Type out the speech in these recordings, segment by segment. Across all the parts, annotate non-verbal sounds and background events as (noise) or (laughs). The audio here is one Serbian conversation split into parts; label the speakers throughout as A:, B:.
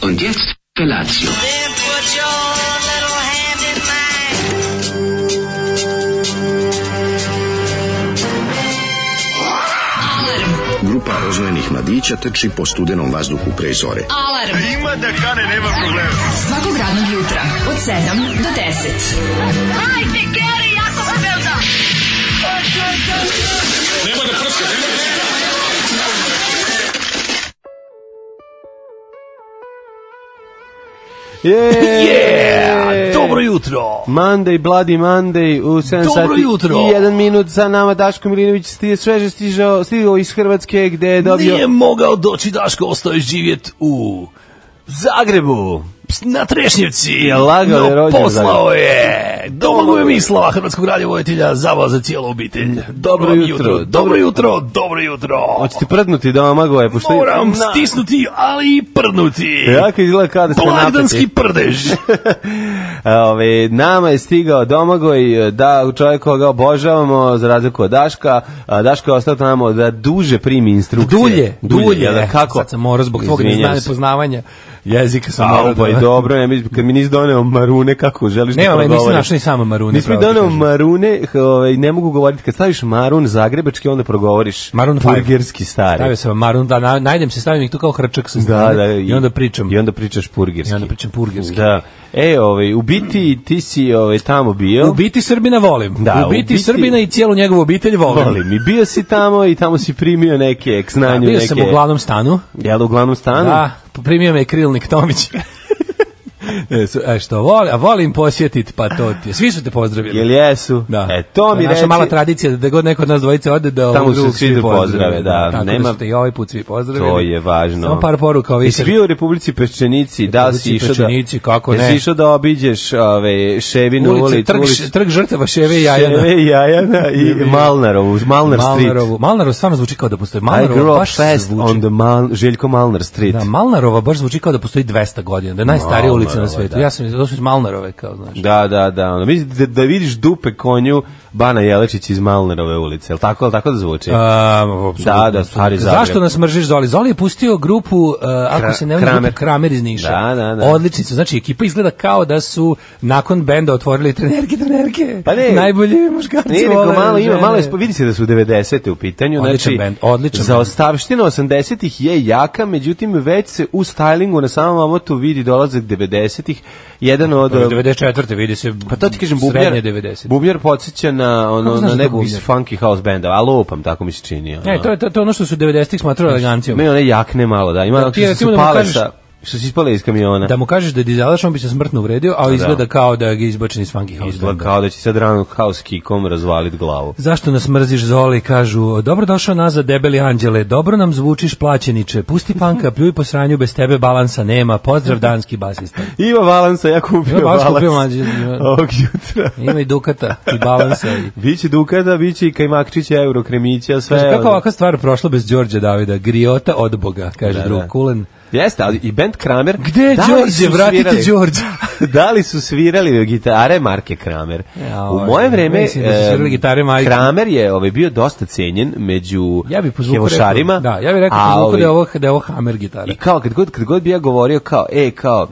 A: Und jetzt Felatio.
B: Then put your little hand in mine.
C: Grupa rozvojenih mladića teči po studenom vazduhu pre zore.
D: Alarm. Ima da kane, nema problema. Svakog radnog jutra, od 7 do 10.
E: Yeah!
F: Dobro jutro!
E: Monday, Bloody Monday u 7
F: Dobro
E: sati
F: jutro.
E: i 1 minut sa nama Daško Milinović sti, sveže stižao, stigao iz Hrvatske gde je dobio...
F: Nije mogao doći Daško, ostao je živjet u
E: Zagrebu!
F: Ps- na Trešnjevci.
E: Je lagao da je rođen u
F: poslao je. Domagoj Mislava, hrvatskog radiovoditelja, zabava za cijelu obitelj. Dobro vam
E: jutro.
F: jutro. Dobro jutro, dobro jutro.
E: Hoćete prdnuti domagove, pošto...
F: Moram
E: Na-
F: stisnuti, ali i prdnuti.
E: Jako izgleda kao da ste
F: Blagdanski
E: napeti.
G: (laughs)
F: prdež.
E: (laughs) Ove, nama je stigao Domagoj, e, da, čovjek koga obožavamo, za razliku od Daška. A, Daško je ostao tamo da duže primi instrukcije.
G: Dulje, dulje,
E: jel da,
G: eh,
E: kako?
G: Sad sam morao zbog tvog
E: Izvinjam
G: neznanja
E: se.
G: poznavanja jezika sam morao
E: Au, pa i
G: da-
E: dobro, ne, mi- kad mi nisi doneo marune, kako želiš
G: Nemam,
E: da
G: ali
E: progovoriš? ono
G: nisam našao ni samo Marune.
E: Nisi mi
G: pravo ti
E: doneo
G: kažem.
E: marune, h- ovaj, ne mogu govoriti. Kad staviš marun zagrebački, onda progovoriš
G: Maroon five.
E: purgerski stari.
G: Stavio sam Marun, da, na- najdem se, stavim ih tu kao hrčak sa strane i onda pričam.
E: I onda pričaš purgerski.
G: I onda pričam purgerski.
E: Da. E, ovaj, u biti ti si ovaj, tamo bio.
G: U biti Srbina volim.
E: Da,
G: u biti
E: ubiti-
G: Srbina i cijelu njegovu obitelj volim.
E: Volim. I bio si tamo i tamo si primio neke k
G: Da,
E: znanju.
G: bio
E: neke,
G: sam u glavnom stanu.
E: Jel, u glavnom stanu?
G: Da, primio me je krilnik Tomić. E, su- e, što volim, a volim posjetit, pa to ti je. Svi su te pozdravili.
E: Jel jesu?
G: Da.
E: E, to mi
G: je naša
E: reci.
G: mala tradicija da god neko od nas dvojice ode da ovog
E: Tamo se
G: drugog
E: svi pozdrave, da.
G: Tako
E: Nema-
G: da ste i ovaj put svi pozdravili.
E: To je važno.
G: Samo par poruka ovih.
E: Jesi bio u Republici Peščenici, da li si
G: Republici
E: išao da...
G: Peščenici, kako ne.
E: Jesi išao da obiđeš ove, Ševinu ulicu,
G: ulici, trg, trg žrtava Ševe i Jajana.
E: Ševe i Jajana i Malnarovu, Malnar Street.
G: Malnarovu. Malnarov stvarno zvuči kao da postoji.
E: I grew
G: Malnarova
E: up
G: baš
E: fast
G: zvuči.
E: on the Mal, Željko Malnar Street.
G: Da, Malnarova baš zvuči kao da postoji 200 godina, da je najstarija ulica na
E: Malnarova,
G: svetu.
E: da.
G: Ja sam došao iz Malnarove, kao znaš.
E: Da, da, da. Ono, misli da, da vidiš dupe konju Bana Jelečić iz Malnerove ulice. Je li tako, je li tako da zvuči?
G: A, apsolutno.
E: Da, da, stari Zagreb.
G: Zašto nas mržiš Zoli? Zoli je pustio grupu, uh, ako
E: Kra-
G: se ne varam,
E: Kramer.
G: grupu Kramer iz Niša.
E: Da, da, da.
G: Odlični su. Znači, ekipa izgleda kao da su nakon benda otvorili trenerke, trenerke.
E: Pa ne.
G: Najbolji muškarci
E: Nije nego
G: vole
E: malo ima,
G: žene.
E: malo je, spo- vidi se da su 90. u pitanju,
G: Odličan
E: znači
G: bend, odličan
E: za
G: bend.
E: ostavština 80-ih je jaka, međutim već se u stylingu na samom omotu vidi dolazak 90-ih, jedan od...
G: Iz 94. vidi se
E: Pa to ti kažem, Bubnjar,
G: srednje 90.
E: Bubnjar podsjeća na, ono,
G: Kako znaš
E: na
G: da je
E: nekog iz
G: Bubnjar?
E: funky house benda, a lupam, tako mi se čini. Ono.
G: Ne, to je to, to je ono što su 90-ih smatrali elegancijom.
E: Meni one jakne malo, da, ima
G: Da,
E: da,
G: ti
E: što
G: recimo
E: su
G: da mu
E: pale
G: kažeš-
E: sa, što su ispale iz kamiona.
G: Da mu kažeš da je dizelaš, on bi se smrtno uvredio, ali izgleda kao da je izbačen iz funky house
E: Izgleda
G: benda.
E: kao da će sad rano house kickom razvalit glavu.
G: Zašto nas mrziš, Zoli, kažu, dobro došao nazad, debeli anđele, dobro nam zvučiš, plaćeniče, pusti panka, pljuj po sranju, bez tebe balansa nema, pozdrav danski basista.
E: (laughs) Ima balansa, ja kupio
G: Ima balans,
E: balans.
G: kupio mlađe, ima.
E: Ovog jutra.
G: Ima i dukata, i balansa.
E: (laughs)
G: I...
E: Biće dukada, biće i kajmakčića, eurokremića, sve.
G: Kaže, Znači, kako
E: ono.
G: ovakva stvar prošla bez Đorđe Davida, griota od Boga, kaže
E: Da,
G: drug
E: da.
G: Kulen.
E: Jeste, ali i band Kramer.
G: Gde je
E: da li
G: Đorđe,
E: su
G: vratite
E: svirali-
G: Đorđe. (laughs)
E: da li su svirali gitare marke Kramer?
G: Ja,
E: U
G: ovaj,
E: moje vreme
G: mislim da su svirali
E: em,
G: gitare marke-
E: Kramer je ovaj bio dosta cenjen među
G: Ja bih po zvuku
E: hevošarima.
G: rekao, da, ja bih rekao
E: a
G: po zvuku
E: ovaj-
G: da je ovo, da je ovo Hammer gitara.
E: I kao kad god kad god bi ja govorio kao e kao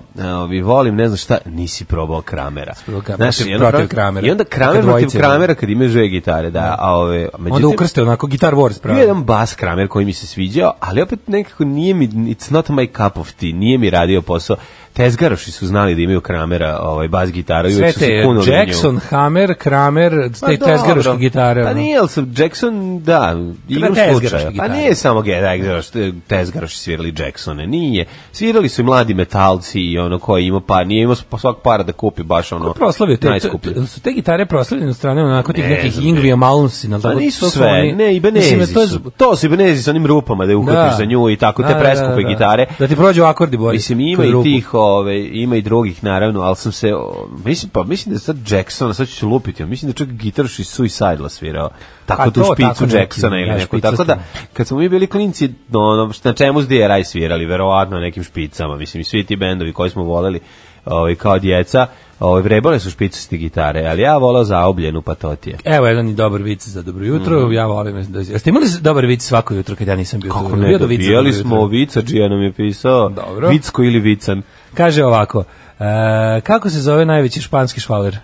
E: vi volim ne znam šta nisi probao Kramera.
G: Probao Kramera,
E: Znaš,
G: protiv-
E: i onda-
G: protiv Kramera.
E: I onda Kramer
G: Kad
E: protiv
G: dvojice,
E: Kramera kad imaju dve gitare, da, a ove međutim
G: Onda ukrste onako Guitar Wars
E: Bio je
G: pravi.
E: jedan bas Kramer koji mi se sviđao, ali opet nekako nije mi, it's not my cup of tea, nije mi radio posao. Tezgaroši su znali da imaju Kramera ovaj, bas gitaru i
G: Sve
E: uvijek su
G: te,
E: se kunuli na nju.
G: Jackson, Hammer, Kramer,
E: Pa
G: te
E: dobro.
G: tezgaroške gitare.
E: Pa
G: ono.
E: nije, ali sam Jackson, da, igram
G: tezgaroške
E: slučaja. Pa
G: gitare.
E: nije samo Tezgaroš, Tezgaroš svirali Jacksone, nije. Svirali su i mladi metalci i ono koji ima par, nije imao pa svak para da kupi baš ono
G: proslavio te, te,
E: najskuplje.
G: te- su te gitare proslavljene od strane onako tih
E: Ne
G: nekih
E: znam,
G: Ingvija
E: ne.
G: Malmsina
E: Pa
G: to-
E: nisu
G: to su
E: sve,
G: oni-
E: ne, i Benezi
G: Mislim, to je
E: su.
G: zb-
E: To su i Benezi sa onim rupama da je uhvatiš za nju i tako, te
G: Da, da,
E: preskupe
G: da, da.
E: gitare.
G: Da ti prođu akordi bori.
E: Pa Mislim, ima
G: kroz
E: i
G: ruku.
E: tih, ove, ima i drugih, naravno, ali sam se, o, mislim, pa mislim da je sad Jackson, sad ću se lupiti, ali mislim da je čak gitarš iz Suicidela svirao. tako
G: A
E: tu
G: to,
E: špicu
G: tako neki,
E: Jacksona
G: da,
E: ili neku.
G: špicastu.
E: Tako da, kad smo mi bili klinci, no, ono, na čemu ste raj svirali, verovatno na nekim špicama, mislim, i svi ti bendovi koji smo voleli ovaj, kao djeca, ovaj, vrebale su špicaste gitare, ali ja volao zaobljenu pa patotije.
G: Evo jedan i dobar vic za dobro jutro. Ja volim da Jeste imali dobar vic svako jutro kad ja nisam bio?
E: Mhm. Kako
G: tu?
E: ne,
G: Bio do vica dobro
E: dobijali
G: jutro.
E: smo, Vicađija nam je pisao,
G: Dobro.
E: Vicko ili Vican.
G: Kaže ovako. e, kako se zove najveći španski švaler?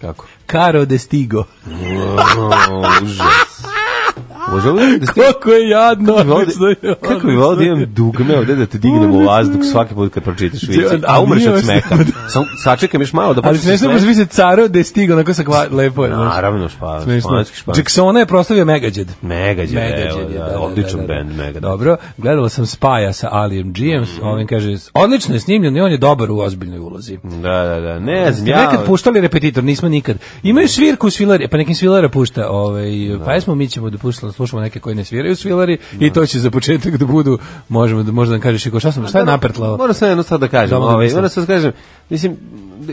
E: Kako?
G: Caro de Stigo.
E: O, užas. Možda li da ste...
G: Kako je jadno.
E: Ovde, kako bi volio da imam dugme ovde da te dignem u vazduh svaki put kad pročitaš vici, a
G: A
E: umreš
G: nije
E: od
G: vas- (laughs)
E: smeha. Samo sačekam još malo da
G: Ali
E: počneš
G: smešno je baš više Caro de Stigo, onako sa kva... lepo je. znaš.
E: Naravno, špa,
G: Smešno.
E: španski španski.
G: Jacksona je prostavio Megadjed.
E: Megađe, evo,
G: Megadjed je,
E: da,
G: da, da,
E: odličan
G: da, da, da.
E: band Megađe.
G: Dobro, gledala sam Spaja sa Alijem G-em, on kaže, odlično je snimljen i on je dobar u ozbiljnoj ulozi.
E: Da, da, da, ne znam,
G: Ste
E: ja...
G: nekad puštali repetitor, nismo nikad. Imaju svirku svilari, pa nekim svilara pušta, ovaj, pa jesmo mi ćemo da puštamo, slušamo neke koji ne sviraju svilari i to će za početak da budu, možemo da, možda nam kažeš, Iko, šta sam, šta je napretlao?
E: Moram sad jednu stvar da kažem,
G: Dobro da
E: ovaj,
G: mislim.
E: moram sad da kažem, mislim,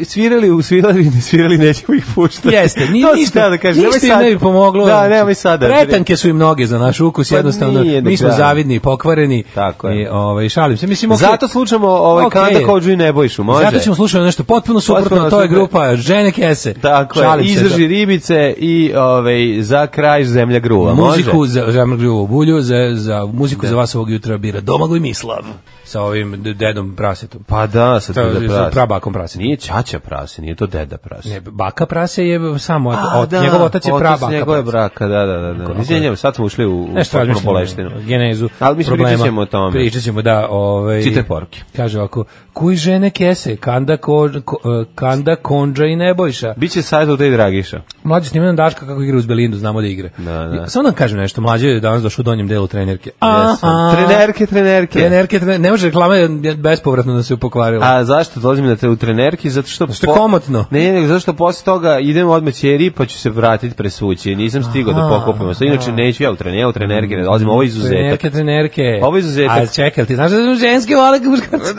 E: svirali u svilari, ne svirali, nećemo ih puštati.
G: Jeste,
E: (laughs)
G: ni
E: To sam
G: ništa,
E: teo da kažem, nemoj
G: ništa im
E: sad-
G: ne bi pomoglo.
E: Da, nemoj sada.
G: Pretanke su im noge za naš ukus,
E: Pa
G: jednostavno,
E: nije do
G: mi smo
E: kraja.
G: zavidni i pokvareni.
E: Tako je.
G: I, ovaj, šalim se, mislim, okay,
E: Zato slušamo ovaj
G: Okej.
E: Kanda Kođu i Nebojšu, može?
G: Zato ćemo slušati nešto potpuno suprotno,
E: Potpuno
G: to je
E: suprotno.
G: grupa Žene Kese.
E: Tako je,
G: Šalim se, da.
E: izdrži ribice i ovaj, za kraj zemlja gruva,
G: muziku
E: može?
G: za Žamar Grivovu bulju, za, za muziku za vas ovog jutra bira Domagoj Mislav sa ovim d- dedom prasetom.
E: Pa da, sa
G: Sa-
E: deda
G: sa
E: prase.
G: prabakom prase.
E: Nije ćaća prase, nije to deda Pa prase.
G: Ne, baka prase je samo, eto,
E: A,
G: ot- njegov otac je prabaka.
E: njegove
G: prase.
E: braka, da, da, da. da. Izvinjam, sad smo ušli u, u
G: Nešto
E: potpuno
G: razmišljamo
E: boleštinu.
G: o genezu
E: Ali mi smo
G: problema.
E: pričat ćemo o tome.
G: Pričat ćemo, da. Ovaj,
E: Čitaj poruke.
G: Kaže ovako, kuj žene kese, kanda, ko, ko- kanda konđa i nebojša.
E: Biće sajt od te Dragiša.
G: Mlađe snima nam Daška kako igra uz Belindu, znamo da igra.
E: Da, da.
G: Samo nam kažem nešto, mlađe je danas došao u donjem delu trenerke. Aha.
E: Jesam. Trenerke, trenerke.
G: Trenerke, trener, ne može reklama je bespovratno da se pokvarila.
E: A zašto dolazim na te u trenerki? Zato što...
G: Što je komotno.
E: Ne, nego zašto posle toga idem odmah ćeri pa ću se vratiti presući. Nisam stigao da
G: Aha,
E: pokupim. Sad inače neću ja u trenerke, ja u trenerke ne dolazim. Ovo je izuzetak.
G: Trenerke, trenerke.
E: Ovo je izuzetak.
G: A čekaj, ti znaš da ženske vole muškarce?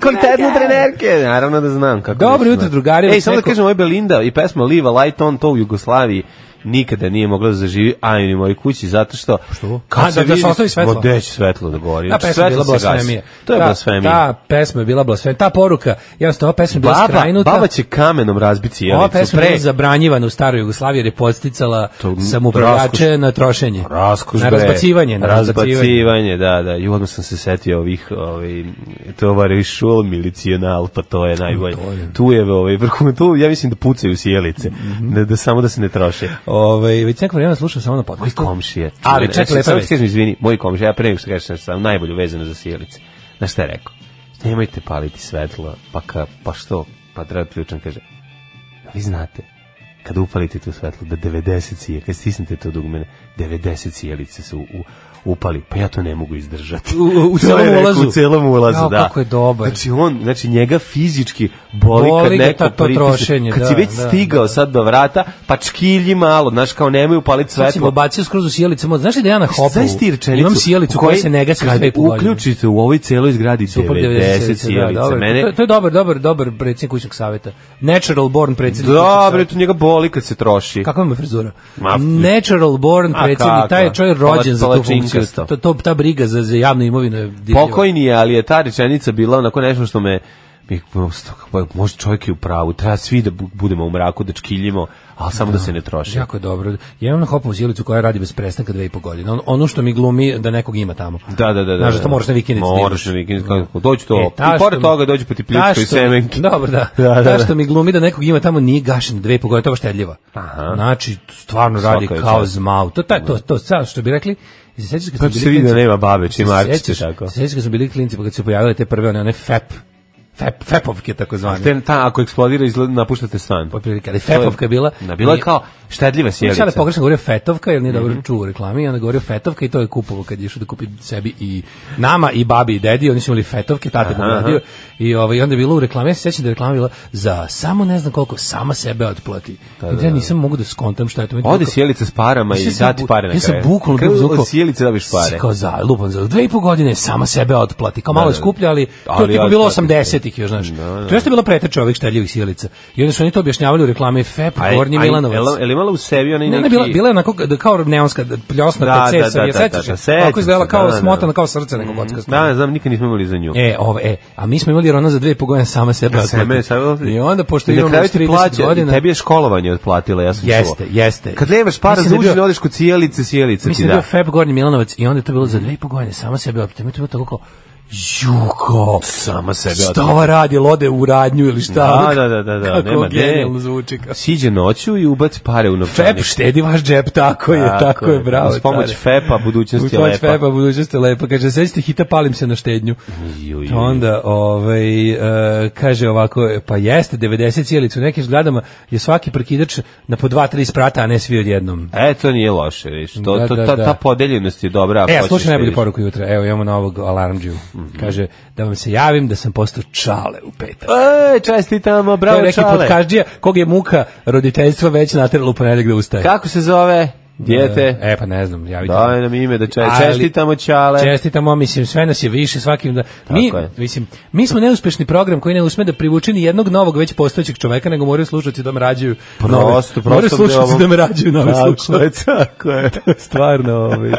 E: Kvalitetne trenerke, naravno da znam kako.
G: Dobro
E: ne
G: jutro,
E: znam.
G: drugari,
E: Ej,
G: vas
E: samo da
G: neko-
E: kažem, ovo je Belinda i pesma Live a Light On, to u Jugoslaviji nikada nije mogla da zaživi, a i u mojoj kući, zato što... Što?
G: A, da- da se ostavi svetlo?
E: Gde će svetlo da gori?
G: Ta
E: Znači,
G: pesma je bila
E: svetlo se gasi.
G: blasfemija.
E: To je
G: Ta-
E: blasfemija.
G: Ta pesma je bila blasfemija. Ta poruka, jednostavno, ova pesma je bila
E: Baba,
G: skrajnuta.
E: baba će kamenom razbiti
G: Ova
E: jelicu
G: pesma
E: pre.
G: je zabranjivana u staroj Jugoslaviji jer je podsticala
E: To-
G: samoupravljače
E: raskoš.
G: na trošenje.
E: Raskoš
G: na
E: bre.
G: razbacivanje. Na razbacivanje.
E: razbacivanje. da, da. I odmah sam se setio ovih, ovaj, tovare šul milicional, pa to je najbolje. Tu je, ovaj, vrhu, tu, ja mislim da pucaju sjelice,
G: Mhm.
E: da, da samo da se ne troše.
G: Ovaj, već neko vrijeme slušam samo na
E: Moj
G: podcastu.
E: komšija.
G: Ali, čekaj, lepa
E: sam
G: vest.
E: kažem, izvini, moj komšija, ja pre nego što kažeš nešto, sam najbolje vezano za sjelice. Znaš šta je rekao? Nemojte paliti svetlo, pa, ka, pa što? Pa treba ključan, kaže, vi znate, kada upalite to svetlo, da 90 sije, kad stisnete to dugmene, 90 sjelice se u, u, upali, pa ja to ne mogu izdržati.
G: U- u
E: To je
G: celom
E: rekao, (laughs)
G: ulazu.
E: U celom ulazu,
G: Jao,
E: da.
G: kako je dobar.
E: Znači, on, znači njega fizički boli,
G: Boli ga
E: kad neko
G: ta- to
E: pritisne.
G: trošenje,
E: Kad
G: da,
E: si već
G: da,
E: stigao sad do vrata, pa čkilji malo, znaš, kao nemoj upaliti
G: Sad si me
E: svetlo,
G: bacio skroz u sjelice. mo- Znaš li da ja na hopu
E: Znaš ti rečenicu?
G: imam sjelicu koja
E: koji-
G: se ne gasi
E: kad
G: sve i
E: uključite u ovoj celoj zgradi
G: Super
E: 90
G: da,
E: sjelica.
G: dobro. To,
E: Mene...
G: to je dobar, dobar, dobar predsjednik kućnog saveta. Natural born predsjednik kućnog
E: Dobro,
G: saveta.
E: to njega boli kad se troši.
G: Kakva mu je frizura?
E: Ma,
G: Natural born
E: A
G: predsjednik, taj je
E: kakva?
G: čovjek rođen za tu
E: Palačinkasto.
G: funkciju. To, to, ta briga za, za javnu imovinu je divljiva.
E: Pokojni je, ali je ta rečenica bila onako nešto što me mi- možda čovjek je u pravu, treba svi da bu- budemo u mraku, da čkiljimo, ali samo da se ne troši.
G: Jako je dobro. Ja imam na hopovu sjelicu koja radi bez prestanka dve i po godine. On, ono što mi glumi da nekog ima tamo.
E: Da, da, da. da.
G: Znaš, da to moraš na vikendicu da
E: Moraš
G: ideš.
E: na vikendicu, kako, dođu to.
G: E, ta
E: I pored
G: što mi-
E: toga dođu po ti
G: ta
E: pljučkoj
G: što-
E: semenki.
G: (laughs) Dobro, da.
E: Da, da,
G: Ta
E: da.
G: što mi glumi da nekog ima tamo nije gašen dve i po godine, to je baš štedljiva.
E: Aha.
G: Znači, stvarno radi
E: Svaka je
G: kao
E: čast.
G: zmau. To, taj, to, to, sad što bi rekli, se sećaš kad
E: Pa
G: smo
E: se
G: bili
E: vidi da
G: klinci?
E: nema babe, čim
G: Se
E: arčice
G: sećaš-
E: tako.
G: se sećaš kad smo bili klinci, pa kad su se pojavile te prve, one, one FEP, FEP, FEP-ovke takozvane.
E: Te, ta, ako eksplodira, izgleda, napuštate stan.
G: Otprilike, ali FEP-ovka je bila...
E: Da, bila je kao štedljiva
G: Sjelica.
E: sjelica.
G: Sada pogrešno govorio fetovka, jer nije
E: Mhm.
G: dobro čuo u reklami, i onda govorio fetovka i to je kupovo kad je išao da kupi sebi i nama i babi i dedi, oni su imali fetovke, tate mu radio i ovaj, onda je bilo u reklami, ja se sjećam da je reklama bila za samo ne znam koliko, sama sebe otplati. I da ja nisam mogu da skontam šta je to. Meni
E: Ode
G: bilo-
E: sjelica Pa s parama
G: Ja
E: i
G: sam
E: dati
G: bu-
E: pare na
G: Ja sam
E: kraju.
G: bukvalno bio u
E: Kao
G: zvuku.
E: Od sjelice dobiš pare.
G: Kao za, lupam za dve i po godine, sama sebe otplati. Kao
E: Da,
G: malo je
E: da, da.
G: skuplja, ali to je
E: Ali
G: tipa bilo
E: otplati.
G: 80 90-ih još, znaš. To jeste bila preteča ovih štedljivih sjelica. I onda su oni to objašnjavali u reklami FEP,
E: A je-
G: Gornji
E: a je-
G: Milanovac.
E: jel- jel imala u sebi onaj
G: Ne, ne,
E: neki...
G: bila, bila je onako da kao neonska da pljosnata
E: Da,
G: da,
E: da,
G: cesa,
E: da,
G: je
E: da, da,
G: sećaš?
E: da,
G: Da,
E: sećam
G: kako je izgledala
E: se,
G: kao
E: da, da,
G: smotana,
E: da.
G: kao srce neko kockasta.
E: Da, ne znam, nikad nismo imali za nju.
G: E, ovo, e, a mi smo imali jer ona za dve pogojene sama sebe
E: Seme,
G: otplati.
E: sad-
G: I onda, pošto
E: I na
G: imamo
E: kraju
G: još
E: ti
G: 30
E: plaća,
G: godina...
E: Tebi je školovanje otplatila, ja sam
G: Jeste,
E: čuo.
G: jeste.
E: Kad nemaš para
G: Mislim
E: za
G: da je bio-
E: užinu, odeš kod sjelice, sjelice ti
G: Mislim da je
E: da.
G: bio Feb Gornji Milanovac i onda je to bilo za dve i po godine, sama sebe opet. Mi je to bilo tako kao, Juko,
E: Sama sebe
G: šta
E: otplatila.
G: ova radi, lode u radnju ili šta?
E: Da, da, da, da, da,
G: Kako
E: nema, ne.
G: genijalno zvuči. kao.
E: Siđe noću i ubac pare u novčanik.
G: Feb štedi vaš džep, tako je, tako, je, bravo.
E: Uz pomoć
G: care.
E: FEPA
G: Uz
E: budućnost je
G: pomoć
E: lepa.
G: Feba, budućnost je lepa. Kaže, sećate hita, palim se na štednju.
E: Ju, ju, ju.
G: Onda, ovaj, e, kaže ovako, pa jeste, 90 cijelicu, u nekim zgradama je svaki prekidač na po dva, tri sprata, a ne svi odjednom.
E: E, to nije loše, viš. To,
G: Da,
E: to,
G: da,
E: ta,
G: da.
E: ta podeljenost je dobra. ako
G: E,
E: hoćeš
G: slušaj
E: da
G: najbolju
E: vidiš.
G: poruku jutra. Evo, imamo novog alarm džiju. Kaže, da vam se javim da sam postao čale u petak.
E: E, čestitamo,
G: To je
E: bravo
G: neki
E: čale.
G: podkaždija kog je muka roditeljstva već naterala u ponedeljak da ustaje.
E: Kako se zove? Dijete?
G: E, pa ne znam, javite.
E: Daj nam ime da čest...
G: Ali-
E: čestitamo čale.
G: Čestitamo, mislim, sve nas je više svakim da... Mi,
E: je.
G: mislim, mi smo neuspešni program koji ne usme da privuče ni jednog novog već postojećeg čoveka, nego moraju slušati da me rađaju nove-
E: Prosto, prosto.
G: moraju slušati
E: ovom-
G: da me rađaju nove
E: Tako
G: slušalce.
E: je, tako je.
G: Stvarno, ovaj.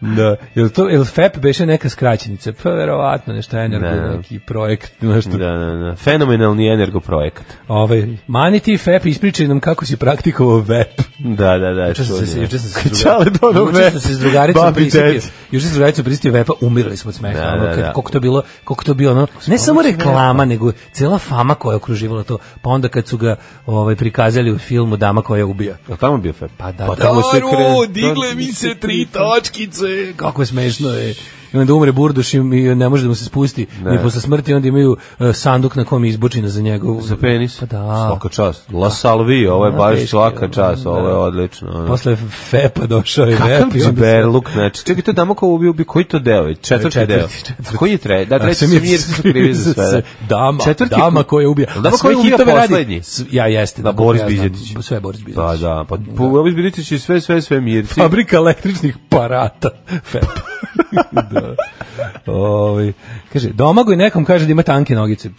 G: Da. Jel to jel FEP beše neka skraćenica? Pa verovatno nešto energo
E: Da.
G: neki projekt, nešto.
E: Da, da, da. Fenomenalni energoprojekt.
G: Ovaj maniti FEP ispričaj nam kako si praktikovao VEP.
E: Da, da, da.
G: Juče sam se
E: čudno.
G: juče sam se s
E: Čale
G: drugaricom.
E: dono
G: Juče sam
E: vest.
G: se s drugaricom
E: Babi,
G: prisjetio.
E: deci.
G: Juče sam se s drugaricom prisjetio vepa, umirali smo od smeha.
E: Da,
G: ono,
E: da,
G: kad-
E: da. Pa
G: Koliko to bilo, koliko to bilo, ono, ne samo reklama, nego cela fama koja je okruživala to. Pa onda kad su ga ovaj prikazali u filmu Dama koja ubija.
E: Jel tamo bio Fep?
G: Pa da,
E: tamo
G: da,
E: se
G: ru,
E: kre-
G: digle mi se tri točkice. Kako je smešno je. I onda umre Burduš i i ne može da mu se spusti. Ni posle smrti onda imaju e, sanduk na kom je izbučina za njegov.
E: Za penis?
G: Pa da.
E: Svaka čast. La Salvi, ovo je
G: Da,
E: baš
G: teški,
E: svaka
G: da,
E: čast, ovo je
G: da.
E: odlično. ono.
G: Posle Fepa došao je Vep.
E: Kakav džberluk, znači. Čekaj, to damo kao ubio, bi koji to deo je? Četvrti,
G: Četvrti,
E: deo. Pa
G: četvrti.
E: Koji je tre? Da, treći se mir su krivi za sve.
G: (laughs) Dama,
E: Četvrti-
G: dama koja ubija.
E: Jel Dama
G: A sve
E: koja je ubija
G: hitove radi-
E: poslednji.
G: S- Ja jeste.
E: Da,
G: koliko
E: Boris
G: ja znam.
E: Bizetić.
G: Sve Boris Bizetić.
E: Pa da, pa da. Boris Biličić je sve, sve, sve mir.
G: Fabrika električnih parata. (laughs) FEP. da. Ovaj, kaže, domagoj nekom kaže da ima tanke nogice.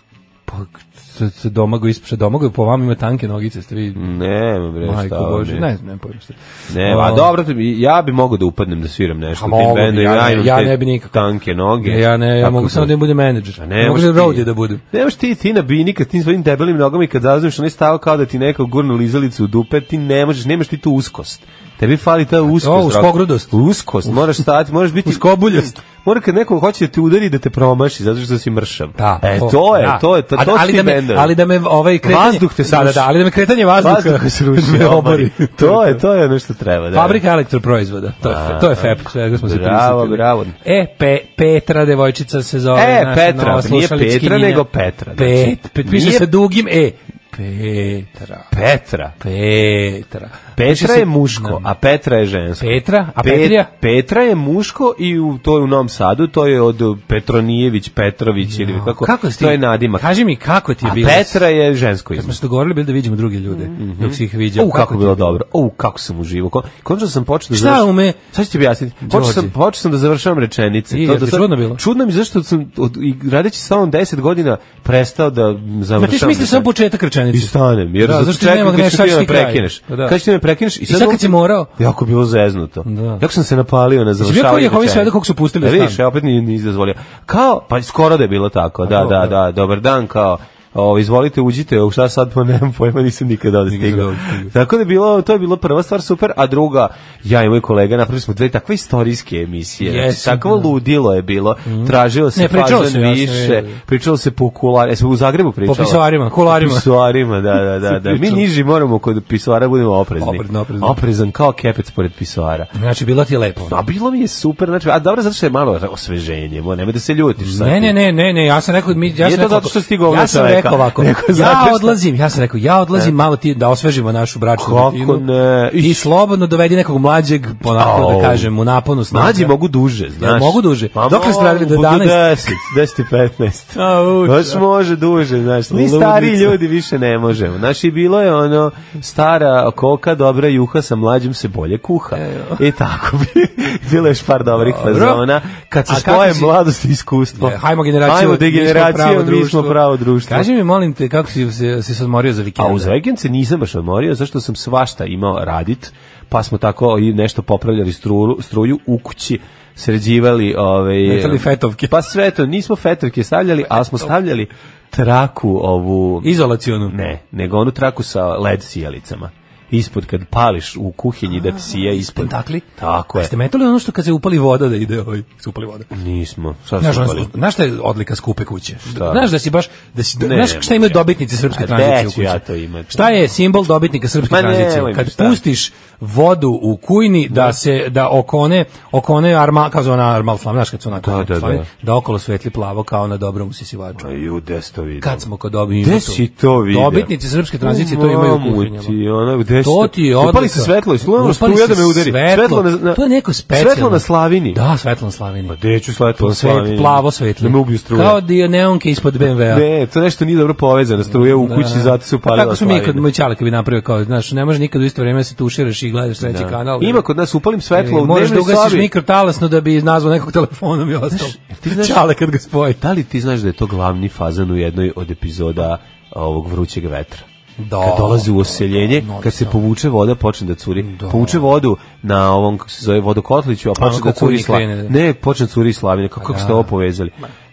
G: Pa, se, se domagoj ispuša. Domagoj po vama ima tanke nogice. Ste vi,
E: Ne, bre, Mm, e, šta
G: majko
E: vam
G: Bože.
E: je?
G: Ne znam, ne pojma šta. Ovaj,
E: Ne, a dobro, to bi- ja bi mogao da upadnem da sviram nešto
G: A
E: u tim
G: mogu bi,
E: bendu,
G: ja
E: ja
G: ne-
E: imam
G: ja
E: te
G: ne bi nikako.
E: tanke noge.
G: Ja ne, ja
E: Tako
G: mogu samo da im budem
E: A
G: menadžer.
E: ne,
G: Ne mogu
E: možeš
G: da
E: Pa ti-
G: roadie da budem.
E: Nemaš ti, ti na bini kad tim svojim debelim nogama i kad zazoveš onaj stav kao da ti neko gurnu lizalicu u dupe, ti ne možeš, nemaš ti tu uskost. Tebi fali ta uskost.
G: Znači, uz
E: Rok.
G: pogrudost.
E: Uskost, moraš stati, moraš
G: (laughs)
E: biti...
G: Uskobuljost.
E: Mora kad neko hoće da te udari da te promaši zato što si mršav.
G: Da,
E: e, to je,
G: da.
E: to je, to,
G: A
E: to
G: ali
E: si
G: da me,
E: bendovi.
G: ali da me ovaj kretanje
E: Vazduh te
G: da, da,
E: sruši.
G: da, ali da me kretanje vazduha
E: Vazduh
G: (laughs)
E: te sruši,
G: me
E: omari.
G: obori.
E: To je, to je ono što treba. Da.
G: Fabrika elektroproizvoda. To je, fe- to je FEP, svega smo se
E: Bravo,
G: prisjetili.
E: bravo.
G: E, pe, Petra, devojčica se zove.
E: E,
G: naša
E: Petra,
G: nova
E: nije
G: slušalickinja.
E: Petra, nego Petra, znači.
G: Pet, pet, piše
E: Nije-
G: se dugim E. Petra.
E: Petra.
G: Petra. Piše
E: Petra
G: se-
E: je muško, a Petra je žensko.
G: Petra, a
E: Pe-
G: Petrija?
E: Petra je muško i u, to je u Novom Sadu, to je od Petronijević, Petrović ili kako,
G: si ti-
E: to je nadimak.
G: Kaži mi kako ti je
E: A
G: bilo.
E: Petra je žensko ime.
G: Kad smo se dogovorili bili da vidimo druge ljude, dok si ih viđao.
E: U, kako
G: ti
E: je
G: je
E: bilo dobro. U, kako sam uživao. Kon- Končno sam počeo da
G: Šta
E: završavam-
G: ume?
E: Sad ću ti objasniti. Počeo sam,
G: Đorđe.
E: počeo sam da završavam rečenice.
G: I,
E: To
G: jel
E: da
G: ti
E: sad-
G: čudno bilo?
E: Čudno mi je zašto sam, od, i, radeći sa ovom 10 godina, prestao da m,
G: Ma ti
E: završavam.
G: smisliš samo početak rečenice.
E: I stanem, jer
G: da,
E: da,
G: zašto
E: čekam
G: nema
E: kad ćeš ti
G: grešački
E: da me
G: kraj?
E: prekineš.
G: Pa Da.
E: Kad ćeš ti da me prekineš.
G: I sad kad
E: opet-
G: si morao?
E: Jako bilo zeznuto.
G: Da.
E: Jako sam se napalio na
G: bio
E: završavanje.
G: kao Jehovin
E: rečenice.
G: svedok kog su pustili u
E: Da,
G: stan?
E: vidiš, ja opet nije nije dozvolio. Kao, pa skoro da je bilo tako. Da,
G: dobro,
E: da,
G: da.
E: da, dobar dan, kao, O, izvolite, uđite, u šta sad, pa nemam pojma, nisam nikada ovde
G: Nikad
E: stigao.
G: ovde stigao.
E: Tako da je bilo, to je bilo prva stvar super, a druga, ja i moj kolega napravili smo dve takve istorijske emisije. Znači,
G: Jesam,
E: takvo
G: da. Mhm.
E: ludilo je bilo, tražio se
G: Ne, pričalo se,
E: fazan
G: ja sam
E: više,
G: vidio.
E: pričalo se po kularima, jesmo u Zagrebu pričalo?
G: pisoarima, kuloarima.
E: Po pisoarima, da, da, (laughs) da, da. Mi
G: pričalo.
E: niži moramo kod pisoara budemo oprezni.
G: Oprezno, oprezno.
E: Oprezan kao kepec pored pisoara.
G: Znači, bilo ti je lepo.
E: A bilo mi je super, znači, a dobro, zato što je malo osveženje, bo nemoj da se ljutiš sad.
G: Ne, ne, ne, ne, ne, ja sam rekao, mi, ja
E: Nije
G: sam
E: to
G: rekao,
E: zato što si ti govno
G: ja sam
E: čovek,
G: rekao ovako,
E: Rekao,
G: ja
E: znate šta?
G: odlazim, ja sam rekao, ja odlazim malo ti da osvežimo našu bračnu
E: E. Kako
G: rutinu.
E: ne?
G: I slobodno dovedi nekog mlađeg, onako
E: Au.
G: da kažem, u naponu snaga.
E: Mlađi mogu duže, znaš.
G: mogu duže?
E: Pa
G: Dokle ste radili? Do
E: mogu, do
G: 11?
E: 10, 10 i 15.
G: Au,
E: Baš može duže, znaš. Mi
G: Ludnica.
E: stari ljudi više ne možemo. Znaš, i bilo je ono, stara koka, dobra juha, sa mlađim se bolje kuha. I tako bi. (laughs) Bilo je još par dobrih
G: E, Dobro.
E: fazona. Kad se
G: A kako
E: spoje
G: si-
E: mladost i iskustvo.
G: E, Hajmo generaciju,
E: Hajmo
G: mi smo pravo
E: degeneracija, mi
G: društvo.
E: smo pravo društvo.
G: Kaži mi, molim te, kako si se, se odmorio za vikend?
E: A Pa uz vikend se nisam baš odmorio, zašto sam svašta imao radit, pa smo tako i nešto popravljali struru, struju u kući, sređivali... Ovaj,
G: Metali fetovke.
E: Pa sve to, nismo fetovke stavljali, ali smo stavljali traku ovu...
G: Izolacionu.
E: Ne, nego onu traku sa led sjelicama. Ispod, kad pališ u kuhinji da ti sija ispod.
G: Pentakli?
E: Tako je.
G: Jeste metali ono što kad se upali voda da ide, ovaj, se upali voda.
E: Nismo. Šta
G: Znaš,
E: smo
G: ono-
E: pali?
G: znaš šta je odlika skupe kuće?
E: Šta?
G: Znaš da si baš, da si,
E: Ne,
G: znaš
E: ne
G: šta imaju
E: mogu ja.
G: dobitnici srpske
E: A
G: tranzicije
E: gde
G: u
E: ću
G: kući?
E: ja to imati?
G: Šta je simbol dobitnika srpske
E: Ma
G: tranzicije?
E: nemoj mi,
G: Kad
E: šta?
G: pustiš vodu u kujni da se, da okone, okone arma, kao zvana armal flam, znaš kad su onako
E: Da, da,
G: flam,
E: da.
G: da okolo svetli plavo kao na dobrom usisivaču.
E: Pa Ju, gde si to vidio?
G: Kad smo kod dobitnika.
E: Gde si to vidio?
G: Dobitnici srpske tranzicije to imaju u
E: Mamu
G: kuhinjama.
E: Ti, ono, gde si
G: To ti je
E: Upali
G: odlika.
E: se svetlo, i slujem
G: Upali
E: struja
G: se
E: da me udari.
G: svetlo.
E: na, na,
G: to je neko specijalno.
E: Svetlo na slavini.
G: Da, svetlo na slavini.
E: Pa gde ću svetlo na
G: Svet,
E: slavini?
G: plavo svetlo.
E: Da me uglju struja.
G: Kao dio neonke ispod BMW-a.
E: Ne, to nešto nije dobro povezano, struja u kući, zato se
G: Pa
E: upalila
G: tako su mi
E: slavina.
G: kod moj čalak bi napravio kao, znaš, ne može nikad u isto vrijeme da se tuširaš i gledaš treći kanal.
E: Ima kod nas upalim svetlo
G: E,
E: u
G: Možeš da
E: dnevnoj
G: ugasiš
E: slavi.
G: mikrotalasno da bi nazvao nekog telefonom i ostalo.
E: ti znaš-
G: Čale kad ga spoji.
E: Da li ti znaš da je to glavni fazan u jednoj od epizoda ovog vrućeg vetra?
G: Da.
E: Kad dolazi u oseljenje,
G: non
E: kad se
G: stop.
E: povuče voda, počne da curi. Povuče vodu na ovom, kako se zove, vodokotliću, a počne
G: kako
E: da curi
G: kujnik
E: slavine.
G: krene, da.
E: Ne, počne da curi slavine. Kako, kako ste ovo povezali?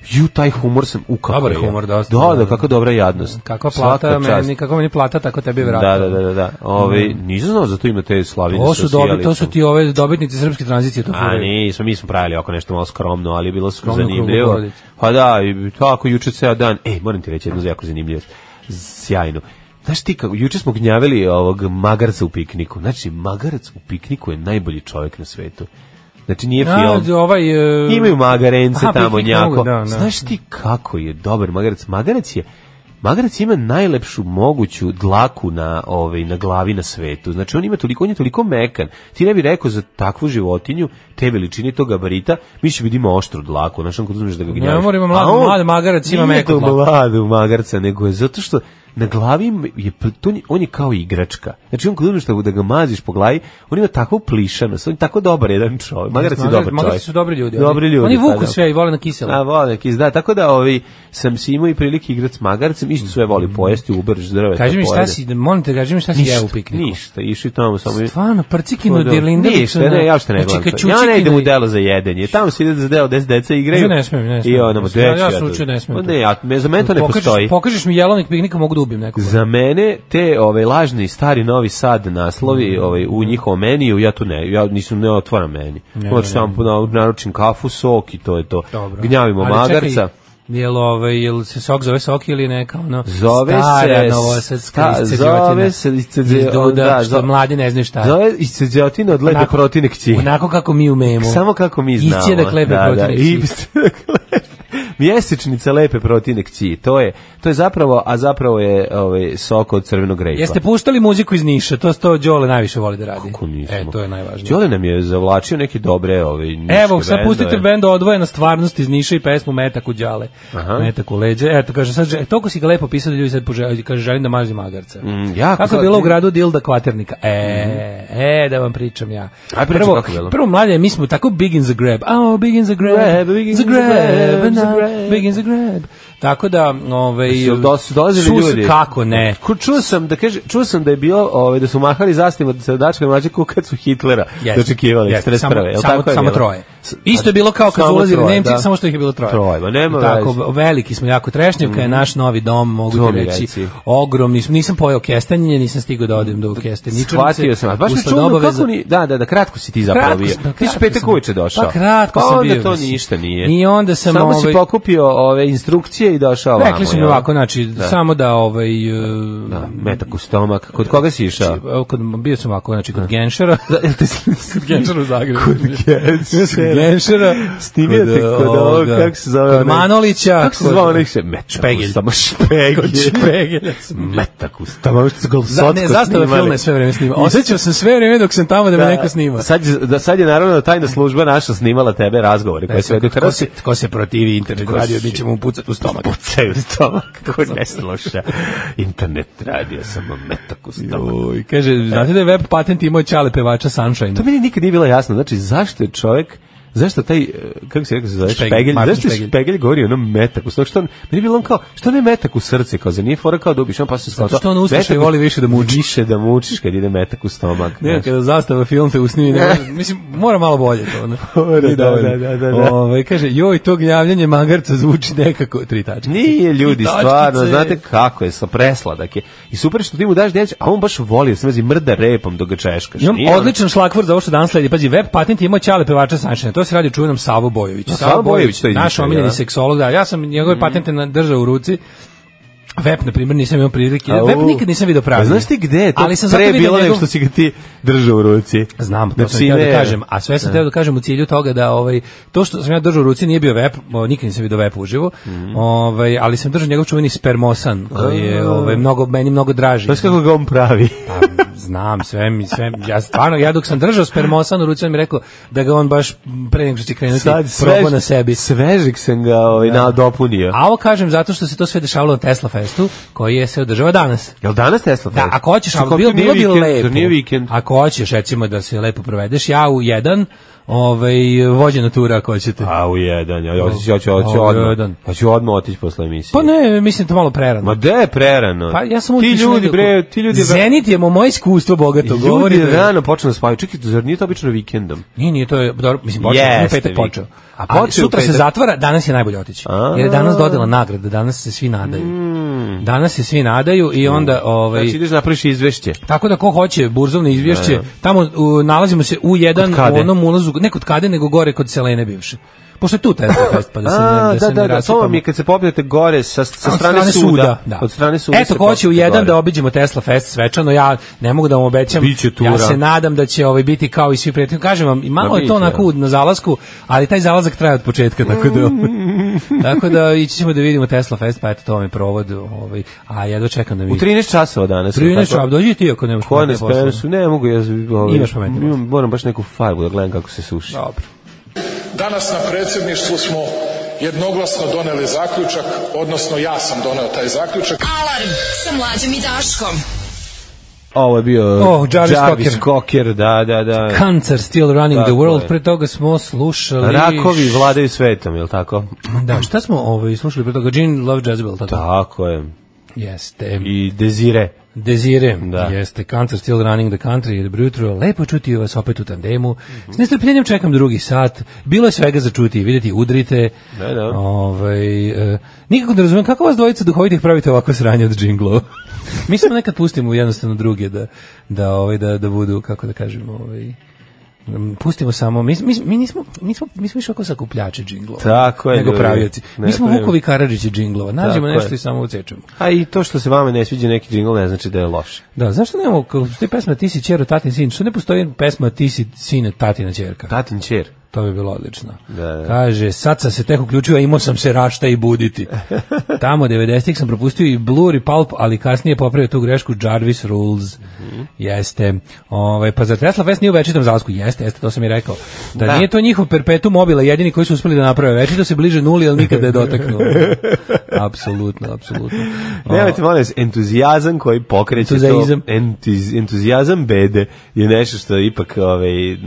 E: Ju, taj humor sam, u kako
G: Dobar
E: je.
G: humor, da,
E: Da, da, kakva dobra jadnost.
G: Kakva
E: Svaka
G: plata
E: čast.
G: meni, kako meni plata, tako tebi
E: Da,
G: vrata.
E: da, da, da. da. Ove, nisam znao za to ima te slavine.
G: Ovo
E: sa
G: su, dobi, Mm. to su
E: sijalicom.
G: ti ove dobitnici srpske tranzicije. To
E: A
G: furaju.
E: nismo, mi smo pravili oko nešto malo skromno, ali je bilo su
G: Skromno
E: zanimljivo.
G: krugoporodice.
E: Pa da, i tako juče ceo dan. Ej, moram ti reći jednu jako zanimljivu. Sjajno. Znaš ti kako, juče smo gnjavili ovog magarca u pikniku. Znači, magarac u pikniku je najbolji čovjek na svetu. Znači, nije
G: A,
E: film.
G: ovaj, e,
E: Imaju magarence
G: Aha,
E: tamo
G: piknik
E: njako.
G: mogu, da, da.
E: Znaš ti kako je dobar magarac? Magarac je Magarac ima najlepšu moguću dlaku na ovaj na glavi na svetu. Znači on ima toliko on je toliko mekan. Ti ne bi rekao za takvu životinju te veličine tog gabarita, mislim da ima oštru dlaku, znači on kad uzmeš da ga gnjaviš.
G: mora, ima
E: A
G: mlad-
E: on
G: mlad magarac ima
E: nije
G: meku
E: to
G: dlaku.
E: mlad u magarca, nego je zato što na glavi im je pl- to on je- on je kao igračka. Znači on kad uzmeš da da ga maziš po glavi, on ima takvu plišanost, on je tako dobar jedan čovjek. Magarac je
G: Magarci-
E: dobar čovjek.
G: Magarci su dobri ljudi.
E: Dobri
G: oni-
E: ljudi.
G: Oni
E: pa
G: vuku
E: da.
G: sve i vole na kiselo.
E: A vole kis, da, tako da ovi, sam si imao i prilike igrati s magarcem, isto sve voli pojesti, ubereš drve.
G: Mhm. Kaži mi šta si, molim te, kaži mi šta si
E: ništa,
G: jeo u pikniku.
E: Ništa, išli tamo samo... i-
G: Stvarno, prcikinu,
E: Pa da,
G: dirlindericu,
E: Ništa,
G: na-
E: ne, ja što ne
G: znači,
E: gledam. to. Ja
G: kačućikinu
E: ne idem u
G: i-
E: delo za jedenje. Tamo se ide za deo, des deca igraju.
G: Ja ne smem, ne smem.
E: I ono,
G: Ja- ja sam
E: to-
G: učio, ne smem
E: Pa
G: to.
E: Ne, ja, me, za mene to ne
G: Pokažeš-
E: postoji.
G: Pokažeš mi jelovnik piknika, mogu da ubijem nekog.
E: Za mene te ovaj lažni stari Novi Sad naslovi
G: Mm.
E: ovaj u njihovom meniju ja tu ne ja nisam ne otvaram meni. Hoću samo na- naručim kafu, sok i to je to.
G: Dobro.
E: Gnjavimo
G: Ali
E: magarca.
G: Čekaj, jel, ovaj, jel se sok zove sok ili je neka ono
E: Zove
G: stara
E: se-
G: novosadska
E: sta-
G: iscediotina?
E: zove se iscedi-
G: Iz Duda,
E: da,
G: što
E: zo-
G: mladi ne znaju šta je.
E: Zove isceđotina od lebe
G: Onako-
E: protine kći.
G: Onako kako mi umemo.
E: Samo kako mi znamo.
G: Iscijedak lepe
E: da, da,
G: protivnik
E: i-
G: svih.
E: iscijedak lepe. Mjesečnica lepe protine kći. To je, to je zapravo, a zapravo je ovaj, sok od crvenog grejpa.
G: Jeste puštali muziku iz Niša, to to Đole najviše voli da radi.
E: Kako nismo.
G: E, to je najvažnije.
E: Đole nam je zavlačio neke dobre ove niške
G: Evo, sad
E: bendove.
G: pustite bend odvojena stvarnost iz Niša i pesmu Metak u đale.
E: Aha.
G: Metak u leđe. Eto, kaže, sad, žel- toliko si ga lepo pisao da ljudi sad poželaju, kaže, želim da mazim magarca.
E: Mm, jako
G: kako je
E: sad-
G: bilo u gradu Dilda Kvaternika? E, e, da vam pričam ja.
E: Aj, pričaj
G: prvo,
E: kako je bilo.
G: prvo mlade, mi smo tako big in the grab. Oh, big in the grab,
E: Grab, big in
G: the
E: the
G: grab,
E: grab,
G: and
E: the
G: now
E: grab.
G: big in the grab. Tako da, ovaj,
E: Jel do- su dolazili
G: sus,
E: ljudi?
G: kako ne?
E: Ko- Čuo sam da kaže, čuo sam da je bilo, ovaj da su mahali zastavima sa dačkama mlađe kao kad su Hitlera
G: Jeste.
E: dočekivali
G: Jeste.
E: 41.
G: Samo,
E: Jel
G: samo,
E: tako je
G: samo
E: bilo?
G: troje.
E: S-
G: Isto je bilo kao kad su
E: Samo
G: ulazili
E: troje,
G: Nemci,
E: da.
G: samo što ih je bilo troje.
E: Troje, ma nema
G: I tako,
E: veze.
G: veliki smo jako. Trešnjevka je naš novi dom, mogu
E: To
G: ti
E: mi
G: reći.
E: reci.
G: Ogromni smo. Nisam pojeo kestenje, nisam stigao da odem do kesteničarnice.
E: Shvatio sam, a baš me
G: Usled
E: čudno
G: obaveza-
E: kako ni, da, da, da, kratko si ti zapravo
G: Kratko
E: bio.
G: sam- pa
E: Ti si
G: kratko
E: petak
G: sam.
E: uveče došao.
G: Pa kratko
E: pa
G: sam
E: onda
G: bio,
E: to
G: mislim.
E: ništa nije.
G: I onda sam,
E: Samo si
G: ovaj-
E: pokupio ove instrukcije i došao ovamo.
G: Rekli su mi
E: jel?
G: ovako, znači, samo da ovaj... e,
E: Da, metak u stomak. Kod koga si išao?
G: Evo, kod, bio sam ovako, znači, kod
E: (laughs)
G: Genšera. (laughs) kod Genšera u Zagrebu. Kod
E: Genšera.
G: Genšera.
E: Stimio te kod ovog,
G: ovoga,
E: kako se zove?
G: Kod
E: onaj-
G: Manolića.
E: Kako se
G: kod-
E: zove onih se? Metak
G: Špegelj.
E: u stomak. Špegelj.
G: Kod Špegelja sam bio.
E: Metak u stomak. Što su ga
G: Za, ne,
E: Socko
G: zastava
E: snimali.
G: filme sve vreme snima.
E: I sad
G: Osećao sam sve vreme dok sam tamo da me neko snima.
E: Sad, je- da, sad je naravno tajna služba naša snimala tebe razgovore koje se vedu
G: Ko
E: krasi.
G: se, ko se protivi internet
E: Tko
G: radio,
E: si?
G: mi ćemo mu pucati u stomak.
E: Pucaju stomak, ko ne sluša. Internet radio samo metak u stomak.
G: Uj, kaže, znate da je web patent imao Čale pevača Sunshine?
E: To meni nikad nije bilo jasno. Znači, zašto je čovjek Zašto taj, eh, kako se rekao, se zove,
G: Špegelj,
E: špegelj,
G: Martin
E: zašto je
G: Špegelj.
E: špegelj, govori ono metak u stomak, što on, meni je bilo on kao, što ne metak u srce, kao za nije fora kao da ubiš, on pa se skontao.
G: Zato što on ustaše
E: metak
G: i
E: u-
G: voli više da muči.
E: Više da mučiš kad ide metak u stomak.
G: Ne,
E: znaš.
G: kada zastava film te usnimi, ne, može- mislim, mora malo bolje to. Ne?
E: Mora,
G: Nije
E: da,
G: dovoljno.
E: da, da, da, da.
G: Ove, Ovaj, kaže, joj, to gnjavljanje mangarca zvuči nekako tri tačke.
E: Nije ljudi,
G: Tačkice.
E: stvarno, znate kako je, sa presladak je. I super je što ti mu daš djece, a on baš voli, sam vezi mrda repom dok ga češkaš.
G: Imam
E: Nije on-
G: odličan šlakvor za ovo što danas sledi. Pazi, web patent je imao Ćale pevača Sanšina. To se radi o čuvenom Savo Bojoviću.
E: Savo Bojović to
G: naš
E: izmišlja,
G: omiljeni
E: da.
G: seksolog. Da, ja sam
E: Mm.
G: njegove patente na- držao u ruci. Vep, na primjer, nisam imao prilike.
E: Au.
G: Vep nikad nisam video pravi.
E: A Pa znaš ti gde je to
G: Ali sam zato
E: pre
G: vidio
E: bilo nego
G: njegov-
E: što si ga ti držao u ruci?
G: Znam, to
E: Znači,
G: sam htio da
E: ne-
G: kažem, a sve sam htio da kažem u cilju toga da ovaj to što sam ja držao u ruci nije bio vep, o, nikad nisam video vep uživo.
E: Mhm.
G: Ovaj, ali sam držao njegov čuveni spermosan koji je ovaj mnogo meni mnogo draži.
E: Znaš kako ga on pravi?
G: Pa, znam, sve mi, sve, ja stvarno, ja dok sam držao spermosan u ruci, on mi rekao da ga on baš pre nego što će krenuti probao
E: svež-
G: na sebi.
E: Svežeg sam ga ovaj, na, dopunio.
G: A ovo kažem zato što se to sve dešavalo na Tesla Festu, koji je se održava danas.
E: Jel danas Tesla?
G: Da, ako hoćeš, ali bilo, bilo bi lepo. Ako hoćeš, recimo, da se lepo provedeš, ja u jedan, ovaj, vođena tura ako hoćete.
E: A Pa, u jedan, ja, ja, ću- ja ću, ja ću
G: A Pa, u
E: odmah,
G: jedan.
E: ja ću odmah otići posle emisije.
G: Pa ne, mislim to malo prerano.
E: Ma de je prerano?
G: pa ja sam
E: ti
G: otišao
E: ljudi,
G: negde-
E: bre, ti ljudi...
G: Zenit je mo moje iskustvo bogato
E: Ljudi
G: govori. da je-
E: rano počne da spavaju. Čekaj, zar nije to obično vikendom?
G: Nije, nije, to je, dobro, mislim, počeo, yes,
E: Jeste,
G: petak
E: vi-
G: počeo.
E: A
G: Ali
E: počeo
G: sutra
E: u petak?
G: se zatvara, danas je najbolje otići.
E: A. Mm.
G: Jer je danas dodela nagrada, danas se svi nadaju. Danas se svi nadaju i onda, ovaj,
E: Znači ideš napraviš izvešće.
G: Tako da ko hoće burzovno izvješće, tamo u, nalazimo se u jedan
E: Kod Kade?
G: u onom ulazu, ne kod Kade, nego gore kod Selene bivše. Pošto je
E: (laughs)
G: tu Tesla fest, pa da se ne, da,
E: A,
G: se
E: da,
G: ne
E: da, da, to
G: rasipamo.
E: vam je kad se popijete gore sa, sa
G: Od
E: strane, suda.
G: da.
E: Od strane suda.
G: Eto,
E: se
G: ko će u
E: popnete
G: jedan
E: gore.
G: da obiđemo Tesla Fest svečano, ja ne mogu da vam obećam.
E: Biće tura.
G: Ja se nadam da će ovaj biti kao i svi prijatelji. Kažem vam, i malo
E: Ma
G: je to
E: biće.
G: onako na zalasku, ali taj zalazak traje od početka, (laughs) tako da...
E: (laughs)
G: tako da ići ćemo da vidimo Tesla Fest, pa eto, to vam je provod. Ovaj, a jedva čekam da mi...
E: U 13 časova danas.
G: 13
E: Tako-
G: čav, dođi ti ako nemaš
E: Ko ne
G: pametne poslove.
E: spremno su, ne mogu, ja ovaj,
G: Imaš pametne
E: imam- moram baš neku farbu da gledam kako se suši.
G: Dobro.
A: Danas na predsjedništvu smo jednoglasno doneli zaključak, odnosno ja sam doneo taj zaključak.
D: Alarm sa mlađom i Daškom.
E: Ovo je bio
G: Oh, Jarvis Cocker.
E: Cocker, da, da, da.
G: Cancer still running the
E: Tako
G: world.
E: je.
G: Pre toga smo slušali...
E: Rakovi vladaju svetom, jel tako?
G: Da, šta smo ovaj, slušali pre toga? Gene Love Jezebel, tako?
E: Tako je.
G: Jeste.
E: I Desire.
G: Desire,
E: Da.
G: jeste Cancer Still Running the Country, dobro jutro, lepo čuti vas opet u tandemu,
E: Mhm.
G: s nestrpljenjem čekam drugi sat, bilo je svega za čuti, vidjeti, udrite,
E: Da, da.
G: Ovaj, e, nikako ne razumijem kako vas dvojica duhovitih pravite ovako sranje od džinglova. (laughs) Mi smo nekad pustimo jednostavno druge da, da, ovaj, da, da budu, kako da kažemo, ovaj, m, pustimo samo, mi, mi, mi, nismo, mi, smo, mi smo više oko sakupljači džinglova.
E: Tako je,
G: Nego
E: ljudi.
G: pravioci.
E: Ne,
G: Mi smo
E: pravimo.
G: Vukovi Karadžići džinglova. Nađemo
E: Tako
G: nešto
E: je.
G: i samo ucečemo.
E: A i to što se vama ne sviđa neki džingl ne znači da je loš.
G: Da, zašto nemamo, kao što je pesma Ti si čero, tatin sin, što ne postoji pesma Ti si sine, tatina čerka?
E: Tatin čer.
G: To bi bilo odlično.
E: da.
G: Kaže, sad sam se tek uključio, a imao sam se rašta i
E: (laughs)
G: buditi. Tamo 90-ih sam propustio i Blur i Pulp, ali kasnije popravio tu grešku Jarvis Rules.
E: Mhm.
G: Jeste. Ovaj, pa za Tesla Fest nije u večitom zalasku. Jeste, jeste, to sam i rekao. Da,
E: Da.
G: nije to njihov perpetu mobila, jedini koji su uspeli da naprave večito se bliže nuli, ali nikada je
E: (laughs)
G: dotaknuo. apsolutno, apsolutno.
E: Nemojte, molim vas, entuzijazam koji pokreće
G: Entuzijazam.
E: to, entuz, entuzijazam bede je nešto što ipak ovaj, n-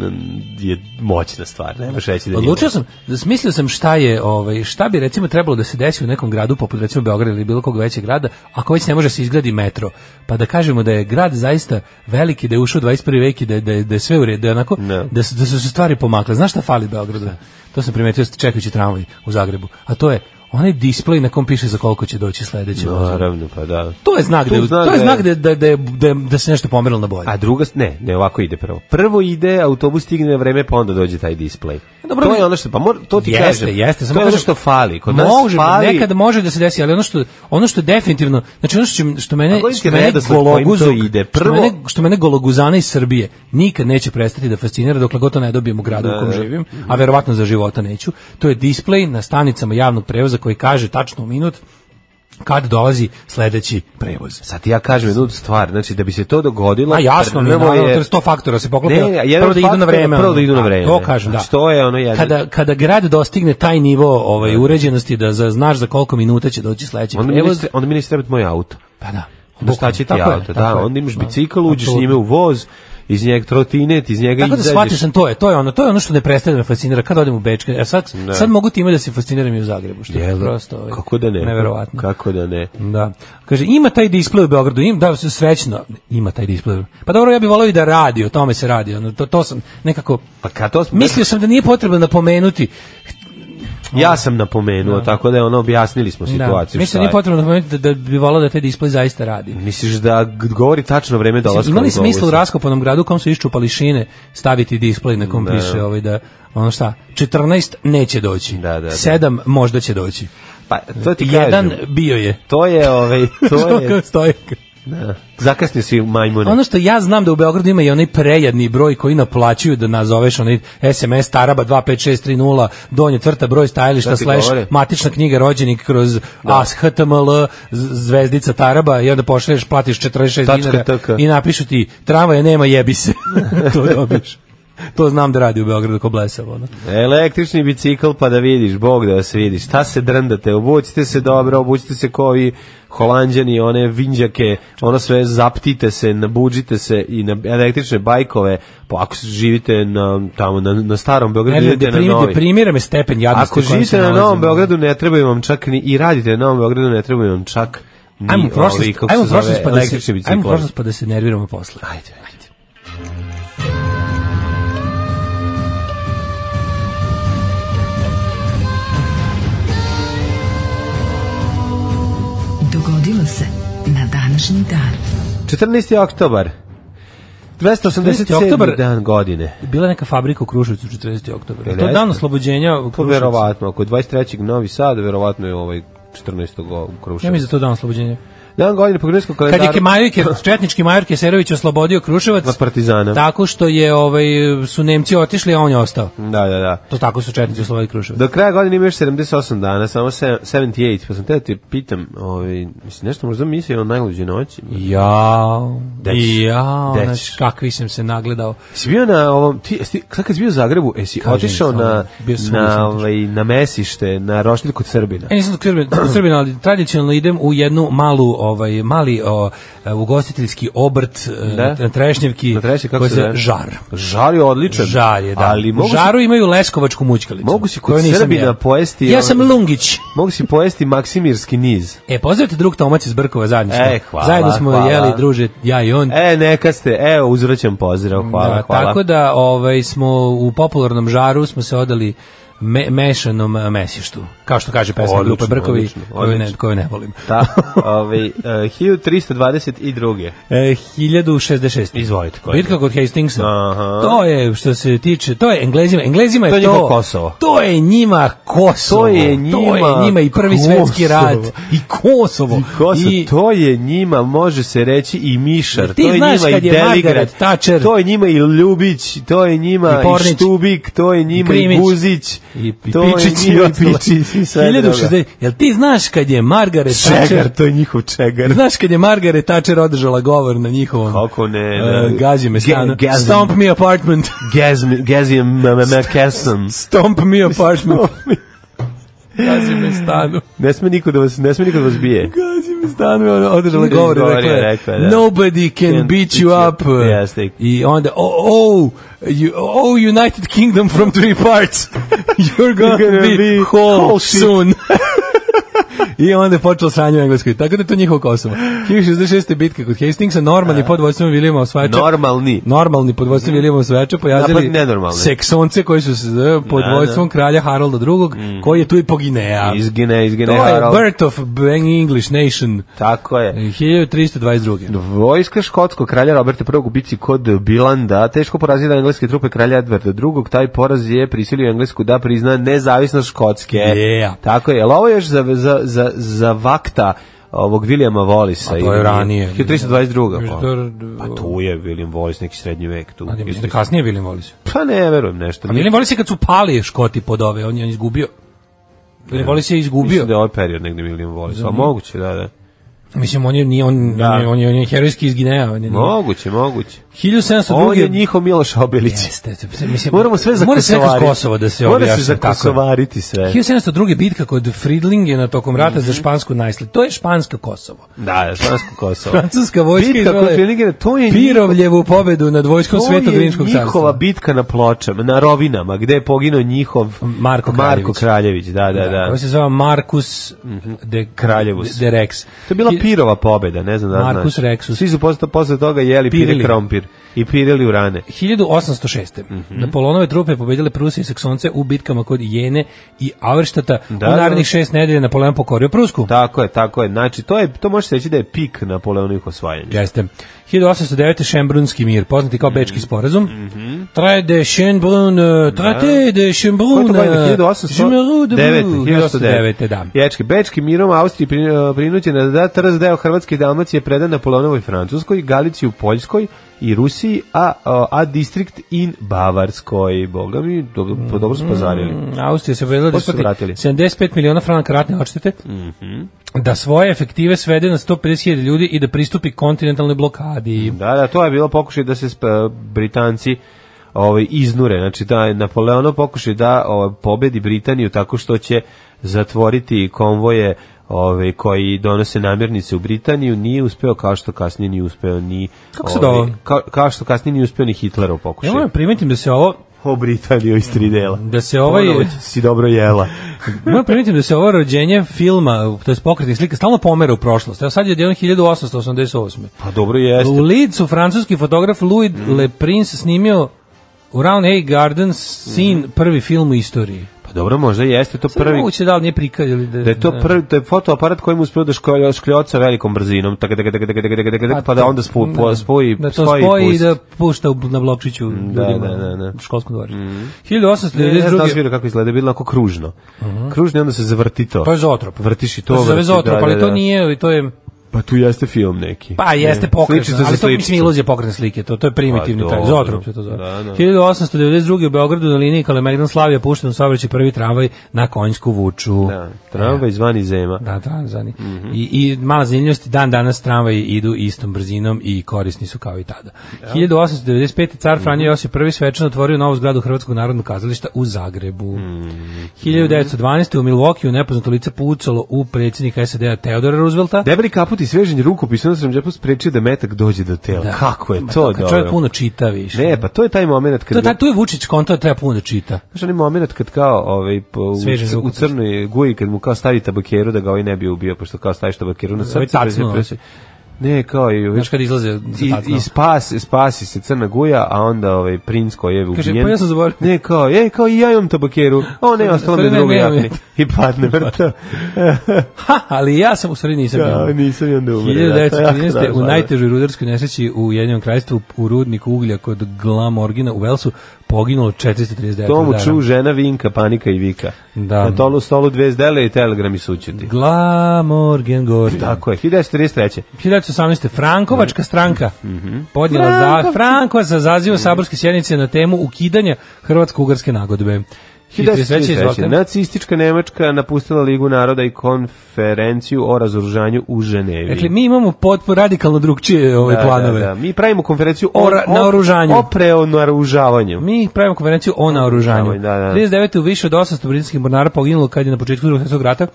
E: je moćna stvar. Ne možeš reći da nije
G: Odlučio sam, smislio sam šta je, ovaj, šta bi recimo trebalo da se desi u nekom gradu poput recimo Beograda ili bilo kog većeg grada, ako već ne može da se izgradi metro. Pa da kažemo da je grad zaista veliki, da je ušao u 21. vek i da je, da je, da je sve u redu, da je onako
E: Ne.
G: da su, da su se stvari pomakle. Znaš šta fali Beogradu? To sam primetio čekajući tramvaj u Zagrebu. A to je onaj display na kom piše za koliko će doći sledeće vozilo.
E: Naravno, pa da.
G: To je znak,
E: Tu
G: da,
E: znak
G: to je
E: da-
G: znak da, da, da, je- da, je- da se nešto pomerilo na bolje.
E: A druga, ne, ne, ovako ide prvo. Prvo ide, autobus stigne na vreme, pa onda dođe taj display.
G: E, Dobro,
E: to je
G: mi-
E: ono što, pa mora, to ti
G: jeste,
E: kažem.
G: jeste, samo
E: to je ono
G: kažem-
E: što fali. Kod nas
G: može,
E: fali...
G: nekad može da se desi, ali ono što ono što definitivno, znači ono što, će- što mene
E: A koji ti
G: što mene
E: redosled kojim to
G: gologuzog
E: ide?
G: što
E: Prvo-
G: mene, što mene gologuzana iz Srbije nikad neće prestati da fascinira dokle god to ne dobijem u gradu u kom živim, a verovatno za života neću. To je displej na stanicama javnog prevoza koji kaže tačno u minut kad dolazi sledeći prevoz.
E: Sad ti ja kažem jednu stvar, znači da bi se to dogodilo...
G: Ma jasno, mi je,
E: prvo
G: naravno, to je 100 faktora se poklopi.
E: Ne, ne, jedan
G: prvo
E: od
G: da idu na
E: faktora,
G: vreme.
E: Prvo
G: ono.
E: da idu na
G: A,
E: vreme.
G: To kažem, da.
E: Znači, to je ono jedan...
G: Kada, kada grad dostigne taj nivo ovaj, uređenosti da za, znaš za koliko minuta će doći sledeći
E: Onda mi
G: prevoz,
E: neće, onda mi neće trebati moj auto.
G: pa da.
E: Onda šta će ti
G: Tako je,
E: auto?
G: tako
E: Da,
G: je.
E: onda imaš
G: Da,
E: bicikl, uđeš s
G: apsolutno.
E: njime u voz, iz njega trotinet, iz njega
G: Tako da
E: izađeš.
G: shvatio sam to je, to je ono, to je ono što ne prestaje da me fascinira kad odem u Bečke. Ja sad, sad mogu time da se fasciniram i u Zagrebu, što je
E: Jel da?
G: prosto ovaj,
E: Kako da ne?
G: neverovatno.
E: Kako da ne?
G: Da. Kaže, ima taj displej u Beogradu, im, da, srećno, ima taj displej. Pa dobro, ja bih volao i da radi, o tome se radi, ono, to, to sam nekako,
E: Pa kad to smo...
G: mislio sam da nije potrebno napomenuti,
E: Ja sam napomenuo, tako da je ono, objasnili smo situaciju.
G: Da.
E: šta
G: Mislim, nije
E: je.
G: potrebno napomenuti da, da bi volao da taj displej zaista radi.
E: Misliš da g- govori tačno vreme dolaska?
G: Imali
E: ovog
G: smisla u
E: autobusa?
G: raskopanom gradu u kom su iščupali šine staviti displej na kom piše ovaj da ono šta, 14 neće doći,
E: Da, da, da.
G: 7 možda će doći,
E: Pa, to ti
G: jedan
E: kažem.
G: bio je.
E: To je, ovaj, to
G: (laughs)
E: je...
G: Kako stoji.
E: Da. Zakasnio si majmune.
G: Ono što ja znam da u Beogradu ima i onaj prejadni broj koji naplaćuju da nazoveš onaj SMS Taraba 25630, donje crta broj stajališta,
E: Šta ti
G: slash,
E: govore?
G: matična knjiga rođenik kroz AS, HTML, z- zvezdica Taraba i onda pošalješ, platiš 46
E: Tačka
G: dinara
E: TK.
G: i napišu ti tramvaja nema, jebi
E: (laughs)
G: se. to dobiješ. To znam da radi u Beogradu ko blesavo. Ono.
E: Električni bicikl pa da vidiš, Bog da vas vidi. Šta se drndate? Obucite se dobro, obucite se kao i holanđani, one vinđake, ono sve zaptite se, nabuđite se i na električne bajkove. Pa ako živite na, tamo na, na starom Beogradu,
G: Ne,
E: idite
G: ne,
E: na
G: primjer,
E: novi.
G: ne primira me stepen jadnosti.
E: Ako
G: u kojem se
E: živite na
G: ono.
E: Novom
G: nalazimo.
E: Beogradu ne trebaju vam čak ni i radite na Novom Beogradu ne trebaju vam čak ni
G: Ajmo u prošlost,
E: ovi, kako
G: ajmo u
E: se zove,
G: prošlost pa da se,
E: električni bicikl.
G: ajmo u prošlost pa da se nerviramo posle. Ajde, ajde.
D: Dogodilo se na današnji dan.
E: 14. oktobar. 287.
G: oktobar.
E: dan godine.
G: Bila je neka fabrika u Kruševcu 14. oktober.
E: Jel
G: To je dan
E: jeste?
G: oslobođenja u
E: Pa
G: Kruševcu.
E: verovatno, ako je 23. Novi Sad, verovatno je ovaj 14. go- u
G: Ja
E: Kruševac.
G: mislim da je to dan oslobođenja.
E: Dan godine po greškom
G: Kad
E: kalendaru.
G: je Kemajuke, četnički major Keserović oslobodio Kruševac
E: Od Partizana.
G: tako što je ovaj su Nemci otišli, a on je ostao.
E: Da, da, da.
G: To tako su četnici oslobodili Kruševac.
E: Do kraja godine ima još 78 dana, samo se- 78, pa sam te da ti pitam, ovaj, mislim, nešto možda mislio o najluđoj noći?
G: Jao,
E: Deć.
G: jao,
E: Deć.
G: znaš, kakvi sam se nagledao.
E: Si bio na ovom, ti, sti, sad kad si bio u Zagrebu, e, si
G: Kažem,
E: otišao
G: samo,
E: na,
G: bio sam ulični
E: na,
G: otišao. E,
E: ovaj, na mesište, na roštilj kod Srbina.
G: Ja nisam od Srbina, od Srbina, ali tradicionalno idem u jednu malu, ovaj, mali o, e, ugostiteljski obrt e,
E: Da.
G: na Trešnjevki,
E: Na treći, kako
G: koji
E: se
G: se
E: zove?
G: žar.
E: Žar je odličan.
G: Žar je, da.
E: Ali mogu
G: u
E: si-
G: žaru imaju leskovačku mućkalicu.
E: Mogu si kod
G: koju nisam
E: Srbina
G: jeo.
E: pojesti,
G: Ja
E: ono-
G: sam Lungić.
E: Mogu si pojesti Maksimirski niz.
G: E, pozdravite drug Tomac iz Brkova zajedno. smo.
E: E, hvala,
G: zajedno smo
E: hvala.
G: jeli, druže, ja i on.
E: E, neka ste, evo, uzvraćam pozdrav, hvala,
G: Da,
E: hvala.
G: Tako da ovaj, smo u popularnom žaru smo se odali me, mešanom e, mesištu. Kao što kaže pesma
E: Odlično,
G: grupe Brkovi,
E: odlično,
G: koju, ne,
E: odlično.
G: koju ne volim. (laughs)
E: Da, ovaj, uh, 1322.
G: E, 1066.
E: Izvolite, koja je
G: Bitka kod Hastingsa.
E: Aha.
G: To je što se tiče, to je Englezima, Englezima
E: To
G: je
E: je
G: to.
E: njima Kosovo.
G: To je njima Kosovo.
E: To je
G: To
E: njima
G: je njima i prvi
E: Kosovo.
G: svetski rat i Kosovo.
E: Kosovo, to je njima, može se reći, i Mišar,
G: Jer ti
E: to je
G: znaš
E: njima i
G: kad je
E: Deligrad,
G: Margaret Thatcher-
E: to je njima i Ljubić, to je njima
G: I
E: i,
G: Pornić.
E: Štubik, to je njima i,
G: Krimić.
E: Guzić,
G: i, i
E: to je
G: Pičić i
E: njima
G: ostalo.
E: Pičić i sve drugo.
G: 1060. Jel ti znaš kad je Margaret
E: Čegar,
G: Thatcher
E: to je njihov čegar.
G: Znaš kad je Margaret Thatcher održala govor na njihovom
E: Kako ne,
G: e,
E: ne.
G: gazi me
E: Ge-
G: stanu
E: gazi-
G: Stomp me apartment (laughs)
E: Gazim, Gazim, Mekesam.
G: Stomp me apartment Gazi me stanu
E: Ne sme niko da vas, ne sme niko da vas bije.
G: Gazi mi stanu, ona održala
E: Iz
G: govor i
E: Gorije
G: rekla, je,
E: rekla je, da.
G: nobody can, beat you up.
E: Jeste.
G: I onda, oh, oh, you, oh United Kingdom from three parts, you're gonna,
E: You're gonna
G: be,
E: be
G: whole,
E: whole shit."
G: soon. (laughs) I onda je počelo sranje u Engleskoj. Tako da je to njihovo Kosovo. 1066. bitka kod Hastingsa, normalni pod vođstvom Vilijama Osvajača.
E: Normalni.
G: Normalni pod vođstvom Vilijama Osvajača pojazili
E: Napad pa nenormalni.
G: seksonce koji su se eh, pod
E: Da, Mm. da.
G: vođstvom kralja Harolda II, koji je tu i poginea.
E: Izgine,
G: To
E: izgine
G: je E,
E: Harald.
G: Birth of Bang English Nation. eh,
E: Tako je.
G: 1322.
E: Vojska škotskog kralja Roberta I u bici kod Bilanda teško porazila engleske trupe kralja Edvarda II. Taj poraz je prisilio Englesku da prizna nezavisnost Škotske.
G: Yeah.
E: Tako je. Jel ovo još za, za, za, za vakta ovog Williama Wallisa?
G: A to je
E: Ili-
G: ranije.
E: 1322. Pa.
G: To je-
E: pa tu je William Wallis, neki srednji vek tu.
G: Ali ja mislim da kasnije William Wallace.
E: Pa ne, verujem nešto.
G: A William Wallace je kad su pali Škoti pod ove, on je on je izgubio. William Wallace je izgubio.
E: Mislim da je ovaj period negde William Wallis. A moguće, da, da.
G: Mislim, on je, nije, on,
E: Da.
G: on, je, on, je, on je herojski izgineo. On je,
E: Moguće, moguće. Ovo je
G: 1702.
E: njihov Miloš Obilić.
G: Jeste, mislim,
E: Moramo sve
G: mora sve kroz
E: zakosovariti.
G: Kosovo da se
E: Mora se
G: objašnja, tako je.
E: zakosovariti sve.
G: 1702. bitka kod Fridlingena tokom
E: Mhm.
G: rata za špansku najsli. To je špansko Kosovo.
E: Da, Špansko Kosovo.
G: (laughs) Francuska vojska
E: Bitka kod
G: izvela je
E: Fridlingena, to je njihov-
G: Pirovljevu pobedu nad vojskom Svetog Rimskog
E: To je njihova
G: carstva.
E: bitka na pločama, na rovinama, gde je poginuo njihov
G: Marko
E: Marko
G: Kraljević.
E: Kraljević. Da, da, da.
G: Ovo se zove Markus de
E: Kraljevus.
G: De Rex.
E: Mhm. To je bila
G: Hi-
E: Pirova pobeda, ne znam da li znaš.
G: Markus Rexus.
E: Svi su posle, posle toga jeli pire
G: Pirili.
E: krompir i pirili u rane.
G: 1806.
E: Mhm.
G: Napoleonove trupe pobedile Pruse i Saksonce u bitkama kod Jene i Auerštata.
E: Da,
G: u
E: da.
G: narednih šest nedelja Napoleon pokorio Prusku.
E: Tako je, tako je. Znači, to, je, to možeš reći da je pik Napoleonih osvajanja.
G: Jeste. 1809. Šembrunski mir, poznati kao
E: Mhm.
G: Bečki sporazum. Traje de Šembrun, eh, traje de
E: Ko je
G: Šembrun,
E: to godine?
G: eh,
E: 1809. 1809.
G: Šembrun, 1809. Da.
E: Ječki, Bečki mirom Austriji pri- eh, prinuđena da da trz deo Hrvatske i Dalmacije predan Napoleonovoj Francuskoj, Galiciji u Poljskoj i Rusiji, a, eh, a distrikt in Bavarskoj. Boga mi, dobro, pa dobro su pozarili.
G: Austrija Mm, se pobedila da
E: Posle su
G: isplati
E: vratili. Mhm.
G: 75 miliona franaka ratne odštete, da svoje efektive svede na 150.000 ljudi i da pristupi kontinentalnoj blokadi.
E: Da, da, to je bilo pokušaj da se sp- Britanci ovaj iznure, znači da je Napoleonov pokušaj da ovaj, pobedi Britaniju tako što će zatvoriti konvoje ovaj koji donose namirnice u Britaniju, nije uspeo kao što kasnije nije uspeo ni ovaj,
G: Kako se dao?
E: kao, kao što kasnije nije uspeo ni Hitlerov pokušaj.
G: Ja moram primetim da se ovo
E: O Britaniju iz tri dela.
G: da se ovaj
E: Ponovo će si dobro jela.
G: (laughs) moram primetim da se ovo rođenje filma, to jest pokretnih slika stalno pomera u prošlost. Evo sad je jedan 1888.
E: Pa dobro jeste. Mhm.
G: U Lidsu francuski fotograf Louis Le Prince snimio u Round A Gardens sin prvi film u istoriji.
E: Pa dobro, možda jeste to
G: Prvi.
E: Mhm. prvi
G: Moguće da li nije prikaz ili da,
E: Da je to prvi, to je fotoaparat kojim uspeo da školja škljoca velikom brzinom, tak tak tak tak tak tak pa da onda spu, po, spoji,
G: da to
E: spoji,
G: spoji i
E: pust.
G: da pušta u- na Blokčiću ljudima
E: da, da, da. Mhm.
G: u školskom dvorištu.
E: Ne, ne znam da li si
G: 1892.
E: vidio kako izgleda, je bilo onako kružno. Kružno i onda se zavrti to.
G: To Mhm. Pa je zotrop.
E: Vrtiš i to,
G: To se zove
E: vrtiš,
G: zotrop,
E: da,
G: ali
E: da,
G: to
E: da.
G: nije, ali to je
E: Pa tu jeste film neki.
G: Pa jeste
E: Ne,
G: pokretno,
E: sličica za
G: ali to
E: sličicu.
G: mislim iluzija pokretne slike, to, to je primitivni
E: Pa,
G: taj,
E: dobro.
G: zotrop se to zove.
E: Da, da.
G: 1892. u Beogradu na liniji Kalemegdan Slavija pušten u saobraćaj prvi tramvaj na konjsku vuču.
E: Da, tramvaj izvan iz zema.
G: Da, tranzani. I, I mala zanimljivost, dan danas tramvaji idu istom brzinom i korisni su kao i tada. 1895.
E: Mhm.
G: car Franjo Josip I svečano otvorio novu zgradu Hrvatskog narodnog kazališta u Zagrebu.
E: Mhm.
G: 1912. u Milwaukee nepoznato lice pucalo u predsjednika SAD-a Teodora Roosevelta.
E: Debeli kaput i svežen rukopis, onda sam džepus sprečio da metak dođe do tela.
G: Da.
E: Kako je
G: Ma
E: to
G: kad Čovjek
E: dobro?
G: puno čita više.
E: Ne, pa to je taj moment kad...
G: To, ta, tu je Vučić konto da treba puno da čita.
E: Znaš onaj moment kad kao ovaj, po- u,
G: Sveže
E: u
G: ruku.
E: crnoj guji, kad mu kao stavi tabakeru da ga ovaj ne bi ubio, pošto kao staviš tabakeru na
G: Ovaj
E: srce.
G: tacnuo.
E: pa se- Ne, kao i...
G: Znaš kad izlaze za
E: I,
G: tacno.
E: i spas, spasi se crna guja, a onda ovaj princ koji je ubijen.
G: Kaže, pa ja sam
E: (laughs)
G: zaboravio.
E: Ne, kao, ej, kao i ja imam tabakeru. O, ne, ostalo mi je
G: Sorry, ne,
E: druga
G: nemam
E: jakni. I
G: (laughs)
E: padne vrta.
G: Ha, ali ja sam u stvari nisam
E: Ja,
G: ja,
E: nisam i onda umre. da, to je jako
G: 1913.
E: strašno,
G: u
E: da.
G: najtežoj rudarskoj nesreći u Jedinom kraljstvu u rudniku uglja kod Glamorgina u Velsu poginulo 439
E: Tomu
G: rudara.
E: ču žena vinka, panika i vika.
G: Da.
E: Na tolu stolu dve zdele i telegram i sućuti.
G: Glamorgan gori.
E: Tako je, 1943.
G: 1918.
E: Mm-hmm.
G: Frankovačka stranka podnijela za Frankova za zazivom saborske sjednice na temu ukidanja hrvatsko-ugarske nagodbe. 1933.
E: 1933.
G: izvolite.
E: Nacistička Nemačka napustila Ligu naroda i konferenciju o razoružanju u Ženevi.
G: Dakle, mi imamo potpuno radikalno drugčije ove
E: Da,
G: planove.
E: Da, da. Mi pravimo konferenciju o,
G: O ra- naoružanju.
E: O, preo naoružavanju.
G: Mi pravimo konferenciju o naoružanju.
E: Da, da, da.
G: 39. u više od 800 britanskih mornara poginulo kad je na početku drugog svjetskog rata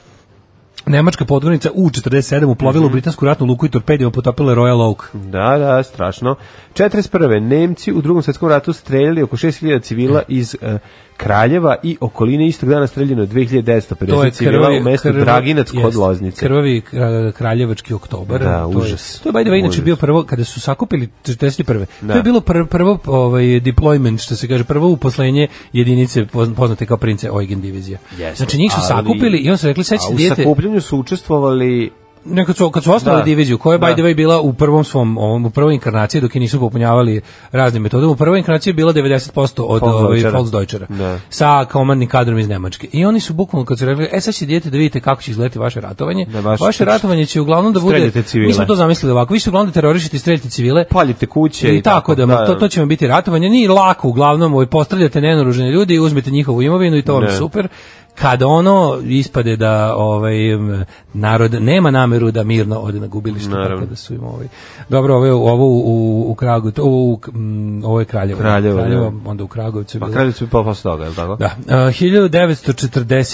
G: Nemačka podvornica U-47 uplovila u
E: Mhm.
G: britansku ratnu luku i torpedima potopila Royal Oak.
E: Da, da,
G: E.
E: strašno. 41. Nemci u drugom svjetskom ratu streljali oko 6000 civila iz eh, Kraljeva i okoline istog dana streljeno je 2950 civila u mestu
G: krvavi-
E: Draginac kod
G: jest,
E: Loznice.
G: Krvavi kra- kraljevački oktobar.
E: Da,
G: to
E: užas.
G: Je, to je by the way, inače
E: Užas.
G: bio prvo, kada su sakupili 41.
E: Da.
G: To je bilo prvo, prvo ovaj, deployment, što se kaže, prvo uposlenje jedinice pozn- poznate kao prince Eugen divizije.
E: Jeste,
G: znači njih su
E: ali-
G: sakupili i on su rekli,
E: A
G: sad ćete
E: u
G: dijete...
E: sakupljanju su učestvovali
G: Ne, kad su, kad su osnovali
E: Da.
G: diviziju, koja je by
E: Da.
G: the way bila u prvom svom, ovom, u prvoj inkarnaciji, dok je nisu popunjavali raznim metodama, u prvoj inkarnaciji je bila 90% od ovaj,
E: Volksdeutschera.
G: Volksdeutschera,
E: Da.
G: sa komandnim kadrom iz Nemačke. I oni su bukvalno, kad su rekli, e sad će dijete da vidite kako će izgledati vaše ratovanje,
E: Da, baš-
G: vaše ratovanje će uglavnom da bude,
E: Streljate civile.
G: mi smo to zamislili ovako, vi ste uglavnom da terorišite i streljate civile,
E: paljite kuće
G: i Mm, tako da, to, to će vam biti ratovanje, nije lako uglavnom, ovaj, postavljate nenaružene ljudi i uzmete njihovu imovinu i to vam je
E: Ne.
G: super. Kada ono ispade da ovaj m, narod nema nameru da mirno ode na gubilište, tako
E: Naravno.
G: da su im ovaj. Dobro, ovo je ovo u, u, u Kragu, to, u, m, ovo je Kraljevo.
E: Kraljevo, da.
G: onda u Kragovcu. je
E: Pa
G: bilo-
E: Kraljevicu je pao posle toga, je li tako?
G: Da, uh,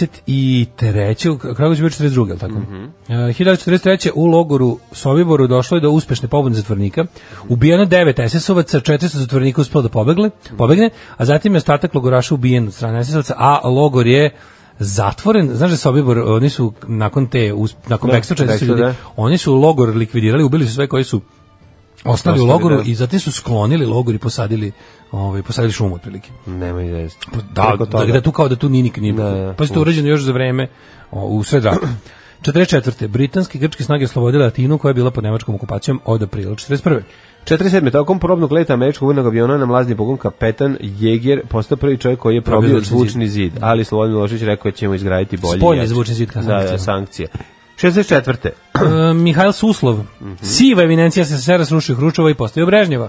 G: 1943. u Kragoviću je bio 42. jel tako?
E: Mhm.
G: Mm -hmm. 1943. u logoru Sobiboru došlo je do uspešne pobune zatvornika. Ubijeno 9 SS-ovaca, 400 zatvornika uspelo da pobegle, pobegne, a zatim je ostatak logoraša ubijen od strane SS-ovaca, a logor je zatvoren. Znaš da Sobibor, oni su nakon te, usp- nakon
E: Da,
G: bekstva 400
E: bekstva,
G: ljudi,
E: da.
G: oni su logor likvidirali, ubili su sve koji su ostali u
E: Ostali,
G: logoru
E: da.
G: i zatim su sklonili logor i posadili, ovaj, posadili šumu otprilike.
E: Nema i veze.
G: Da,
E: Preko
G: da,
E: toga.
G: da tu kao da tu nije nikad nije bilo.
E: Da, da.
G: pa je to urađeno još za vreme o, u
E: (clears throat)
G: sred rata. 44. Britanske i grčke snage oslobodile Atinu koja je bila pod nemačkom okupacijom od aprila 41.
E: 47. Tokom probnog leta američkog vojnog aviona na mlazni pogon kapetan Jeger postao prvi čovjek koji je probio
G: zvučni zid.
E: zvučni zid, ali Slobodan Milošević rekao da ćemo izgraditi bolje. i
G: Spoljni
E: jače.
G: zvučni zid kao
E: Da,
G: sankcija.
E: da, sankcije. 64.
G: (clears throat) E, Mihajl Suslov,
E: Mhm.
G: siva eminencija SSR-a srušio Hručova i postavio Brežnjeva.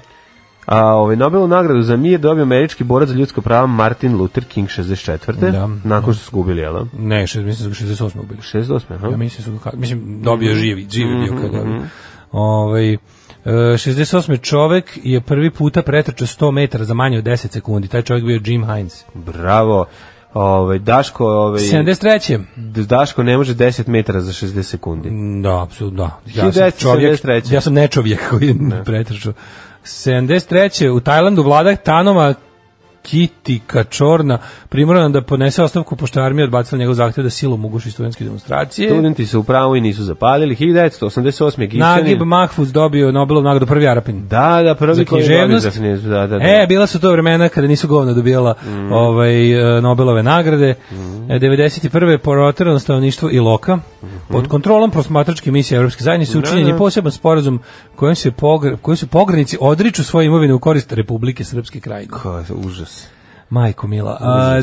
E: A ovaj Nobelovu nagradu za mir dobio američki borac za ljudska prava Martin Luther King 64.
G: Da.
E: nakon što su gubili, jel? da?
G: Ne, še, mislim da su ga 68. bili.
E: 68. Aha.
G: Ja mislim su ga, mislim dobio je živi, živi je bio
E: Mhm,
G: kad je dobio. Ovaj e, 68. čovek je prvi puta pretrčao 100 metara za manje od 10 sekundi. Taj čovek bio Jim Hines.
E: Bravo. Ovaj Daško, ovaj
G: 73.
E: Daško ne može 10 metara za 60 sekundi.
G: Da, apsolutno, da. Ja sam
E: 1973.
G: čovjek, ja sam ne čovjek koji ne. pretrčao. 73. u Tajlandu vlada Tanoma Kitika Čorna primorana da podnese ostavku pošto je armija odbacila njegov zahtjev da silom uguši studentske demonstracije.
E: Studenti su u pravu i nisu zapalili. 1988.
G: Nagib
E: Egipćanin.
G: Mahfuz dobio Nobelovu nagradu prvi Arapin.
E: Da, da, prvi
G: Za
E: koji je dobio
G: književnost.
E: za književnost, Da, da, da. Mm.
G: E, bila su to vremena kada nisu govno dobijala ovaj, e, Nobelove nagrade. E, 91. poroterano stanovništvo i loka.
E: Mhm.
G: Pod kontrolom prosmatračke misije Evropske zajednice učinjen je poseban sporazum kojim se pogr- koji su pogranici odriču svoje imovine u korist Republike Srpske krajine.
E: Ko, užas.
G: Majko Mila. A,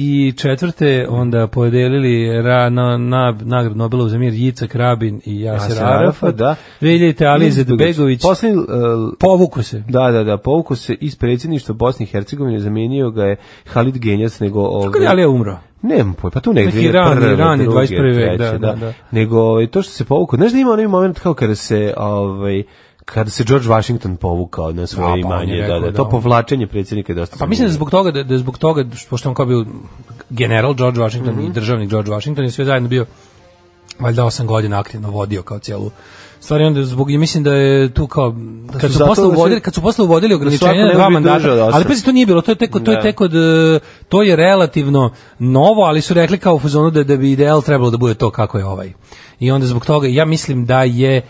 G: 94. onda podelili ra, na, na, nagradu Nobelovu za mir Jica Krabin i Jaser
E: Jaser
G: Arafat.
E: Arafat, da.
G: 2000. Ali Izetbegović.
E: Poslednji, e,
G: Povuku se.
E: da, da, da, povuku se iz predsjedništva Bosne i Hercegovine, zamenio ga je Halid Genjac, nego...
G: Kako je
E: Ovaj,
G: Ali je umro?
E: Nemam pojma, pa tu negdje.
G: Neki
E: je
G: rani,
E: prve,
G: rani
E: druge,
G: 21. vek,
E: treće,
G: da, da, da.
E: Nego ovaj, to što se povukao, znaš da ima onaj moment kao kada se, ovaj, kada se George Washington povukao na
G: A, pa on
E: svoje
G: je
E: imanje, da,
G: rekao,
E: da,
G: da,
E: to
G: on-
E: povlačenje predsjednika je dosta.
G: Pa mislim da
E: zanimljivo.
G: zbog toga da, da zbog toga pošto on kao bio general George Washington
E: Mhm.
G: i državnik George Washington je sve zajedno bio valjda 8 godina aktivno vodio kao celu stvari onda zbog i mislim da je tu kao kad
E: su
G: su
E: zato
G: posle
E: da se-
G: uvodili kad su posle uvodili
E: svako
G: ograničenja
E: ne
G: na
E: bi
G: dva
E: bio
G: mandata
E: duže od osam.
G: ali pazi to nije bilo to je tek to je
E: Da.
G: tek od e, to je relativno novo ali su rekli kao u fazonu da da bi ideal trebalo da bude to kako je ovaj i onda zbog toga ja mislim da je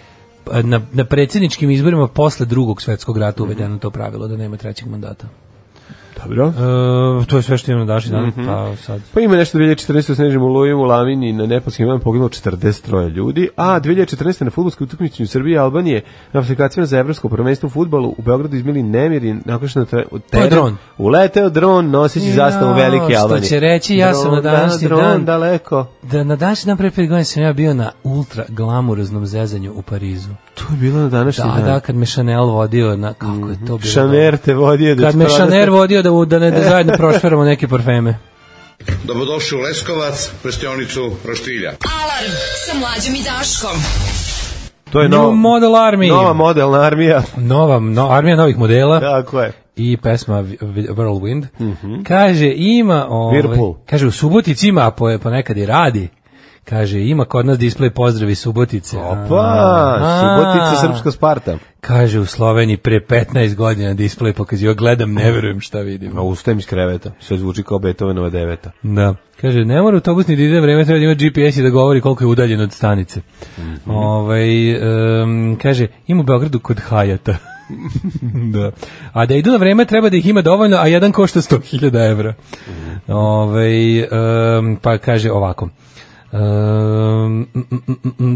G: e, na, na predsjedničkim izborima posle drugog svetskog rata uvedeno to pravilo da nema trećeg mandata.
E: Dobro.
G: E, to je sve što imam na daži dan, pa sad.
E: Pa ima nešto 2014. u Snežnim olujem u Lavini na Nepalskim imam poginulo 43 ljudi, a 2014. na futbolskoj utakmici Srbije i Albanije na aplikacijama za evropsko prvenstvo u futbolu u Beogradu izmili nemiri nakon što na tre- u
G: je
E: teren
G: dron.
E: uleteo dron noseći zastavu Velike
G: što
E: Albanije.
G: će reći, ja sam na
E: da,
G: današnji
E: dron
G: dan-
E: daleko.
G: Da, na današnji dan pre pet godina sam ja bio na ultra glamuroznom zezanju u Parizu.
E: To je bilo na današnji
G: Da,
E: dan.
G: da, kad me Chanel vodio na, kako je to bilo.
E: Šaner te vodio da
G: Kad
E: ti
G: me
E: prodaš-
G: Chanel vodio da, mu- da
E: (laughs)
G: ne da zajedno prošveramo neke parfeme.
H: Dobrodošli u Leskovac, prštionicu Roštilja.
D: Alarm sa mlađom i Daškom.
E: To je
G: New
E: nova,
G: Model Army.
E: nova modelna armija. (laughs)
G: Nova, no, armija novih modela.
E: Tako je.
G: i pesma Vi- Vi- Whirlwind. Kaže ima ovaj
E: Mhm. Whirlpool.
G: kaže u Subotici ima a po ponekad i radi. Kaže, ima kod nas display pozdravi Subotice.
E: Opa,
G: A,
E: Pa, Subotica,
G: a.
E: Srpska Sparta.
G: Kaže, u Sloveniji pre 15 godina display pokazio, gledam, ne verujem šta vidim.
E: A ustajem Pa, iz kreveta, sve zvuči kao Beethovenova deveta.
G: Da. Kaže, ne mora autobus ni da ide vreme, treba da ima GPS i da govori koliko je udaljen od stanice. Ovaj, em, kaže, ima u Beogradu kod Hajata. (laughs) da. A da idu na vreme treba da ih ima dovoljno, a jedan košta 100.000 evra. Ovaj, em, pa kaže ovako. Um,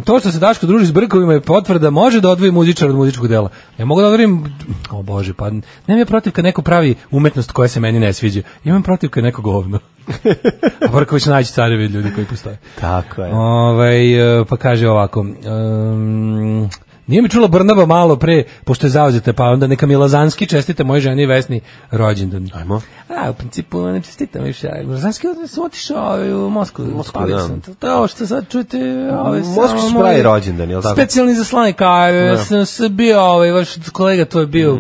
G: to što se Daško druži s brkovima je potvrda može da odvoji muzičar od muzičkog dela. Ja mogu da odvojim, o bože, pa nemam ja protiv kad neko pravi umetnost koja se meni ne sviđa. Imam protiv kad je neko govno. A brkovi su najći carevi od ljudi koji postoje.
E: Tako je.
G: Ovaj, e, pa kaže ovako, um, nije mi čula Brnaba malo pre, pošto je zauzeta, pa onda neka mi Lazanski čestite moje ženi Vesni rođendan.
E: Ajmo.
G: A, u principu ne čestitam više. Lazanski odmah sam otišao ovaj, u Moskvu. Moskvu
E: da.
G: sam. To- To je ovo što sad čujete... Ovaj,
E: U Moskvi
G: samo
E: su pravi
G: moj
E: rođendan, jel tako?
G: Specijalni zaslanik, a ja sam se bio, ovaj, vaš kolega to je bio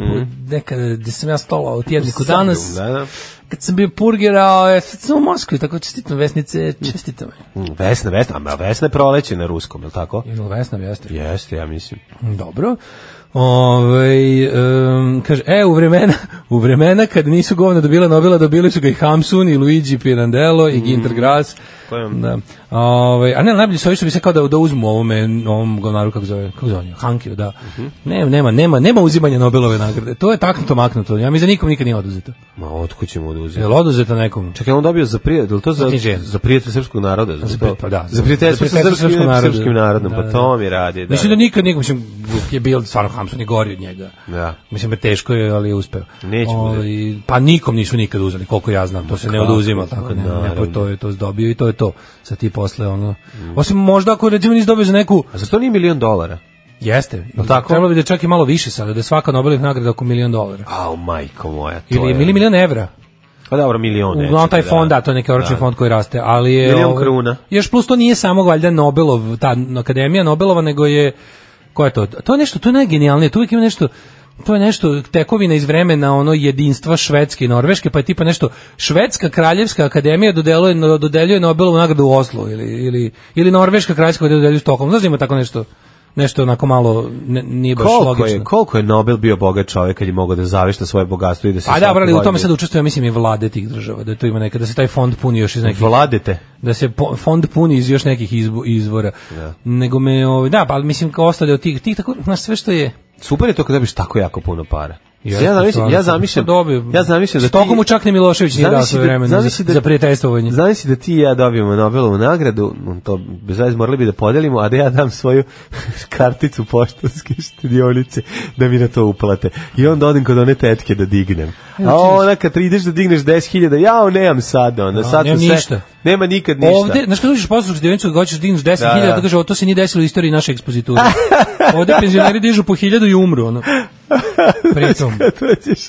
G: nekada gde sam ja stolao u tjedniku danas.
E: Mhm. Da, da.
G: Kad sam bio purgerao, ja sad sam u Moskvi, tako čestitam Vesnice, čestitam je.
E: Mm, Vesna, Vesna, a Vesna je proleće na ruskom, jel tako?
G: Jel Vesna jeste?
E: Jeste, ja mislim.
G: Dobro. Ovaj em, kaže, e, u vremena, (laughs) u vremena kad nisu govna dobila Nobela, dobili su ga i Hamsun, i Luigi Pirandello, i Ginter Grass.
E: Pojam.
G: Da. Ovaj a ne, najbolje su ovi što bi se kao da, da uzmu ovome, ovom govnaru, kako zove, kako zove, on, Hankiju, da. Ne, nema, nema, nema uzimanja Nobelove nagrade. To je taknuto, maknuto. Ja mi za nikom nikad nije oduzeto.
E: Ma, otkud ćemo da uzeti?
G: Jel oduzeto nekom?
E: Čekaj, on dobio za prijatelj, to za,
G: književnost.
E: za prijatelj srpskog naroda? Za, to?
G: pa da,
E: za prijateljstvo sa srpskim, srpskim narodom.
G: Da,
E: pa
G: da.
E: to mi radi. Da,
G: Mislim da nikad nikom, mislim, je bio stvarno Hamsun je gori od njega.
E: Da.
G: Mislim, teško je, ali je uspeo.
E: Neće mu
G: Ovaj, Pa nikom nisu nikad uzeli, koliko ja znam, to se ne oduzima, tako ne,
E: naravno.
G: neko to je to dobio i to je to. Sad ti posle, ono, osim možda ako recimo nisi dobio za neku,
E: A zašto nije milion dolara?
G: jeste,
E: tako?
G: trebalo bi da je čak i malo više sada, da je svaka Nobelih nagrada oko milion dolara.
E: Au, majko moja, to
G: Ili,
E: je...
G: ili milion evra.
E: Pa dobro, milion neće.
G: Uglavnom taj fond, da, to je neki oročni fond koji raste, ali je...
E: Milion
G: ovaj,
E: kruna.
G: Još plus to nije samo valjda Nobelov, ta akademija Nobelova, nego je, ko je to? To je nešto, to je najgenijalnije, tu uvijek ima nešto, to je nešto tekovina iz vremena ono jedinstva Švedske i Norveške, pa je tipa nešto Švedska kraljevska akademija dodeluje, no- dodeljuje Nobelovu nagradu u Oslu ili, ili, ili Norveška kraljevska akademija dodeljuje u Stockholmu. Znaš da ima tako nešto, nešto onako malo, ne, nije baš
E: Koliko
G: logično.
E: je, koliko je Nobel bio bogat čovjek kad je mogao da zavešta svoje bogatstvo i da se...
G: Pa da,
E: svake
G: brali, u tome
E: godine-
G: sad učestvuje, mislim, i vlade tih država, da tu ima neka, da se taj fond puni još iz nekih
E: Vladete.
G: da se po- fond puni iz još nekih izbo- izvora. Nego me, ovaj, da, pa mislim kao ostale od tih, tih tako, znaš, sve što je...
E: Super je to kad dobiš tako jako puno para.
G: Jeste,
E: ja zamišljam,
G: stvarno,
E: ja zamišljam,
G: što dobio?
E: ja zamišljam da ti...
G: Stockholmu čak ni Milošević nije dao
E: Zamisli
G: svoje
E: da-
G: vremena za-
E: zamisli
G: za prijateljstvovanje.
E: Zamisli da ti i ja dobijemo Nobelovu nagradu, mm, to bez veze morali bi da podelimo, a da ja dam svoju (laughs) karticu poštanske štedionice da mi na to uplate. I onda odim kod one tetke da dignem. A ona kad ideš da digneš 10.000, jao, nemam sad, ona, sad
G: nemam
E: sam sve-
G: ništa.
E: Nema nikad ništa.
G: Ovde, znaš kada uđeš poslu u dionicu, hoćeš da digneš 10.000,
E: Da,
G: da,
E: da.
G: kaže, o, to se nije desilo u istoriji naše
E: (laughs)
G: ekspoziture. Ovde penzioneri dižu po 1000 i umru, ono. Pritom.
E: kad dođeš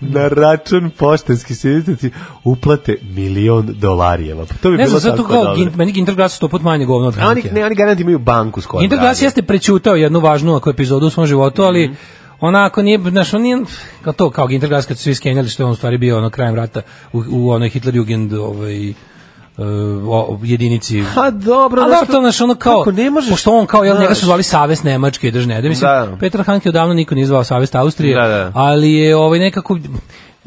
E: na račun poštanski sjednici uplate milion dolarijeva. Pa to bi
G: Ne
E: bilo
G: znam, sad
E: tako
G: tu kao,
E: dobro.
G: gin, meni Ginterglass sto put manje govno od
E: A oni,
G: Hankija.
E: ne, oni garant imaju banku s kojom
G: Interglas
E: rade.
G: jeste prećutao jednu važnu ako epizodu u svom životu, ali
E: Mhm.
G: onako nije, znaš, on nije, kao to, kao Interglas kad su svi skenjali što je on u stvari bio ono krajem rata u, u onoj Hitlerjugend ovaj, e, o- jedinici
E: Pa dobro,
G: A
E: znaš
G: da, to znaš, ono kao,
E: kako ne možeš,
G: pošto on kao, jel, njega
E: znaš.
G: su zvali Savest Nemačke, drž ne, da mislim,
E: Da.
G: Petar Hanke odavno niko nije zvao Savest Austrije,
E: Da, da.
G: ali je ovaj nekako,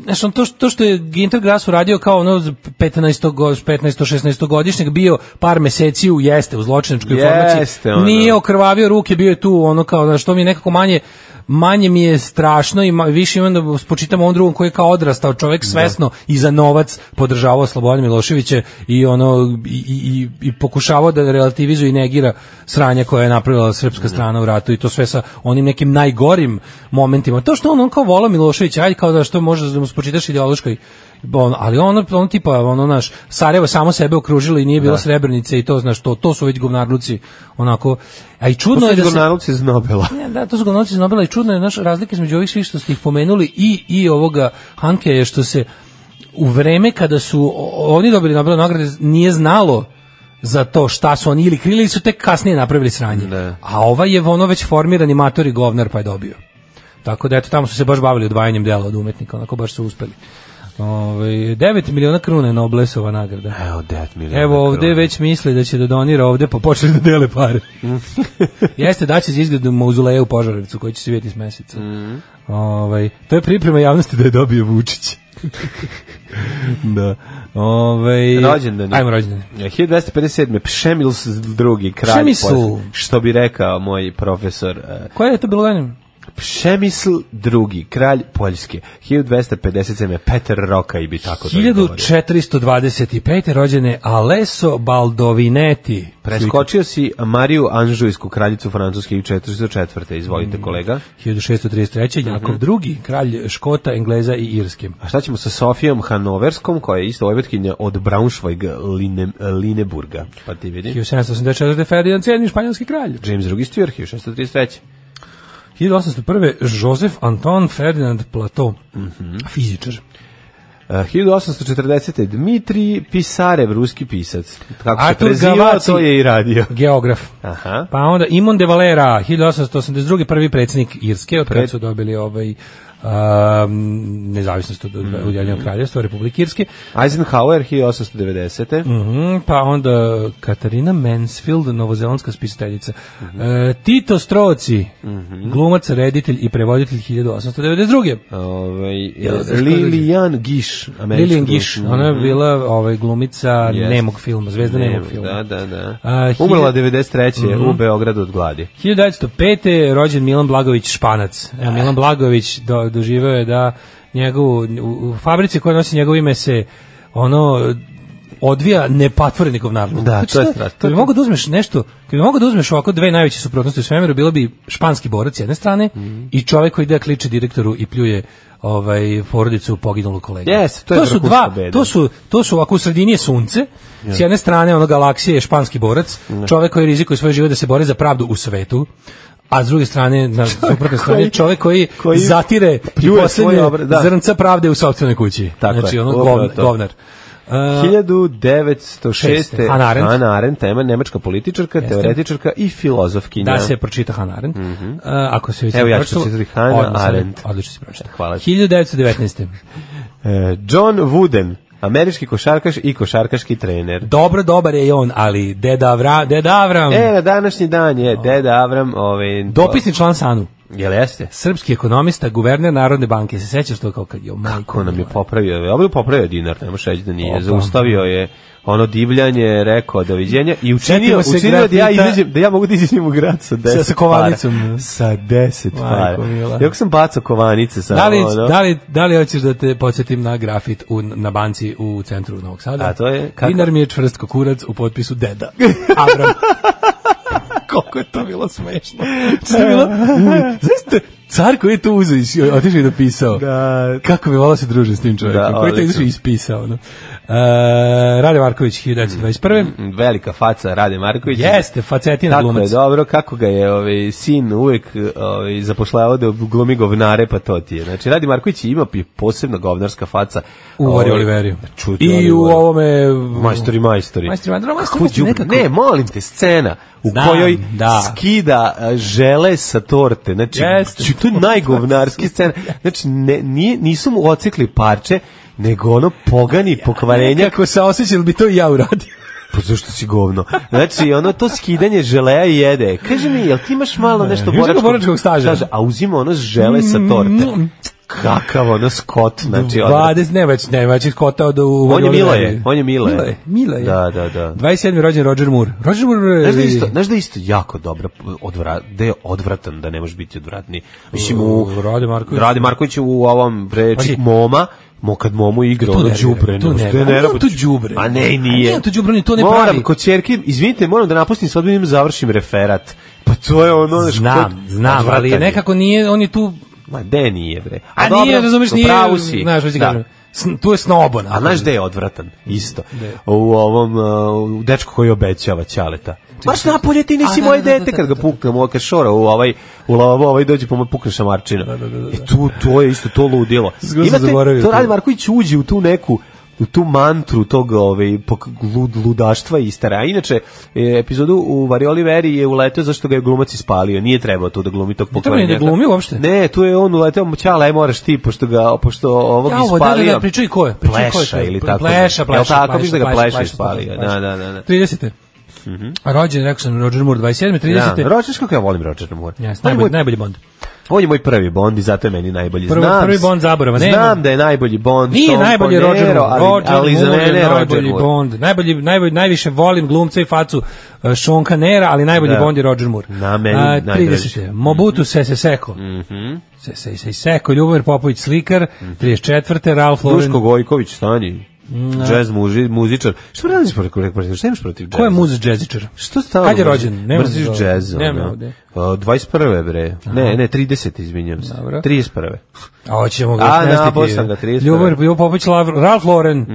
G: znaš, on to, što- to što je Ginter Grass uradio kao ono 15. go- 15. 16. godišnjak bio par meseci u jeste, u zločinačkoj
E: Jeste,
G: formaciji,
E: ono.
G: nije okrvavio ruke, bio je tu, ono kao, znaš, to mi je nekako manje, manje mi je strašno i ma, više imam da spočitam ovom drugom koji je kao odrastao čovjek svesno i za novac podržavao Slobodana Miloševića i ono i, i, i- i pokušavao da relativizuje i negira sranja koje je napravila srpska strana u ratu i to sve sa onim nekim najgorim momentima. To što on, on kao volao Miloševića, ajde kao da što možeš da mu spočitaš ideološkoj on, ali ono, on tipa, ono naš, Sarajevo samo sebe okružilo i nije bilo srebrnice i to, znaš, to, to su već govnarluci, onako, a i čudno je da se...
E: Gurnarluci iz Nobela.
G: Ne, da, to su govornici iz Nobela i čudno je naš razlika između ovih svih što ste ih pomenuli i, i ovoga Hanke je što se u vreme kada su o- oni dobili Nobelove nagrade nije znalo za to šta su oni ili krili ili su tek kasnije napravili sranje. A ova je ono već formirani mator i govnar pa je dobio. Tako da eto tamo su se baš bavili odvajanjem dela od umetnika, onako baš su uspeli. Ovaj 9 miliona kruna je Noblesova nagrada.
E: Evo, 9 miliona.
G: Evo ovde
E: kruna.
G: već misli da će da donira ovde, pa počeli da dele pare. (laughs) Jeste da će za izgled mauzoleja u Požarevcu koji će se vidjeti s meseca. Ovaj, to je priprema javnosti da je dobio (laughs) Vučić. da. Ovaj
E: Rođendan.
G: Ajmo rođendan.
E: E, 1257. Pšemils II. kralj.
G: Pšemisl.
E: Pos- Što bi rekao moj profesor. e,
G: Koje je to bilo godinu?
E: Pšemisl II. kralj Poljske. 1257. Peter Roka i bi tako da govorio.
G: 1425. rođene Alesso Baldovinetti.
E: Preskočio si Mariju Anžujsku, kraljicu Francuske i 404.
G: Mm.
E: Izvolite kolega.
G: 1633. Jakov II, kralj Škota, Engleza Mhm. i Irske.
E: A šta ćemo sa Sofijom Hanoverskom, koja je isto ojvetkinja od Braunschweig Line, Lineburga? Pa ti vidi.
G: 1784. Ferdinand VII, španjolski kralj.
E: James II. Stewart, 1633.
G: 1801. Joseph Anton Ferdinand Plato,
E: Mhm.
G: fizičar.
E: Uh, 1840. Dmitri Pisarev, ruski pisac. Kako se
G: Artur
E: prezivao,
G: Gavati.
E: to je i radio.
G: Geograf.
E: Aha.
G: Pa onda Imon de Valera, 1882. prvi predsjednik Irske, od kada su dobili ovaj um, nezavisnost od
E: Mhm.
G: mm kraljevstva Republike Irske.
E: Eisenhower, 1890.
G: Mhm, pa onda Katarina Mansfield, novozelandska spisateljica.
E: Mhm.
G: E, Tito Stroci, glumac, reditelj i prevoditelj 1892.
E: Ovaj,
G: Jel, znaš ko je
E: Lilian Gish, američka
G: Lillian Gish,
E: glumica.
G: ona je bila ovaj, glumica nemog filma, zvezda nemog,
E: Nemoj,
G: filma.
E: Da, da, da.
G: A,
E: Umrla
G: Eh, hiljad- Mhm.
E: 93. u Beogradu od gladi.
G: 1905. je rođen Milan Blagović Španac. Evo, Milan Blagović do, doživeo je da njegovu, u, u fabrici koja nosi njegovo ime se ono odvija nepatvorenikov narod.
E: Da, to je strašno.
G: Kad bi mogu da uzmeš nešto, kad bi mogu da uzmeš ovako dve najveće suprotnosti u svemiru, bilo bi španski borac s jedne strane
E: Mhm.
G: i čovjek koji ide kliče direktoru i pljuje ovaj porodicu poginulog kolege.
E: Yes, to je
G: su
E: vrhunska
G: dva,
E: beda.
G: to su to su ovako u sredini je sunce. S jedne strane ono galaksije je španski borac, čovjek koji rizikuje svoj život da se bori za pravdu u svetu. A s druge strane, na suprotnoj strani,
E: koji-
G: čovjek koji,
E: koji
G: zatire i
E: pljuje
G: poslednje
E: svoj obra- da.
G: zrnca pravde u sobstvenoj kući.
E: Tako
G: znači,
E: je,
G: ono,
E: upravo
G: govn-
E: to.
G: govnar. Uh,
E: 1906.
G: Hannah Arendt.
E: Hannah Arendt, tema nemačka političarka,
G: Jeste.
E: teoretičarka i filozofkinja.
G: Da se pročita Hannah Arendt. Uh, ako se već
E: Mhm. Evo,
G: ne
E: ja ću
G: pročitalo,
E: pročitati Hannah
G: odlično,
E: Arendt.
G: Odlično si pročitao.
E: Hvala.
G: 1919.
E: E, John Wooden, američki košarkaš i košarkaški trener.
G: Dobro, dobar je i on, ali deda, Avra, deda Avram,
E: E, na današnji dan je deda Avram, ovaj,
G: dopisni član Sanu,
E: Jel jeste?
G: srpski ekonomista, guverner Narodne banke, se sećaš to kao kad je
E: Ko
G: majko
E: nam je popravio, ovaj je popravio dinar, ne možeš reći da nije,
G: Opa.
E: zaustavio je ono divljanje, rekao doviđenja i učinio,
G: Setimo se
E: učinio da ja
G: grafita-
E: izađem, da ja mogu da izađem u grad sa 10
G: sa kovanicom,
E: para.
G: ne?
E: Sa 10 para.
G: Majko mila.
E: Jako sam bacao kovanice sa
G: Da li,
E: ono.
G: da, li, da li hoćeš da te podsjetim na grafit u, na banci u centru Novog Sada?
E: A to je kako?
G: Dinar mi je čvrst ko kurac u potpisu
E: (laughs)
G: deda. Avram. Koliko je to bilo smešno. Što je bilo? Zavisite, car koji je to uzeo i si- otišao i napisao.
E: Da.
G: Kako bi volao se družiti s tim čovjekom.
E: Da,
G: koji je to
E: odlično.
G: izašao i ispisao. No. E, Rade Marković, 1921.
E: Velika faca Rade Marković.
G: Jeste, facetina
E: Kako Mm. je
G: glumac.
E: dobro, kako ga je ovaj, sin uvek ovaj, zapošljavao da glumi govnare, pa to ti je. Znači, Radi Marković ima pi- posebno govnarska faca. Ovaj,
G: U Vari Oliveriju.
E: Čuti
G: I u
E: Olivera.
G: ovome...
E: Majstori, majstori.
G: Majstori, majstori, majstori,
E: Kako
G: majstori,
E: đubre?
G: nekako-
E: Ne, molim te, scena u
G: Znam,
E: kojoj
G: da.
E: skida a, žele sa torte. Znači,
G: Jeste.
E: ču- to je najgovnarski scena. Znači, ne, nije, nisu mu ocikli parče, nego ono pogani pokvarenjak
G: Nekako se osjećam, bi to i ja uradio.
E: pa zašto si govno? Znači, ono, to skidanje želeja i jede. Kaže mi, jel ti imaš malo nešto
G: imaš
E: boračkog,
G: neko boračkog staža? Mm,
E: A uzima ono žele sa torte. Kakav ono skot, znači, ono,
G: 20, ne već, ne već, kotao da u...
E: On je
G: u-
E: Miloje, on je Miloje.
G: Miloje, Miloje.
E: Da, da, da.
G: 27. rođen Roger Moore. Roger Moore... e,
E: Znaš da,
G: je-
E: isto, znaš da je isto jako dobro odvra, da je odvratan, da ne može biti odvratni. Mislim, u,
G: U, Rade Marković.
E: Rade Marković u ovom preči
G: Pazi.
E: Moma, Mo kad Momu igra,
G: Tu
E: ono
G: nervira,
E: đubre,
G: tu
E: ne,
G: nervira.
E: što je
G: A nije
E: nervira.
G: on tu đubre.
E: A ne, i
G: A
E: nije.
G: nije on tu đubre, ni to ne
E: moram,
G: pravi.
E: Kod ćerke, izvinite, moram da napustim sad da idem da završim referat. Pa to je ono, znaš,
G: Znam,
E: kod-
G: znam, ali
E: odvratan je.
G: nekako nije, on je tu...
E: Ma, de nije, bre.
G: A, nije, razumeš,
E: u
G: nije...
E: pravu si.
G: Znaš, već ti
E: Da.
G: kažem. sn- Tu je snobon.
E: A znaš gde je odvratan? Isto. U ovom, uh, u dečku koji obećava Ćaleta. Baš napolje ti nisi
G: A, da,
E: moje
G: da, da,
E: dete
G: da,
E: kad ga
G: da,
E: puknem, ovo kad šora u ovaj, u lavabo, ovaj dođe pa mu pukne šamarčina. I tu, to je isto to ludilo.
G: (laughs) Skroz sam zaboravio
E: to
G: to.
E: Radi Marković uđe u tu neku u tu mantru tog ovaj, pok- lud, ludaštva i stara. A inače, e, epizodu u Varioli Veri je uleteo zašto ga je glumac ispalio. Nije trebao tu da glumi tog
G: Ne treba ni da
E: pokvarenjaka.
G: glumi uopšte.
E: Ne, tu je on uleteo, mu, ćala, aj moraš ti, pošto, ga, pošto ovog
G: Ja, ovo, da, da, da,
E: ispalio.
G: pričaj ko je, pričaj ko je
E: pleša
G: to.
E: ili tako.
G: Pleša, pleša,
E: Jel tako,
G: pleša,
E: viš da ga
G: pleša,
E: pleša
G: pleša,
E: ispalio.
G: pleša,
E: Da,
G: pleša.
E: da, da. da.
G: 30. Rođen, rekao sam, Roger Moore 27. 30.
E: Da, Rodgers, kako ja volim Roger Moore.
G: Yes,
E: on, je moj,
G: najbolji, najbolji Bond.
E: on je moj prvi Bond i zato je meni najbolji.
G: Prvo-
E: znam,
G: prvi Bond zaborava, nema.
E: Znam da je najbolji Bond.
G: Nije
E: Tom
G: najbolji
E: Conero,
G: Roger Moore.
E: ali,
G: Roger
E: ali za
G: Moore je
E: mene je Roger
G: najbolji
E: Moore.
G: Bond. Najbolji, najbolji, najviše volim glumca i facu uh, Sean Canera, ali najbolji
E: Da.
G: Bond je Roger Moore.
E: Na meni
G: A,
E: najdraži. Mhm.
G: 30. Mobutu Sese Seko. Se, se, se, Seko, Ljubomir Popović slikar, 34. Ralph Lauren.
E: Duško Gojković, stani.
G: Mm,
E: Jazz muži, muzičar. Što radiš protiv protiv protiv? Šta imaš protiv jazza?
G: Ko je muz džezičar?
E: Što stalo?
G: Kad je rođen? Nema
E: Mrziš
G: za-
E: jazz.
G: nema
E: ono.
G: ovde.
E: A, 21. bre. Ne, ne, 30, izvinjam se.
G: Dobro.
E: 31.
G: A hoćemo ga
E: A,
G: smestiti.
E: nabao sam ga, Mhm. 31.
G: Ljubomir Ljubomir Popović, Lav- Ralph Lauren,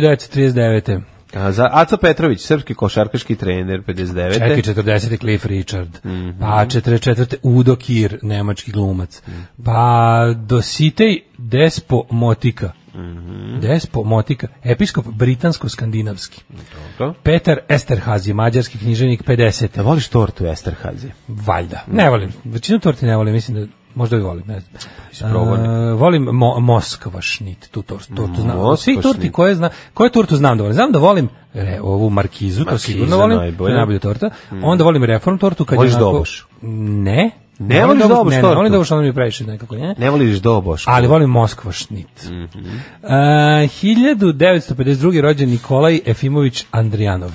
G: 1939.
E: A, za, Aco Petrović, srpski košarkaški trener, 59.
G: Čekaj, 40. Cliff Richard, pa 44. Udo Kir, nemački glumac, pa Dositej Despo Motika, Despo Motika, episkop britansko-skandinavski,
E: Dobro.
G: Petar Esterhazi, mađarski knjiženik 50.
E: Da voliš tortu Esterhazi?
G: Valjda, ne volim, većinu torti ne volim, mislim da Možda i volim, ne znam.
E: Isprobaj.
G: A, volim mo Moskva šnit, tu tor, tortu znam. Od svih
E: Moskva
G: torti
E: šnit.
G: koje zna, koje tortu znam da volim. Znam da volim re, ovu markizu, to
E: Markiza
G: sigurno volim.
E: najbolja. Mm.
G: Najbolja. Najbolja torta. Onda volim reform tortu. Kad je
E: Voliš
G: onako-
E: doboš?
G: Ne.
E: Ne voliš
G: volim
E: doboš
G: ne, Ne,
E: tortu?
G: volim doboš, ona mi je previše nekako, ne?
E: Ne voliš Mhm. doboš?
G: Ali volim E, Moskva šnit. Mm 1952. rođen Nikolaj Efimović Andrijanov.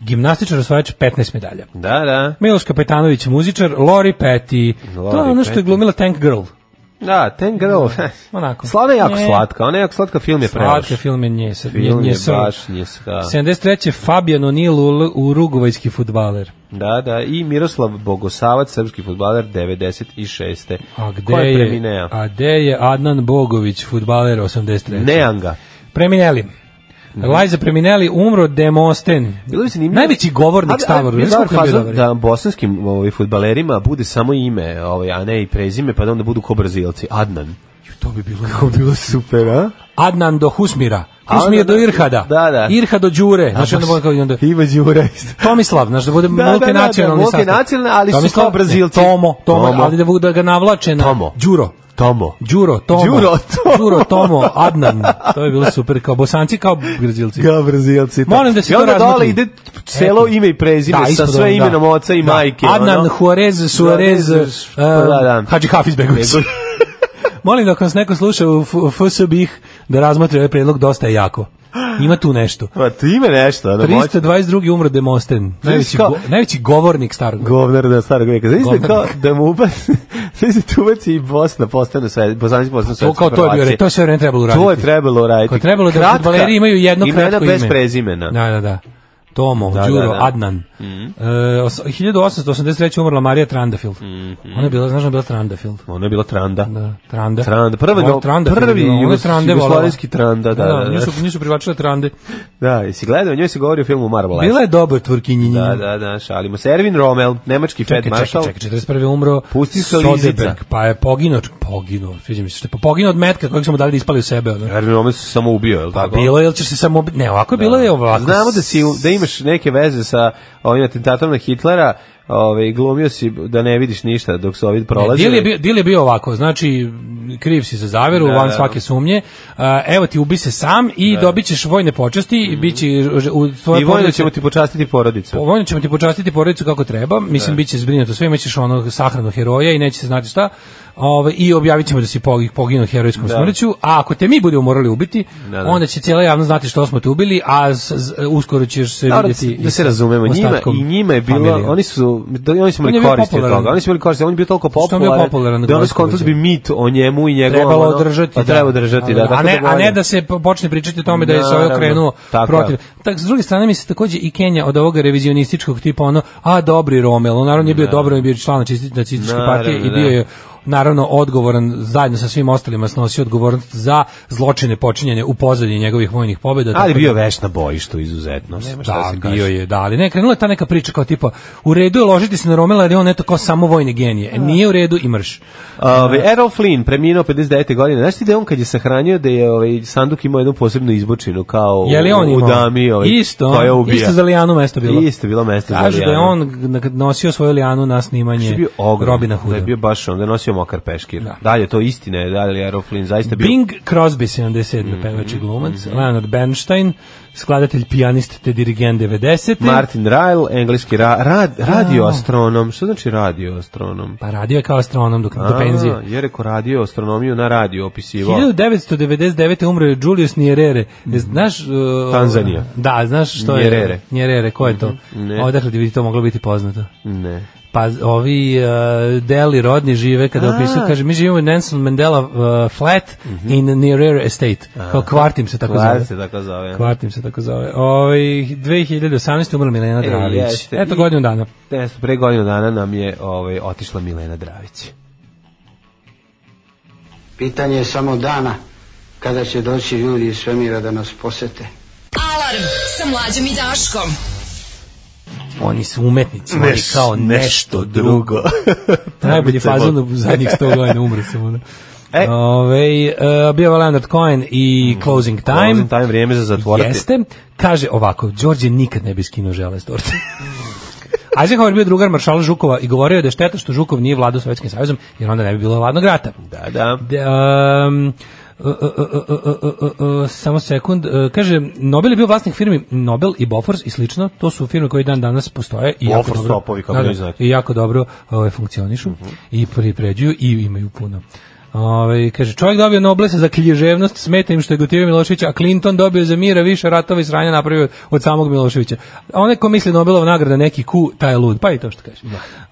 G: Gimnastičar osvajač 15 medalja.
E: Da, da.
G: Miloš Kapetanović, muzičar, Lori Petty. to
E: Lori
G: je ono što je
E: Petty.
G: glumila Tank Girl.
E: Da, Ten Girl.
G: Mm, Onako.
E: Slana je jako
G: Ne.
E: slatka, ona je jako slatka, film je preloš.
G: Slatka film je nje, sad, nje,
E: Film
G: nje
E: je
G: sr.
E: baš njeska.
G: 73. Fabian O'Neill, urugovajski futbaler.
E: Da, da, i Miroslav Bogosavac, srpski futbaler, 96.
G: A gde
E: Ko je
G: je,
E: premineo?
G: a gde je Adnan Bogović, futbaler 83.
E: Nean ga.
G: Premineli. Lajza Premineli umro Demosten.
E: Bilo bi zanimljivo-
G: Najveći
E: Ali-
G: govornik
E: ali
G: Stavoru.
E: mi je
G: Znaš
E: dobar
G: kako je bio
E: fazon
G: dobar?
E: Da bosanskim ovaj, futbalerima bude samo ime, ovaj, a ne i prezime, pa da onda budu ko brazilci. Adnan.
G: To bi bilo...
E: Kako bilo super, a?
G: Adnan do Husmira. Husmir
E: Adnan-
G: do Irhada.
E: Da, da.
G: Irhad do Đure. Znači, onda bude kao i onda...
E: Iva Đura isto.
G: Tomislav, znaš, da
E: (laughs)
G: bude
E: Da, da, da,
G: multinacionalni
E: da,
G: sastav.
E: multinacionalni, ali su
G: Tomislav,
E: kao Brazilci.
G: ne, Tomo, Tomo,
E: Tomo.
G: ali da, bu- da ga navlače na...
E: Tomo.
G: Đuro.
E: Tomo.
G: Đuro, Tomo.
E: Đuro, Tomo.
G: Đuro, Tomo, Adnan. To je bilo super, kao bosanci, kao brazilci.
E: Ga brazilci. tako.
G: Molim da se
E: I
G: to
E: onda dole
G: razmotri.
E: ide celo
G: Eto.
E: ime i prezime sa
G: ispod
E: sve
G: ono,
E: imenom oca i majke.
G: Adnan,
E: ono.
G: Juarez, Suarez,
E: Da,
G: da,
E: ne znaš, pa da, da.
G: Hadži Hafiz Begović. Molim da ako nas neko sluša u F- FSB-ih da razmatra ovaj predlog, dosta je jako. Ima tu nešto.
E: (laughs) Pa ti ime nešto. ono, moć-
G: 322. umro Demosten, najveći,
E: kao-
G: go, najveći govornik starog.
E: govnar da starog veka. Znači
G: Govnar.
E: kao da mu (laughs) ubaci, sve se tu ubaci i Bosna postane sve, Bosanac postane sve.
G: to kao to je bio, re- to je sve vreme trebalo uraditi.
E: To je trebalo uraditi.
G: Ko je trebalo da
E: Kratka
G: fudbaleri imaju jedno kratko ime.
E: imena bez prezimena.
G: Da, da, da. Tomo,
E: Da, da,
G: Đuro,
E: da. Mhm.
G: Adnan. E, os- 1883. umrla Marija Trandafield.
E: Mhm.
G: Ona je bila, znaš, ona je bila Trandafield.
E: Ono je bilo tranda.
G: Da, Tranda.
E: Tranda, prva-
G: Ona je Trandafield
E: prvi
G: bila, ona je
E: jugos-
G: Trande volela.
E: jugoslovenski Tranda, da, da, da.
G: Nisu, nisu privlačile Trande.
E: Da, i si gledao, njoj se govori o filmu Marble.
G: Bila je dobar tvrkinjinjin.
E: Da, da, da, šalimo se. Erwin Rommel, nemački Fed
G: Čekaj, čekaj,
E: Marshal.
G: čekaj, 41. umro
E: Pusti se Lizica.
G: Soderberg, pa je poginuo, poginuo, sviđa mi se što je, pa poginuo od metka kojeg smo mu dali da ispali u sebe. Ono.
E: Erwin Rommel se samo ubio, je li
G: Pa
E: tako?
G: bilo je, ili ćeš se samo... obi- Ne, ovako je bilo je ovako.
E: Znamo da si da imaš neke veze sa ovim atentatom na Hitlera, ovaj glumio si da ne vidiš ništa dok su ovi prolazili.
G: E, Dil je, bio, dil je bio ovako, znači kriv si za zaveru,
E: Da,
G: van
E: da.
G: svake sumnje, a, evo ti ubi se sam i dobit ćeš vojne počasti, i bit će, u tvoje
E: Mhm. I vojno ćemo ti počastiti porodicu.
G: Vojno ćemo ti počastiti porodicu kako treba, mislim bit će zbrinuto sve, imaćeš onog sahranu heroja i neće se znati šta, Ove, i objavit ćemo da si pogi- poginuo herojskom smrću, a ako te mi budemo morali ubiti,
E: Da, da.
G: onda će cijela javnost znati što smo te ubili, a s- s- uskoro ćeš se
E: Dobro,
G: vidjeti
E: da se
G: i sa
E: razumemo, njima,
G: Ovaj- ostatkom
E: i njima je bilo,
G: familije.
E: oni su, da, oni su
G: On
E: imali
G: je bio
E: koristi od
G: popularan.
E: toga, oni su imali koristi, on je bio toliko
G: Što je bio
E: popularan,
G: popularan
E: da ono
G: Gojković?
E: skontali bi mit o njemu i njegovom,
G: trebalo
E: ono,
G: držati.
E: pa treba držati, da,
G: A
E: tako
G: ne,
E: da
G: a ne
E: govorim.
G: da se po- počne pričati o tome da je se
E: Naravno,
G: ovo krenuo
E: tako je.
G: protiv. Tak, s druge strane mi se takođe i Kenja od ovoga Ono, revizionističkog tipa ono, a dobri Romel, on naravno nije bio dobro, on je bio član nacisti- nacističke
E: Naravno,
G: partije i
E: da.
G: bio je naravno odgovoran zajedno sa svim ostalima snosio odgovornost za zločine počinjene u pozadini njegovih vojnih pobjeda.
E: Ali
G: tako da-
E: bio veš na bojištu izuzetno. Nema šta da
G: da,
E: se kaže.
G: bio je, da, ali ne, krenula je ta neka priča kao tipa, u redu je ložiti se na Romela jer je on eto kao samo vojni genije. E, nije u redu i mrš.
E: Ove, Errol Flynn preminuo 59. godine. Znaš ti da je on kad je sahranio da je ovaj, sanduk imao jednu posebnu izbočinu kao
G: Je li on
E: u, u
G: imao?
E: dami ovaj,
G: Isto,
E: koja ubija.
G: isto za Lijanu mesto bilo.
E: Isto bilo mesto za
G: Kažu da je
E: Lijanu.
G: on g- nosio svoju Lijanu na
E: Što je
G: snimanje
E: bio ogrom,
G: Robina
E: Da
G: Hooda.
E: je bio baš on, da je nosio mokar peškir. Da.
G: Da.
E: Dalje, to istina je, dalje Errol Flynn zaista bio... Mm-hmm.
G: Bing Crosby 77. pevač i glumac, Leonard Bernstein, skladatelj, pijanist te dirigent 90.
E: Martin Ryle, engleski ra, rad, radioastronom. Što znači radioastronom?
G: Pa radio je kao astronom do, do penzije.
E: A, je rekao radio astronomiju na radio opisivao.
G: 1999. umro je Julius Nyerere. Znaš... uh,
E: Mm-hmm. Tanzanija.
G: Da, znaš što je...
E: Nyerere. Mm-hmm.
G: Nyerere, ko je to?
E: Ne.
G: Odakle ti bi to moglo biti poznato?
E: Ne.
G: Pa z- ovi uh, deli rodni žive kada opisuju, kaže, mi živimo u Nelson Mandela uh, flat in Nyerere estate. Kao kvartim se tako
E: Kvar
G: zove.
E: se tako zove.
G: Kvartim se tako zove. Ovaj 2018. umrla Milena
E: E,
G: Dravić.
E: jeste.
G: Eto
E: I-
G: godinu dana.
E: Ne, pre godinu dana nam je ovaj, otišla Milena Dravić.
I: Pitanje je samo dana kada će doći ljudi iz svemira da nas posete.
D: Alarm sa mlađom i Daškom.
G: Oni su umetnici, oni kao nešto (laughs) drugo. Najbolji
E: Obice
G: fazon
E: vode.
G: u zadnjih 100 godina umre sam ono.
E: E.
G: E. Ove, uh, bio je Leonard Cohen i Closing Time.
E: Time, time vrijeme za zatvorati.
G: Jeste. Kaže ovako, Đorđe nikad ne bi skinuo žele s torte. (laughs) Eisenhower bio drugar maršala Žukova i govorio je da je šteta što Žukov nije vladao Sovjetskim savjezom, jer onda ne bi bilo hladnog rata.
E: Da, da.
G: De, um, uh, uh, uh, uh, uh, uh, uh, samo sekund. Uh, kaže, Nobel je bio vlasnik firmi Nobel i Bofors i slično. To su firme koje dan danas postoje. I jako
E: Bofors
G: dobro-
E: topovi, kako ne znate.
G: I jako dobro ovaj, funkcionišu i pripređuju i imaju puno. Ove, kaže, čovjek dobio Noblesa za klježevnost, smeta im što je gotivio Miloševića, a Clinton dobio za mira više ratova i sranja napravio od samog Miloševića. A onaj ko misli Nobelova nagrada neki ku, taj je lud, pa i to što kaže.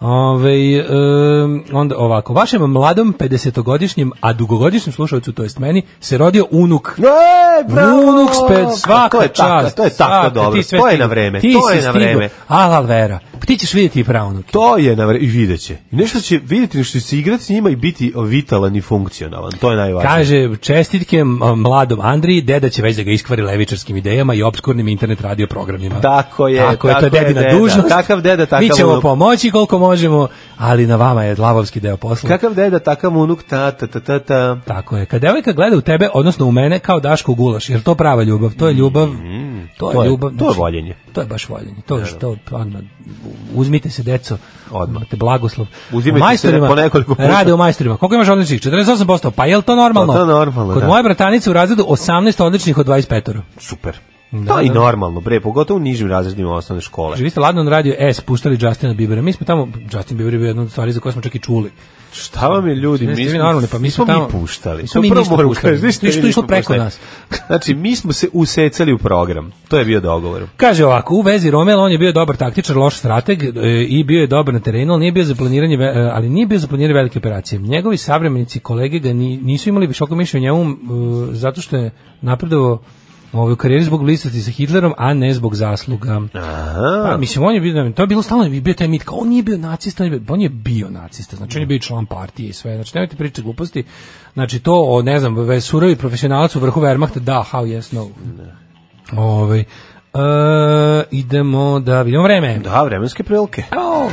G: Ove, em, onda ovako, vašem mladom 50-godišnjem, a dugogodišnjem slušalcu, to jest meni, se rodio unuk.
E: E,
G: Unuk spet, svaka
E: to je
G: čast.
E: Tako, to je tako
G: svaka,
E: dobro.
G: ti sve
E: To je
G: stigo.
E: na vreme.
G: Ti
E: to
G: si
E: je na
G: stigo.
E: vreme.
G: Al, al, vera. Pa ti ćeš vidjeti i pravnuke.
E: To je na vreme. I vidjet će. I nešto će vidjeti, nešto će se igrati s njima i biti vitalan i funkcionalan. To je najvažnije.
G: Kaže, čestitke m- mladom Andriji, deda će već da ga iskvari levičarskim idejama i obskurnim internet radio programima.
E: Tako je,
G: Tako je, to je
E: tako je
G: dedina
E: deda.
G: dužnost.
E: Kakav deda, takav
G: Mi ćemo
E: unuk.
G: pomoći koliko možemo, ali na vama je lavovski deo posla.
E: Kakav deda, takav unuk, ta, ta, ta, ta, ta.
G: Tako je. Kad devojka gleda u tebe, odnosno u mene, kao Daško u gulaš, jer to prava ljubav, to je ljubav, to je,
E: Mm-hmm. to je-
G: ljubav. znači-
E: to je voljenje.
G: To je baš voljenje. To je što, ono, uzmite se, deco,
E: Odmah.
G: te blagoslov.
E: Uzimajte
G: U
E: se
G: majstorima
E: po nekoliko puta.
G: Rade u majstorima. Koliko imaš odličnih? 48%. Pa je li to normalno?
E: Pa to je normalno,
G: Kod
E: da. Pa.
G: moje bratanice u razredu 18 odličnih od 25.
E: Super. to je i normalno, bre, pogotovo u nižim razredima osnovne škole.
G: Živi Znači, ste ladno na radio S, puštali Justina Biebera. Mi smo tamo, Justin Bieber je bio jedna od stvari za koje smo čak i čuli.
E: Šta vam je ljudi,
G: Jeste
E: mi
G: vi
E: smo,
G: normalni, pa mi
E: nismo
G: smo tamo-
E: mi puštali.
G: nismo
E: To
G: mi
E: prvo
G: ništa
E: moram
G: puštali.
E: kažem, ništa
G: Ništa
E: mi nismo
G: išlo preko
E: puštali.
G: nas. (laughs)
E: Znači, mi smo se usecali u program. To je bio dogovor.
G: Kaže ovako, u vezi Romel on je bio dobar taktičar, loš strateg e, i bio je dobar na terenu, ali nije bio za planiranje, ve- e, ali nije bio za planiranje velike operacije. Njegovi savremenici, kolege ga ni- nisu imali visoko mišljenje o njemu e, zato što je napredovao ovaj, u karijeri zbog bliskosti sa Hitlerom, a ne zbog zasluga. Pa, mislim, on je bio, to je bilo stalno, je bio taj mit, kao on nije bio nacista, on je bio, on je bio nacista, znači on je bio i član partije i sve, znači nemojte pričati gluposti, znači to, o, ne znam, ve- surovi profesionalac u vrhu Wehrmachta, da, how yes, no. Ovaj e, idemo da vidimo vreme.
E: Da, vremenske prilike.
G: Au!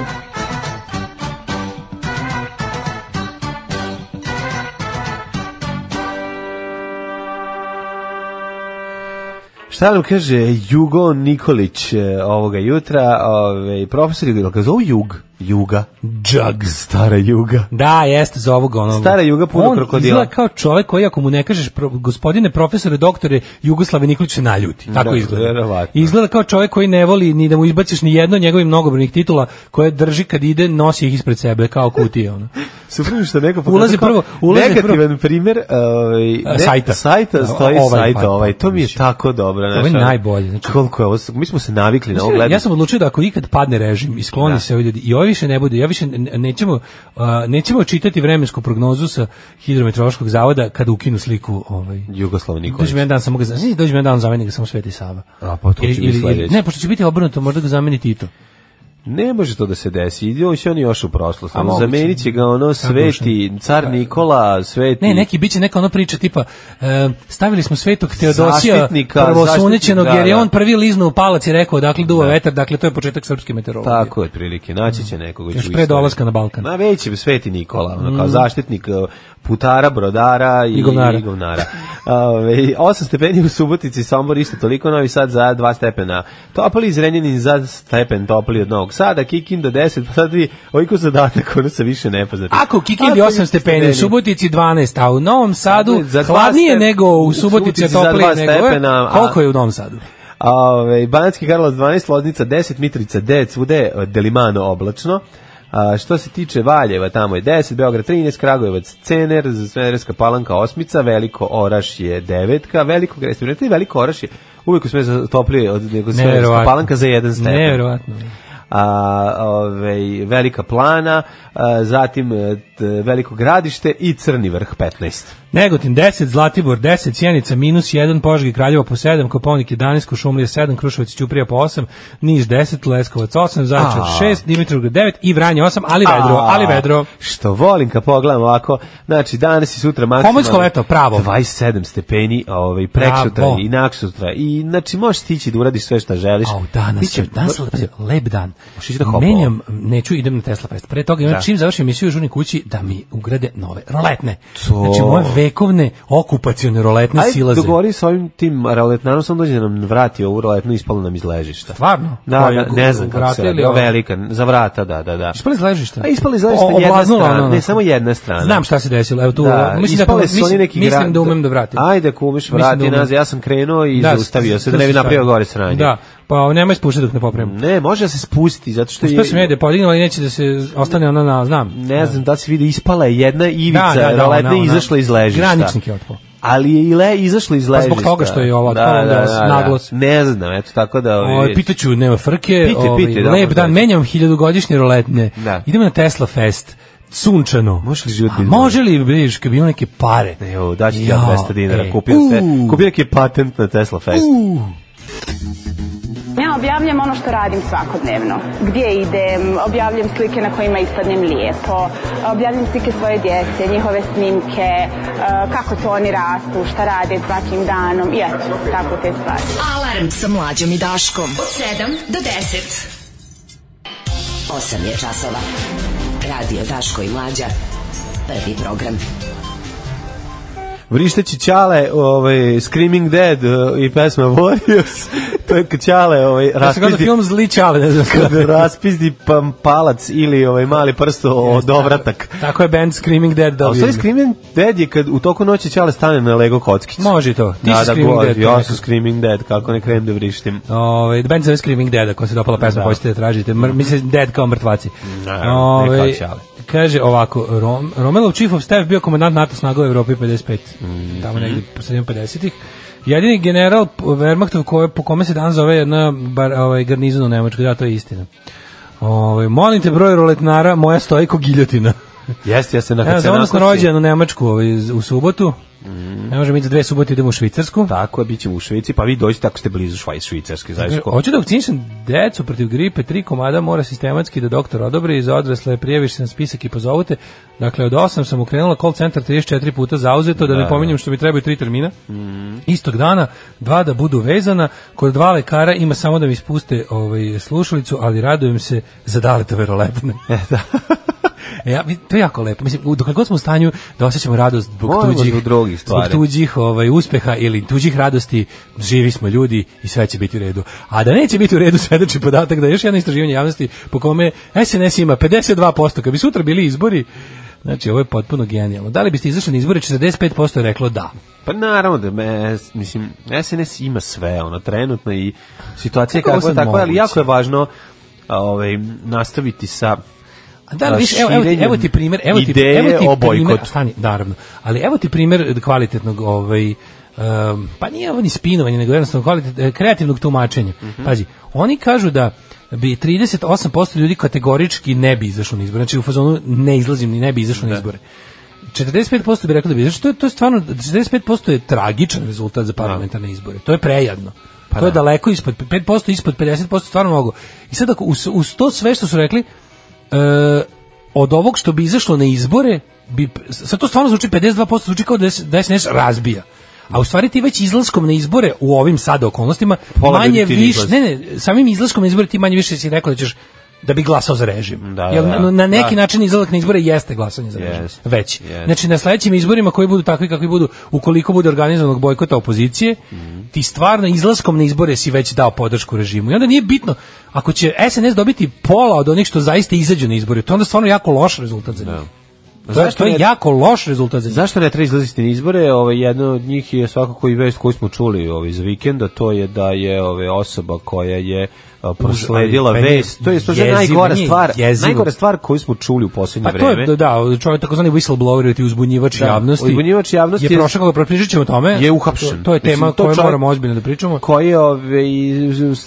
E: Šta nam kaže Jugo Nikolić e, ovoga jutra, ovaj profesor Jugo, jel ga zovu Jug? Juga. Jug. Stara Juga. (laughs)
G: Da, jeste za ovog ono.
E: Stara juga puno
G: on
E: krokodila.
G: izgleda kao čovjek koji ako mu ne kažeš pro, gospodine profesore, doktore Jugoslave Nikolić se naljuti. Tako
E: Da,
G: izgleda.
E: verovatno.
G: Izgleda kao čovjek koji ne voli ni da mu izbaciš ni jedno od njegovih mnogobrojnih titula koje drži kad ide, nosi ih ispred sebe kao kutije ono.
E: Super što neko
G: Ulazi
E: kao
G: prvo- ulazi
E: negativan primer ovaj ne,
G: sajta.
E: sajta stoji
G: Ovaj,
E: sajta
G: pa,
E: ovaj to mi je
G: mislim.
E: tako dobro
G: je
E: znaš, ono,
G: najbolje, znači-
E: koliko je ovo mi smo se navikli (laughs) na ovo
G: Ja
E: gledanje
G: sam odlučio da ako ikad padne režim i skloni se ovi ljudi, i ovi više ne bude, ja više ne- nećemo, a, nećemo čitati vremensku prognozu sa hidrometeorološkog zavoda kada ukinu sliku ovaj,
E: Jugoslav Nikolić
G: Dođe mi jedan dan samo ga zameni, dođe mi jedan dan zameni ga samo Sveti Sava.
E: A, pa to će biti
G: ili,
E: sledeće.
G: Ne, pošto će biti obrnuto, možda ga zameni Tito.
E: Ne može to da se desi. Idio će on još u prošlost.
G: A
E: Ono,
G: moguće.
E: Zamenit će ga ono sveti, car Nikola, sveti...
G: Ne, neki biće neka ona priča tipa e, stavili smo Svetog Teodosija
E: Zaštitnika,
G: prvosunećenog
E: zaštitnika,
G: jer je
E: da.
G: on prvi liznuo u palac i rekao dakle duva vetar, dakle to je početak srpske meteorologije.
E: Tako je, prilike. Naći će nekog. u
G: Još pre
E: istoriji.
G: dolaska na Balkan. Mm.
E: Na već je sveti Nikola, ono, kao zaštitnik e, putara, brodara i,
G: I govnara.
E: I govnara. (laughs) Ove, 8 stepeni u Subotici, Sombor isto toliko, Novi Sad za 2 stepena. Topli, Zrenjanin za stepen topli od Novog Sada, Kikinda 10, pa sad vi, ovaj ko zadatak, ono sa više nepoznati.
G: Ako u Kikindi 8 stepeni, u Subotici 12, a u Novom Sadu
E: Za dva
G: hladnije
E: step-
G: nego u Subotici,
E: Subotici
G: a
E: za dva
G: toplije nego je.
E: stepena, a-
G: Koliko je u Novom Sadu?
E: Ove, Banacki Karlovac 12, Loznica 10, Mitrica 9, svude e, delimano oblačno. A, što se tiče Valjeva, tamo je 10, Beograd 13, Kragujevac Cener, Smederevska palanka 8, Veliko Oraš je 9, Veliko Grestivnete i Veliko Oraš je uvijek u Smederevskoj toplije od nego Smederevska
G: Neverovatno.
E: palanka za 1 stepen.
G: Neverovatno.
E: A, ove, Velika plana, a, zatim e, t- Veliko gradište i Crni vrh 15.
G: Negotin 10, Zlatibor 10, Sjenica minus 1, Požeg i Kraljevo po 7, Koponik 11, Kušumlija 7, Kruševac i Ćuprija po 8, Niš 10, Leskovac 8, Zaječar 6, Dimitrovgrad 9 i Vranje 8, ali vedro,
E: A,
G: ali vedro.
E: Što volim kad pogledam ovako, znači danas i sutra maksimalno...
G: Pomorsko leto, pravo.
E: 27 stepeni, ovaj, preksutra
G: Bravo.
E: i naksutra. I znači možeš stići da uradiš sve šta želiš.
G: A u danas,
E: Biće-
G: je, danas je lep, lep dan.
E: Možeš ići da hopo.
G: Menjam, neću, idem na Tesla Fest. Pre toga imam
E: Da.
G: čim završim emisiju u žurni kući da mi ugrade nove roletne.
E: To.
G: Znači moje vekovne okupacione roletne
E: Ajde,
G: silaze.
E: dogovori s ovim tim roletnarom, sam dođe da nam vrati ovu roletnu, ispalo nam iz ležišta.
G: Stvarno?
E: Da,
G: Koja,
E: da, ne znam kako
G: vrata
E: se
G: ili
E: radi.
G: ova?
E: Velika, za vrata, da, da, da.
G: Ispali iz ležišta.
E: A ispali iz ležišta
G: O-
E: jedna
G: oblaznula
E: strana,
G: ono, ono.
E: ne samo jedna strana.
G: Znam šta se desilo. Evo tu,
E: Da,
G: mislim, da,
E: ispale su oni
G: mislim,
E: neki
G: mislim
E: grad-
G: da umem da vratim.
E: Ajde, ako umeš,
G: Mislim da
E: vrati
G: umem.
E: nazad. Ja sam krenuo i zaustavio se, da ne bi
G: zaustavio.
E: napravio gore sranje.
G: Da, pa nemoj spuštati dok ne popravim.
E: Ne, može da se spusti, zato što
G: Uspio
E: je...
G: sam je da je podignem, ali neće da se ostane ona na, znam.
E: ne znam da li se vidi, ispala je jedna ivica,
G: Da, da, da,
E: roletna
G: ona, ona.
E: izašla iz ležišta.
G: Graničnik je otpao.
E: Ali je i le, izašla iz
G: Pa
E: ležišta.
G: zbog toga što je ova otpala, onda s- naglas.
E: Ne znam, eto, tako da... ovaj,
G: Ovaj pitaću nema frke,
E: Pite,
G: ovaj,
E: pite, da,
G: lep
E: možda
G: dan,
E: je.
G: menjam hiljadugodišnje roletne.
E: Da.
G: Idemo na Tesla Fest. Sunčano.
E: Može li život
G: A
E: biti
G: Može li, vidiš, kad bi imao neke pare.
E: Evo, daću ti ja
G: Jao,
E: 200 dinara,
G: e.
E: kupio, te,
G: Uuu.
E: kupio neki patent na Tesla Fest.
J: Ja objavljam ono što radim svakodnevno. Gdje idem, objavljam slike na kojima ispadnem lijepo, objavljam slike svoje djece, njihove snimke, eh, kako to oni rastu, šta rade svakim danom i eto, tako te stvari.
D: Alarm sa mlađom i Daškom. Od 7 do 10.
B: 8 je časova. Radio Daško i Mlađa. Prvi program.
E: Vrišteći Ćale, ovaj, Screaming Dead eh, i pesma Warriors, (laughs) to je kad Ćale ovaj,
G: Ja sam gledao
E: raspizdi,
G: film Zli Čale, ne znam
E: kad
G: kada.
E: (laughs) raspizdi pam- palac ili ovaj mali prst od ovratak.
G: Tako je band Screaming Dead
E: A u
G: dobio.
E: stvari Screaming Dead je kad u toku noći Ćale stane na Lego kockicu.
G: Može i to. Ti
E: da, da,
G: si Screaming
E: god,
G: Dead,
E: Ja
G: neko.
E: sam Screaming Dead, kako ne krenem da vrištim.
G: Ovaj band se zove Screaming Dead, ako vam se dopala pesma, pa
E: Da.
G: hoćete da tražite. Mr, mislim Dead kao mrtvaci.
E: ne kao
G: Ovaj,
E: ćale.
G: kaže ovako, Rom, Romelov chief of staff bio komandant NATO snaga u Evropi 55.
E: Mhm.
G: Tamo negde po sredinom 50-ih. Jedini general p- Wehrmachtov koje, po kome se danas zove jedna bar, ovaj, garnizon u Nemačkoj, da, to je istina. Ovaj molim te broj roletnara, moja stoji ko giljotina.
E: Jeste, jeste, na
G: Ja
E: kad se
G: sam odnosno
E: nakuci-
G: rođen u Nemačku ovaj, z- u subotu.
E: Mhm.
G: Ne možemo ići za dve subote, idemo u Švicarsku.
E: Tako je, bit ćemo u Švici, pa vi dođete ako ste blizu Švajc, Švicarske, znaš ko.
G: Hoću da vakcinišem decu protiv gripe, tri komada mora sistematski da doktor odobri, za odrasle prijaviš se na spisak i pozovute. Dakle, od 8 sam ukrenula call centar 34 puta zauzeto, da, Mhm. ne pominjem što mi trebaju tri termina. Istog dana, dva da budu vezana, kod dva lekara ima samo da mi spuste ovaj, slušalicu, ali radujem se za dalete verolepne. (laughs) E, Ja, mi- to je jako lepo. Mislim, u- dok god smo u stanju da osjećamo radost zbog
E: Moramo
G: tuđih,
E: zbog drugih
G: zbog
E: stvari.
G: tu- tuđih ovaj, uspeha ili tuđih radosti, živi smo ljudi i sve će biti u redu. A da neće biti u redu svedoči podatak da je još jedno istraživanje javnosti po kome SNS ima 52%, kad bi sutra bili izbori, znači ovo je potpuno genijalno. Da li biste izašli na izbore, 45% je reklo da.
E: Pa naravno da me, mislim, SNS ima sve, ono, trenutno i situacija je
G: Kako je
E: kakva je
G: sad
E: takva, ali
G: moguće?
E: jako je važno a, ovaj, nastaviti sa
G: A da, viš, evo, evo, ti, evo ti primjer, evo ti,
E: Ideje
G: evo ti
E: o
G: primjer,
E: bojkotu.
G: stani, naravno, ali evo ti primjer kvalitetnog, ovaj, um, pa nije ovo ni spinovanje, nego jednostavno kvalitet, e, kreativnog tumačenja.
E: Mhm.
G: Pazi, oni kažu da bi 38% ljudi kategorički ne bi izašlo na izbore, znači u fazonu ne izlazim ni ne bi izašlo na izbore. 45% bi rekao da bi izašao. To, je- to je stvarno 45% je tragičan rezultat za parlamentarne izbore. To je prejadno.
E: Pa
G: to je daleko ispod 5% ispod 50% stvarno mogu. I sad ako uz, uz to sve što su rekli e, od ovog što bi izašlo na izbore bi sad to stvarno zvuči 52% zvuči kao da se da SNS razbija. A u stvari ti već izlaskom na izbore u ovim sada okolnostima
E: Pola ljudi
G: manje
E: ti
G: više,
E: izlazi.
G: ne, ne, samim izlaskom na izbore ti manje više si rekao da ćeš da bi glasao za režim.
E: Da, da,
G: Jer
E: da.
G: na- na neki
E: Da.
G: način izlazak na izbore jeste glasanje za režim.
E: Jest.
G: Već.
E: Jest.
G: Znači na sledećim izborima koji budu takvi kakvi budu, ukoliko bude organizovanog bojkota opozicije, ti stvarno izlaskom na izbore si već dao podršku režimu. I onda nije bitno ako će SNS dobiti pola od onih što zaista izađu na izbore, to je onda stvarno jako loš rezultat za njih. To, je-
E: Zašto
G: to je
E: ne-
G: jako loš rezultat za njih.
E: Zašto ne treba izlaziti na izbore? Ovaj jedno od njih je svakako i vest koju smo čuli ovaj iz vikenda, to je da je ovaj osoba koja je a, prosledila
G: Uz- ali meni je
E: vest. To je to je
G: jezivo,
E: najgora
G: meni je
E: stvar,
G: jezivo.
E: najgora stvar koju smo čuli u poslednje
G: Pa to
E: vreme.
G: je, da, čovjek takozvani whistleblower ili ti uzbunjivač
E: Da,
G: javnosti.
E: uzbunjivač javnosti
G: je
E: je-
G: prošao kako propričat ćemo o tome.
E: je uhapšen.
G: To, to je tema
E: Mislim,
G: o
E: to
G: kojoj
E: čovjek-
G: moramo ozbiljno da pričamo.
E: koji je ove,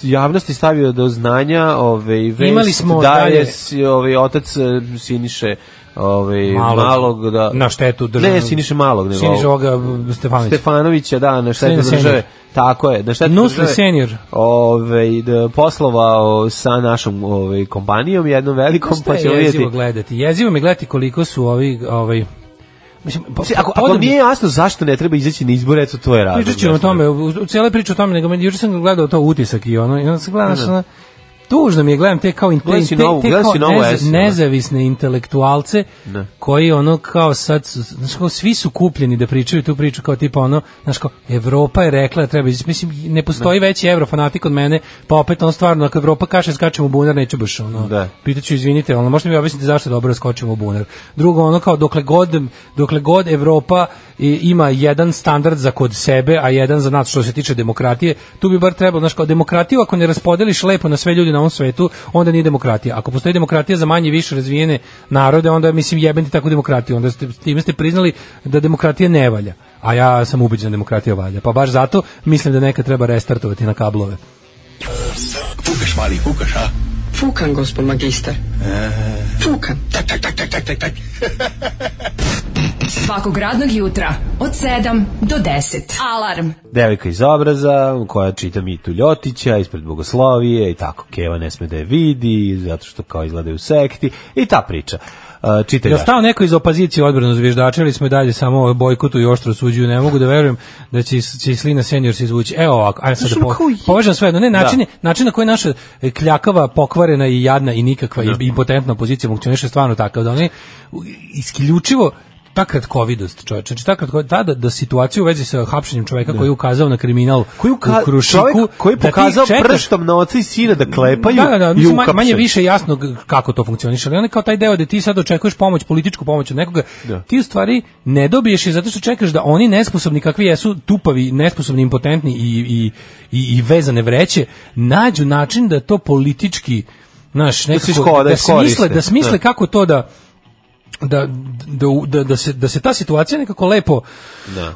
E: javnosti stavio do znanja ove, vest
G: Imali smo
E: da
G: dalje-
E: je si- ove, otac e, Siniše ove, malog, da,
G: na štetu državnog
E: ne Siniše malog nego
G: Siniše ovoga Stefanovića.
E: Stefanovića, da, na štetu
G: Slina
E: države.
G: senior.
E: Tako je, na štetu
G: Nusli
E: države.
G: senior.
E: Ove, da, poslovao sa našom ove, kompanijom, jednom velikom,
G: Šta
E: pa
G: je
E: ćemo
G: jezivo
E: vidjeti.
G: gledati. Jezivo mi gledati koliko su ovi ovaj mislim po-
E: Mislim, Pa, Ako,
G: podem-
E: ako nije jasno zašto ne treba izaći na izbore, eto to je razlog.
G: Pričat ćemo o
E: jasno.
G: tome, u u cijeloj priči o tome, nego meni- juče sam gledao to utisak i ono, i onda sam gledao, znaš, ono, tužno mi je, gledam te kao, in- te,
E: Gledaj si
G: te-
E: novu-
G: te
E: gledaj
G: kao
E: si novu
G: neza-
E: S, ono.
G: nezavisne intelektualce,
E: Ne.
G: koji ono kao sad, su- znaš, kao svi su kupljeni da pričaju tu priču, kao tipa ono, znaš, kao, Evropa je rekla da treba, izaći. mislim, ne postoji veći evrofanatik od mene, pa opet on stvarno, ako Evropa kaže, skačemo u bunar, neću baš ono,
E: Da.
G: pitaću izvinite, ono možete mi objasniti zašto dobro da skočimo u bunar. Drugo ono kao dokle god dokle god Evropa i, ima jedan standard za kod sebe, a jedan za nas što se tiče demokratije, tu bi bar trebalo, znači kao demokratiju ako ne raspodeliš lepo na sve ljude na ovom svetu, onda nije demokratija. Ako postoji demokratija za manje i više razvijene narode, onda mislim jebem ti takvu demokratiju, onda ste time ste priznali da demokratija ne valja. A ja sam ubeđen da demokratija valja. Pa baš zato mislim da neka treba restartovati na kablove.
D: Fukan, gospod magister. Fukan. E. Tak, tak, tak, tak, tak, tak, tak.
B: Svakog radnog jutra od 7 do 10. Alarm.
E: devojka iz obraza koja čita Mitu Ljotića ispred Bogoslovije i tako Keva ne sme da je vidi zato što kao izgledaju u sekti i ta priča. Uh, čitaj
G: Jel
E: dalje.
G: stao neko iz opozicije odbranu zviždača ili smo i dalje samo o bojkotu i oštro suđuju? Ne mogu da verujem da će, će Slina senior se izvući. Evo ovako, ajde sad da
E: ono
G: po, povežem sve jedno. Ne, način, je- način na koji naša e, kljakava, pokvarena i jadna i nikakva i impotentna opozicija funkcioniše je stvarno takav da oni isključivo ta kratkovidost čovječe, znači ta kratkovidost, ta da, da situacija u vezi sa hapšenjem čoveka koji je ukazao na kriminal
E: Koji uka-
G: u Krušiku,
E: čovjek koji je
G: da ti
E: pokazao
G: čekaš-
E: prstom na oca i sina da klepaju
G: da, da, da,
E: i
G: mislim, ma-
E: ukapšen.
G: manje više jasno g- kako to funkcioniše, ali on je kao taj deo da ti sad očekuješ pomoć, političku pomoć od nekoga, ti u stvari ne dobiješ je zato što čekaš da oni nesposobni kakvi jesu, tupavi, nesposobni, impotentni i, i, i, i vezane vreće, nađu način da to politički Naš, nekako,
E: isko- da
G: da smisle,
E: iskoriste.
G: da smisle
E: Da.
G: kako to da da, da, u- da, da, se, da se ta situacija nekako lepo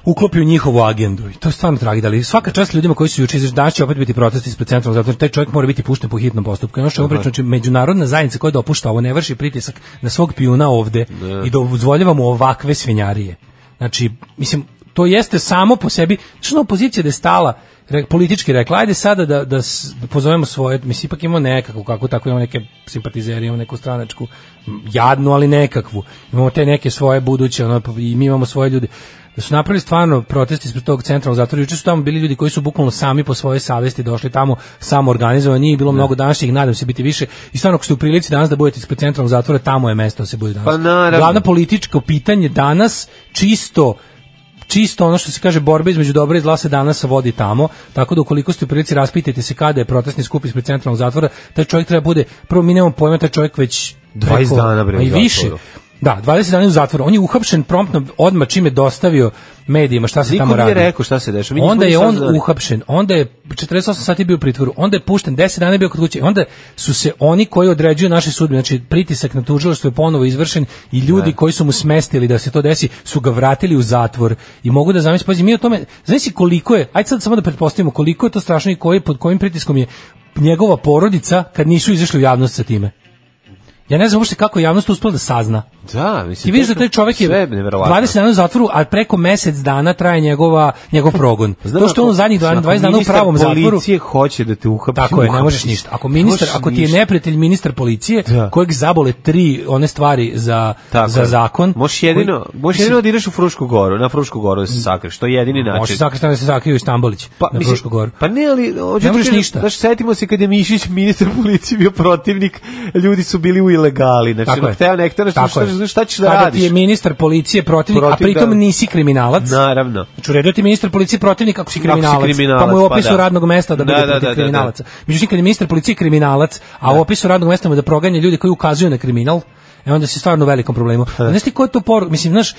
G: uklopi u njihovu agendu. I to je stvarno tragedija, ali svaka čast ljudima koji su juče izašli, danas će opet biti protesti ispred centralnog zato taj čovjek mora biti pušten po hitnom postupku. I Ono što je oprično, znači međunarodna zajednica koja dopušta ovo ne vrši pritisak na svog pijuna ovde i dozvoljava mu ovakve svinjarije. Znači, mislim, to jeste samo po sebi, što je opozicija da je stala re- politički rekla, ajde sada da, da, s- da pozovemo svoje, mislim, ipak imamo nekakvu, kako tako imamo neke simpatizere, imamo neku stranačku, m, jadnu, ali nekakvu. Imamo te neke svoje buduće, ono, pa i mi imamo svoje ljude. Da su napravili stvarno protest ispred tog centralnog zatvora, juče su tamo bili ljudi koji su bukvalno sami po svojoj savesti došli tamo, samo organizovani, nije bilo mnogo današnjih, nadam se biti više. I stvarno, ako ste u prilici danas da budete ispred centralnog zatvora, tamo je mesto da se bude danas.
E: Pa naravno.
G: Glavno političko pitanje danas, čisto čisto ono što se kaže borba između dobra i zla se danas vodi tamo, tako da ukoliko ste u prilici raspitajte se kada je protestni skup ispred centralnog zatvora, taj čovjek treba bude, prvo mi nemamo pojma, taj čovjek već
E: 20 dana, bre,
G: ma i
E: u zatvoru.
G: više. Da, 20 dana je u zatvoru. On je uhapšen promptno odmah čim je dostavio medijima šta se tamo
E: Niko
G: radi.
E: nije rekao šta se dešava. mi nismo
G: Onda
E: ni
G: je
E: šta
G: on
E: znali.
G: uhapšen, onda je 48 sati bio u pritvoru, onda je pušten, 10 dana je bio kod kuće, onda su se oni koji određuju naše sudbine, znači pritisak na tužilaštvo je ponovo izvršen i ljudi koji su mu smestili da se to desi su ga vratili u zatvor i mogu da zamislim, pazi, mi o tome, znači koliko je, ajde sad samo da pretpostavimo koliko je to strašno i koji, pod kojim pritiskom je njegova porodica kad nisu izašli u javnost sa time. Ja ne znam uopšte kako je javnost uspela da sazna.
E: Da, mislim.
G: Ti vidiš da taj čovjek je
E: sve neverovatno.
G: 20 dana u zatvoru, a preko mesec dana traje njegova, njegov progon.
E: Znam
G: to što on
E: Pa ako-
G: u zadnjih
E: mislim,
G: 20
E: ako
G: dana u
E: ministar
G: pravom zatvoru,
E: Policije hoće da te uhapsi.
G: Tako je, ne
E: uhapsi.
G: možeš ništa. Ako
E: Ne
G: ministar,
E: možeš
G: ako ti je
E: ništa.
G: neprijatelj ministar policije,
E: Da.
G: kojeg zabole tri one stvari za
E: Tako
G: za
E: je.
G: zakon.
E: Možeš jedino, možeš jedino da ideš u Frušku goru, na Frušku goru da se sakriš, to je jedini način.
G: Može sakristano da se sakriju i Stambolić na
E: mislim,
G: Frušku goru.
E: Pa ne, ali... hoću ti
G: Ne možeš
E: kažem,
G: ništa.
E: Znaš, setimo se kad je Mišić ministar policije bio protivnik, ljudi su bili u ilegali. Znači,
G: Tako
E: Tako
G: je.
E: hteo, ne hteo, šta,
G: Tako je.
E: šta, šta ćeš da
G: Kada
E: radiš?
G: ti je ministar policije protivnik, a
E: Protiv,
G: pritom
E: da.
G: nisi kriminalac.
E: Naravno.
G: Znači, u redu je ti ministar policije protivnik ako si
E: Ako si
G: kriminalac.
E: kriminalac,
G: pa mu je u
E: pa
G: opisu
E: da.
G: radnog mesta
E: Da,
G: da, bude
E: da, da,
G: protiv
E: da, da.
G: kriminalaca. Međutim, kad je ministar policije kriminalac, a u opisu radnog mesta mu je da proganja ljudi koji ukazuju na kriminal, e onda si stvarno u velikom problemu. Da. Znaš ti ko je to poruka? Mislim, znaš,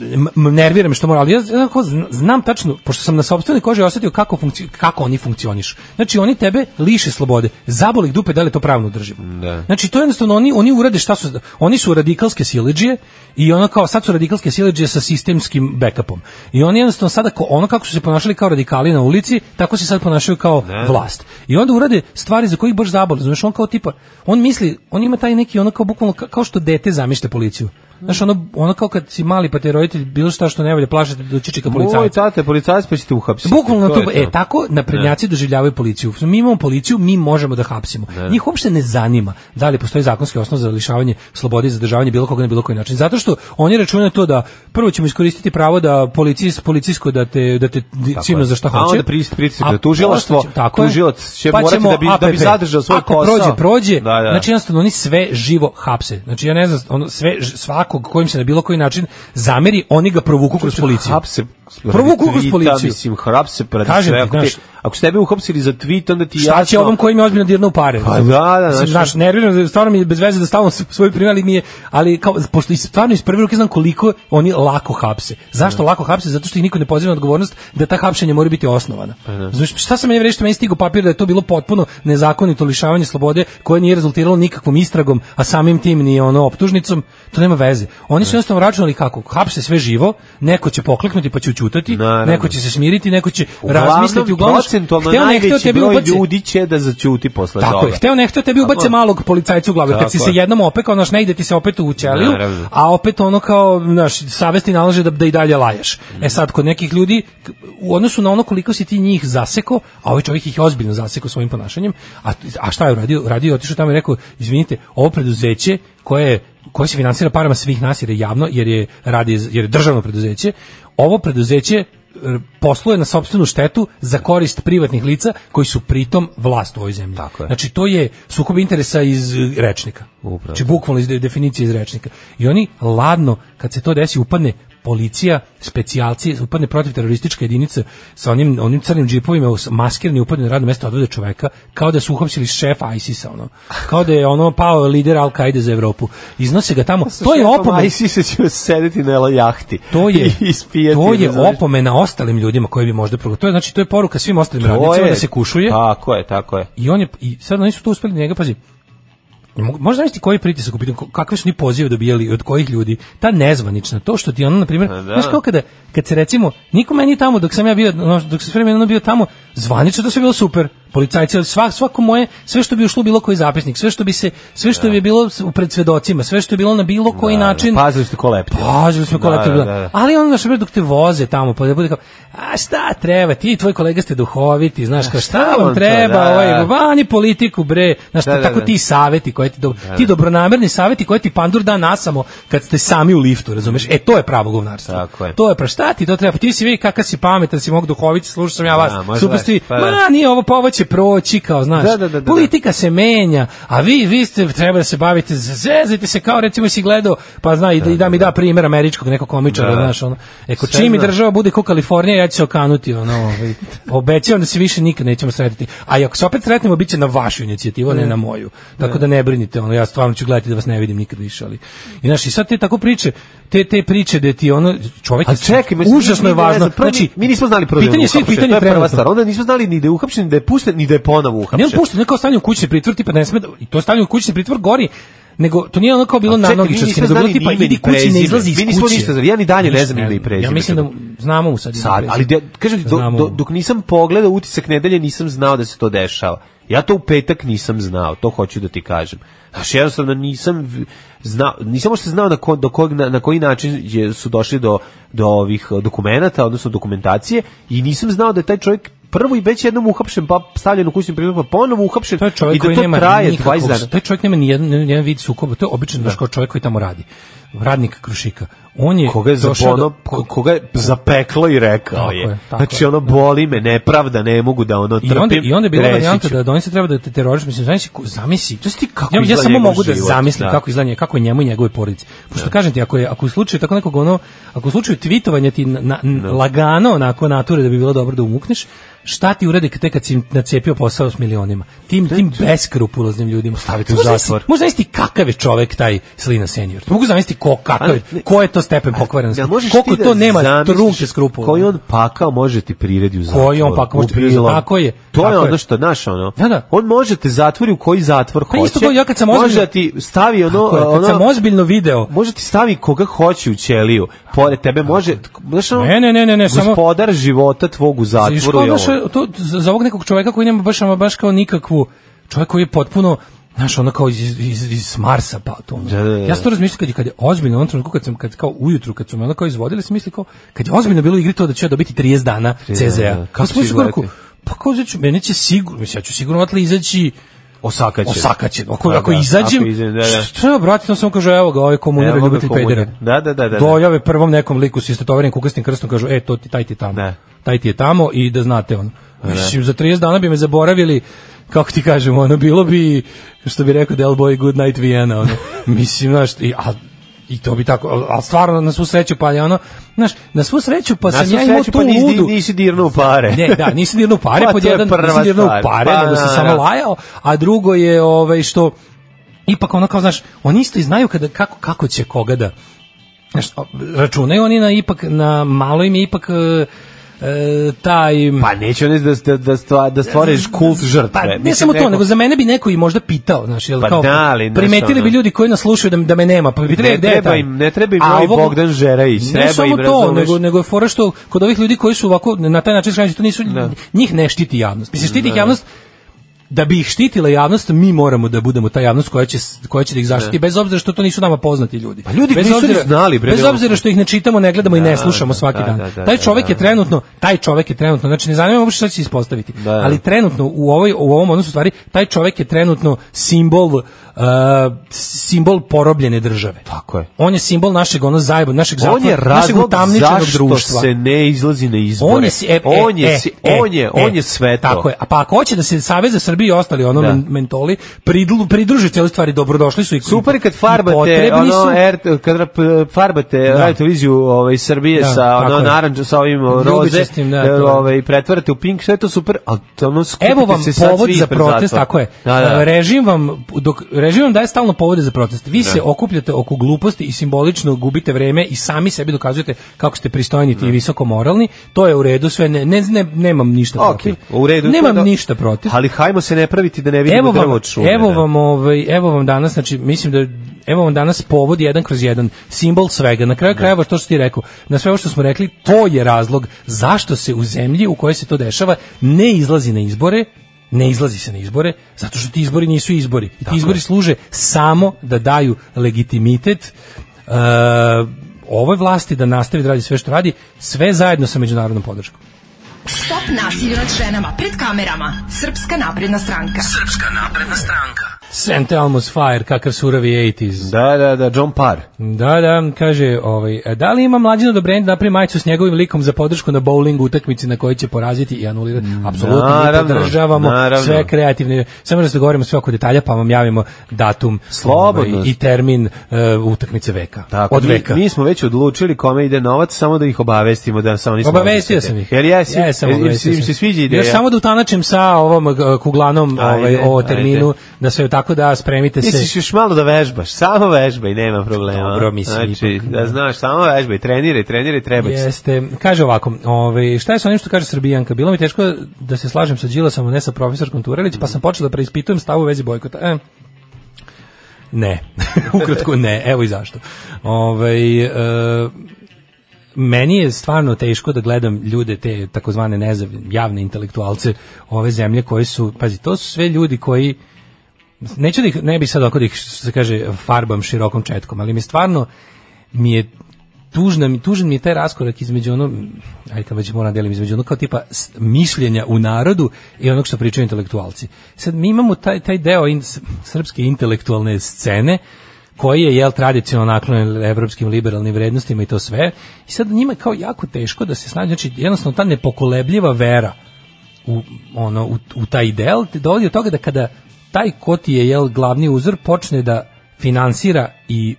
G: m- m- nervira me što mora, ali ja znako zn- znam tačno, pošto sam na sopstvenoj koži osetio kako, funkci, kako oni funkcionišu. Znači, oni tebe liše slobode. Zaboli ih dupe da li je to pravno udrživo.
E: Da.
G: Znači to jednostavno oni oni urade šta su oni su radikalske siledžije i ono kao sad su radikalske siledžije sa sistemskim backupom. I oni jednostavno sada ko, ono kako su se ponašali kao radikali na ulici, tako se sad ponašaju kao vlast. I onda urade stvari za kojih baš zabole, znači on kao tipa on misli, on ima taj neki ono kao bukvalno ka- kao što dete zamišlja policiju. Znaš, ono, ono kao kad si mali pa te roditelj bilo šta što ne volje plašate doći čika
E: Moj
G: policajca.
E: tata je policajac pa će te uhapsiti.
G: Bukvalno
E: To
G: to,
E: je
G: e tako naprednjaci doživljavaju policiju. Mi imamo policiju, mi možemo da hapsimo. Njih uopšte ne zanima da li postoji zakonski osnov za lišavanje slobode i zadržavanje bilo koga na bilo koji način. Zato što oni računaju to da prvo ćemo iskoristiti pravo da policijs, policijsko da te da te cimno
E: je.
G: za šta
E: A
G: hoće.
E: onda prist- pritisak
G: A
E: na tužilaštvo,
G: posle će- tako je. Pa
E: tužilac će morati
G: ćemo
E: da bi- da bi
G: APP.
E: zadržao svoj
G: Ako
E: posao.
G: prođe, prođe.
E: Da, da.
G: Znači jednostavno oni sve živo hapse. Znači ja ne znam, ono sve ž- svakog kojim se na bilo koji način zameri, oni ga provuku kroz policiju.
E: Znači, Hapse
G: Provuku kroz
E: tvita,
G: policiju.
E: Mislim, hapse pred
G: Kažem
E: sve.
G: ti,
E: Ako, te,
G: znaš-
E: ako ste tebe uhapsili za tweet, onda ti jasno...
G: Šta će ovom koji mi ozbiljno dirne u pare?
E: Pa da, da,
G: Mislim,
E: znaš,
G: znaš, nerviram, stvarno mi je bez veze da stavim s- svoj primjer, ali mi je, ali kao, pošto iz- stvarno iz prve ruke znam koliko oni lako hapse. Zašto lako hapse? Zato što ih niko ne poziva na odgovornost da ta hapšenja mora biti osnovana.
E: Pa
G: Znaš, šta sam meni vreći što meni stigao papir da je to bilo potpuno nezakonito lišavanje slobode koje nije rezultiralo nikakvom istragom, a samim tim ni ono optužnicom, to nema veze. Oni su jednostavno računali kako, hapse sve živo, neko će pokleknuti pa će ućutati,
E: Naravno.
G: neko će se smiriti, neko će razmisliti, uglavnom,
E: procentualno
G: hteo ne hteo
E: najveći
G: tebi
E: broj
G: ubaci-
E: ljudi će da zaćuti posle
G: tako
E: toga.
G: je, hteo ne hteo tebi
E: Tako
G: ubace
E: je.
G: malog policajca u glavu, jer
E: Tako
G: kad si se
E: je.
G: jednom opekao, znaš, negde ti se opet u ćeliju,
E: Naravno.
G: a opet ono kao, znaš, savest ti nalaže da, da i dalje laješ. E sad, kod nekih ljudi, k- u odnosu na ono koliko si ti njih zaseko, a ovaj čovjek ih je ozbiljno zaseko svojim ponašanjem, a, a šta je uradio? Radio je otišao tamo i rekao, izvinite, ovo preduzeće koje je koje se finansira parama svih nas jer je javno, jer je, radi, jer je državno preduzeće, ovo preduzeće r- posluje na sopstvenu štetu za korist privatnih lica koji su pritom vlast u ovoj zemlji.
E: Tako je.
G: Znači to je sukob interesa iz e, rečnika.
E: Upravo.
G: Znači bukvalno iz de- definicije iz rečnika. I oni ladno kad se to desi upadne policija, specijalci, upadne protiv terorističke jedinice sa onim, onim crnim džipovima, s- maskirani upadne na radno mesto, odvode čoveka, kao da su uhapsili šefa ISIS-a, ono. Kao da je ono pao lider Al-Qaide za Evropu. Iznose ga tamo. To je
E: Aj,
G: opomen.
E: si se će sedeti na jahti.
G: To je
E: (laughs) I ispijati.
G: to je
E: razumeš?
G: opomena ostalim ljudima koji bi možda progu. To je znači to je poruka svim ostalim
E: To
G: radnicima
E: je- pa
G: da se kušuje
E: Tako je, tako je.
G: i on je i sad oni su to uspeli njega pazi. Ne mogu- Možeš zamisliti koji pritisak u pitanju, ko- kakve su ni pozive dobijali i od kojih ljudi, ta nezvanična, to što ti ono, na primjer,
E: Pa da.
G: znaš kao kada, kad se recimo, niko meni tamo, dok sam ja bio, ono, dok sam vremena bio tamo, zvanično to sve bilo super, policajci, svak, svako moje, sve što bi ušlo u bilo koji zapisnik, sve što bi se, sve što bi bilo s- pred svedocima, sve što je bilo na bilo koji način,
E: Pazili ste ko lepti.
G: Pažili smo ko
E: Da, da,
G: leptir bila.
E: da.
G: Ali ono naš dok te voze tamo, pa da bude kao, a šta treba, ti i tvoj kolega ste duhoviti, znaš, kao, šta
E: vam
G: vam
E: to,
G: treba,
E: da,
G: ovaj,
E: da.
G: vani politiku, bre, znaš,
E: Da, da,
G: tako
E: da.
G: ti saveti koje ti, dobro, ti dobronamerni saveti koje ti pandur da nasamo kad ste sami u liftu, razumeš, e, to je pravo govnarstvo.
E: Tako je.
G: To je, pra šta ti to treba, Pa ti si vidi kakav si pametan, si mog duhoviti, slušao sam ja vas,
E: Da, možda
G: super
E: je,
G: ste vi,
E: pa da.
G: ma nije ovo, pa ovo će proći, kao, znaš,
E: Da, da, da, da, da.
G: politika se menja, a vi, vi ste, treba da se bavite, zezajte se kao, recimo, si gledao, pa zna, i da, i da mi da primjer američkog nekog komičara,
E: Da.
G: znaš, ono, eko,
E: Sve
G: čim mi
E: zna.
G: država bude kao Kalifornija, ja ću se okanuti, ono,
E: (laughs)
G: ovaj, obećavam da se više nikad nećemo sretiti, a i ako se opet sretnemo, bit će na vašu inicijativu, a ne na moju, tako da ne brinite, ono, ja stvarno ću gledati da vas ne vidim nikad više, ali, i znaš, i sad te tako priče, te, te priče da ti, ono, čovek
E: A
G: je,
E: čekaj, mislim,
G: užasno
E: mi-
G: je
E: mi ne
G: važno, Znači,
E: znam, prvo mi- mi nismo znali prvo da je
G: pitanje svih
E: uhapšen,
G: pitanja
E: to je prva
G: trenutno.
E: stvar. Onda nismo znali ni da je uhapšen, ni da je pušten, ni da je ponovo
G: Ne on
E: uhapšen.
G: pušta, ne kao stavlja u kućni pritvor, tipa ne sme, da- i to stavlja u kućni pritvor gori nego to nije ono kao bilo
E: A čekaj, mi
G: nanogičarski,
E: nismo
G: nego bilo
E: znali
G: tipa
E: ni ime,
G: idi
E: ni
G: kući, ne
E: prezime.
G: izlazi iz
E: Mi
G: kuće.
E: nismo ništa znali, ja ni dalje ne
G: Ništa,
E: znam ime
G: evo.
E: i prezime,
G: Ja mislim da mu- znamo mu sad. ime i
E: Sad,
G: prezime.
E: ali de, kažem ti, do,
G: Znamo
E: do,
G: mu.
E: dok nisam pogledao utisak nedelje, nisam znao da se to dešava. Ja to u petak nisam znao, to hoću da ti kažem. Znaš, jednostavno nisam v- znao, nisam možda znao na, ko, do kojeg, na, na koji način je, su došli do, do ovih eh, dokumenata, odnosno dokumentacije, i nisam znao da je taj čovjek prvo i već jednom uhapšen, pa stavljen u kućni pritvor, pa ponovo uhapšen,
G: To je
E: i
G: čovjek
E: da
G: koji
E: to
G: nema
E: traje 20
G: nikakvog-
E: dana.
G: To je čovjek nema ni jedan, ni jedan vid sukoba, to je običan da. kao čovjek koji tamo radi. Radnik Krušika. On je
E: koga je
G: došao
E: zabono,
G: do-
E: ko- koga je zapeklo i rekao
G: Tako
E: je.
G: je, tako
E: znači
G: je.
E: ono boli me, nepravda, ne mogu da ono
G: I
E: trpim.
G: onda, I onda je bila
E: rešiću.
G: varijanta da, da oni se treba da te teroriš, mislim, zamisli, ko- zamisli.
E: To si ti kako
G: ja, ja
E: izgleda
G: samo
E: njegov
G: mogu da
E: život,
G: zamislim
E: da.
G: kako izgleda nje- kako je njemu i njegove porodice. Pošto kažem ti, ako, je, ako u slučaju tako nekog ono, ako u slučaju tvitovanja ti na, na- n- lagano onako nature da bi bilo dobro da umukneš, šta ti uredi kad te kad si nacepio posao s milionima? Tim, tim beskrupuloznim ljudima.
E: Stavite u
G: Možda zamisli-
E: zatvor.
G: Možda zamisliti kakav je čovek taj Slina senior. Mogu zamisliti ko kakav je,
E: Ali ne-
G: ko je to stepen pokvarenosti.
E: Jel možeš
G: Koliko
E: ti da
G: to nema
E: zamisliš
G: trunke skrupula.
E: Koji on pakao može ti priredi u zatvor.
G: Koji on pakao može ti
E: u
G: priredi,
E: bilo.
G: tako je,
E: To je
G: tako
E: ono
G: je.
E: što, znaš ono,
G: Da, da.
E: on može te zatvori u koji zatvor
G: Pa
E: hoće.
G: isto kao ja kad sam
E: Može
G: ozbiljno-
E: da ti stavi ono,
G: Tako je, kad
E: ono
G: sam ozbiljno video
E: Može ti stavi koga hoće u ćeliju. Pored tebe može, znaš ono,
G: Ne, ne, ne, ne, ne, samo-
E: gospodar života tvog u
G: Znaš,
E: zatvoru
G: kao
E: je
G: baš,
E: on.
G: to, za za ovog nekog čoveka koji nema baš, ama baš kao nikakvu, čovjek koji je potpuno Znaš, ono kao iz, iz, iz Marsa pa to ono.
E: Da, da, da.
G: Ja sam to razmišljao kad je, kad je ozbiljno, u onom trenutku kad sam, kad kao ujutru, kad su me ono kao izvodili, sam mislio kao, kad je ozbiljno bilo u igri to da ću ja dobiti 30 dana
E: dana,
G: CZ-a.
E: kako
G: Pa
E: će
G: smo se
E: izgledati?
G: gorku, pa kao da ću, meni će sigurno, mislim, ja ću sigurno odatle izaći
E: Osakaćen.
G: osakaćen. Ako,
E: Da,
G: ako
E: da,
G: izađem,
E: ako izađem, da, da.
G: što je, brate, to samo kaže, evo ga, ovaj komunar,
E: Evo ga
G: ljubitelj
E: komunar.
G: pedera.
E: Da, da, da, da, da.
G: Dojave prvom nekom liku s istetovanim kukasnim krstom, kažu, e, to ti, taj ti tamo.
E: Da.
G: Taj ti je tamo i da znate, ono. Mislim, za 30 dana bi me zaboravili, kako ti kažem, ono, bilo bi, što bi rekao Del Boy, Good Night
E: (laughs)
G: Vienna, ono. Mislim, znaš, i, a, i to bi tako, a- a stvarno na svu sreću pa je ono, znaš, na svu sreću pa
E: Na
G: sam
E: svu
G: ja imao
E: sreću,
G: tu
E: pa nisi,
G: ludu.
E: nisi dirnuo pare.
G: Ne,
E: (laughs)
G: da, nisi dirnuo pare,
E: E, Pa,
G: pod
E: to je
G: jedan,
E: prva
G: nisi dirnuo
E: stvar.
G: pare,
E: Pa,
G: nego
E: da,
G: si samo
E: da.
G: lajao, a drugo je ovaj, što ipak ono kao, znaš, oni isto i znaju kada, kako, kako će koga da, znaš, računaju oni na ipak, na malo im je ipak e, e, taj...
E: Pa neće oni da, da, da, stva- da stvoriš kult žrtve.
G: Pa, ne
E: Mislim,
G: samo to,
E: neko-
G: nego za mene bi neko i možda pitao, znaš, jel
E: Pa
G: kao
E: da, ali, znaš,
G: primetili bi
E: ono-
G: ljudi koji nas slušaju da, da me nema, pa bi
E: Ne
G: trebao gde je
E: treba
G: taj?
E: im- ne treba im
G: A
E: ovaj
G: ovog-
E: Bogdan Žerajić,
G: Ne
E: treba
G: samo
E: im,
G: to,
E: razumeš?
G: nego nego je fora što kod ovih ljudi koji su ovako na taj način skrajni, to nisu njih ne štiti javnost. Mislim štiti ih javnost da bi ih štitila javnost, mi moramo da budemo ta javnost koja će, s- koja će da ih zaštiti, bez obzira što to nisu nama poznati ljudi. Pa
E: ljudi
G: bez
E: nisu ni znali, bre,
G: bez
E: da-
G: obzira što ih ne čitamo, ne gledamo i ne slušamo
E: da,
G: svaki
E: da,
G: dan.
E: da, da,
G: taj
E: da,
G: čovek
E: da,
G: je trenutno, taj čovek je trenutno, znači ne zanima me uopšte šta će se ispostaviti,
E: Da, da.
G: ali trenutno u ovoj u ovom odnosu stvari taj čovek je trenutno simbol uh, simbol porobljene države.
E: Tako je.
G: On je simbol našeg ono zajeba, našeg
E: On je
G: zatvora, našeg
E: razlog
G: utamničenog
E: zašto
G: društva.
E: se ne izlazi na izbore.
G: On je, si- e,
E: on je,
G: e,
E: si-
G: e,
E: on je,
G: e,
E: on je
G: e.
E: sve to.
G: Tako je. A pa ako hoće da se Savez za Srbiju i ostali ono
E: Da.
G: men- mentoli pridlu, pridruže cijeloj stvari, dobrodošli su i
E: Super je kad
G: i
E: farbate
G: potrebni
E: ono
G: su.
E: er, kad rap- farbate da. radio televiziju ovaj Srbije
G: Da,
E: sa ono
G: tako je.
E: narandža sa ovim roze
G: Ljubičastim, da, to je.
E: ovaj pretvarate u pink sve je to super a to ono skupite
G: Evo vam
E: se sad
G: povod
E: svi
G: za
E: ispred
G: protest,
E: zatvora.
G: tako je.
E: Da, da.
G: Režim vam dok režim vam daje stalno povode za protest. Vi se okupljate oko gluposti i simbolično gubite vreme i sami sebi dokazujete kako ste pristojni i visoko moralni. To je u redu, sve ne, ne, ne nemam ništa protiv.
E: Okej, u redu. to
G: Nemam
E: da-
G: ništa protiv.
E: Ali hajmo se ne praviti da ne vidimo
G: Evo
E: drvo
G: vam,
E: od šume.
G: evo
E: da.
G: vam, ovaj, evo vam danas, znači, mislim da evo vam danas povod jedan kroz jedan, simbol svega. Na kraju krajeva, to što ti rekao, na sve ovo što smo rekli, to je razlog zašto se u zemlji u kojoj se to dešava ne izlazi na izbore, ne izlazi se na izbore, zato što ti izbori nisu izbori. I ti izbori služe samo da daju legitimitet e, ovoj vlasti da nastavi da radi sve što radi, sve zajedno sa međunarodnom podrškom.
D: Stop nasilju nad ženama pred kamerama. Srpska napredna stranka.
G: St. Elmo's Fire, kakav suravi 80s.
E: Da, da, da, John Parr.
G: Da, da, kaže, ovaj, e, da li ima mlađino do brenda napravi majicu s njegovim likom za podršku na bowling utakmici na kojoj će poraziti i anulirati?
E: Mm,
G: Apsolutno,
E: naravno,
G: mi podržavamo
E: naravno.
G: sve kreativne. Samo da se dogovorimo sve oko detalja, pa vam javimo datum
E: Slobodno.
G: ovaj, i termin e, utakmice veka.
E: Tako,
G: od
E: mi-
G: veka.
E: Mi, smo već odlučili kome ide novac, samo da ih obavestimo da samo nismo.
G: Obavestio
E: obavestili.
G: sam ih.
E: Jel jesi?
G: Jesam,
E: Jel- jel-
G: obavestio
E: im
G: sam.
E: se sviđa ideja?
G: Još samo da utanačim sa ovom e, kuglanom ovaj,
E: Ajde,
G: o terminu, da sve tako da spremite
E: Ti
G: se.
E: ćeš još malo da vežbaš, samo vežbaj, nema problema.
G: Dobro, mislim,
E: Znači,
G: ipak,
E: da
G: da.
E: znaš, samo vežbaj, treniraj, treniraj, treba će. se.
G: Jeste, kaže ovako, ovaj, šta je sa onim što kaže Srbijanka? Bilo mi teško da se slažem sa Đilasom, a ne sa profesorkom Turelić, pa sam počela da preispitujem stavu u vezi bojkota. E, Ne. (laughs) Ukratko ne. Evo i zašto. Ovaj e, meni je stvarno teško da gledam ljude te takozvane nezavne javne intelektualce ove zemlje koji su, pazi, to su sve ljudi koji neću da ih, ne bi sad oko da ih, što se kaže, farbam širokom četkom, ali mi stvarno mi je tužna, mi- tužan mi je taj raskorak između ono, ajde kad već moram da delim, između ono kao tipa s- mišljenja u narodu i onog što pričaju intelektualci. Sad mi imamo taj, taj deo in, s- srpske intelektualne scene koji je jel tradicionalno naklonjen evropskim liberalnim vrednostima i to sve. I sad njima je kao jako teško da se snađe, znači jednostavno ta nepokolebljiva vera u, ono, u, u taj ideal te dovodi do toga da kada taj ko ti je jel, glavni uzor počne da finansira i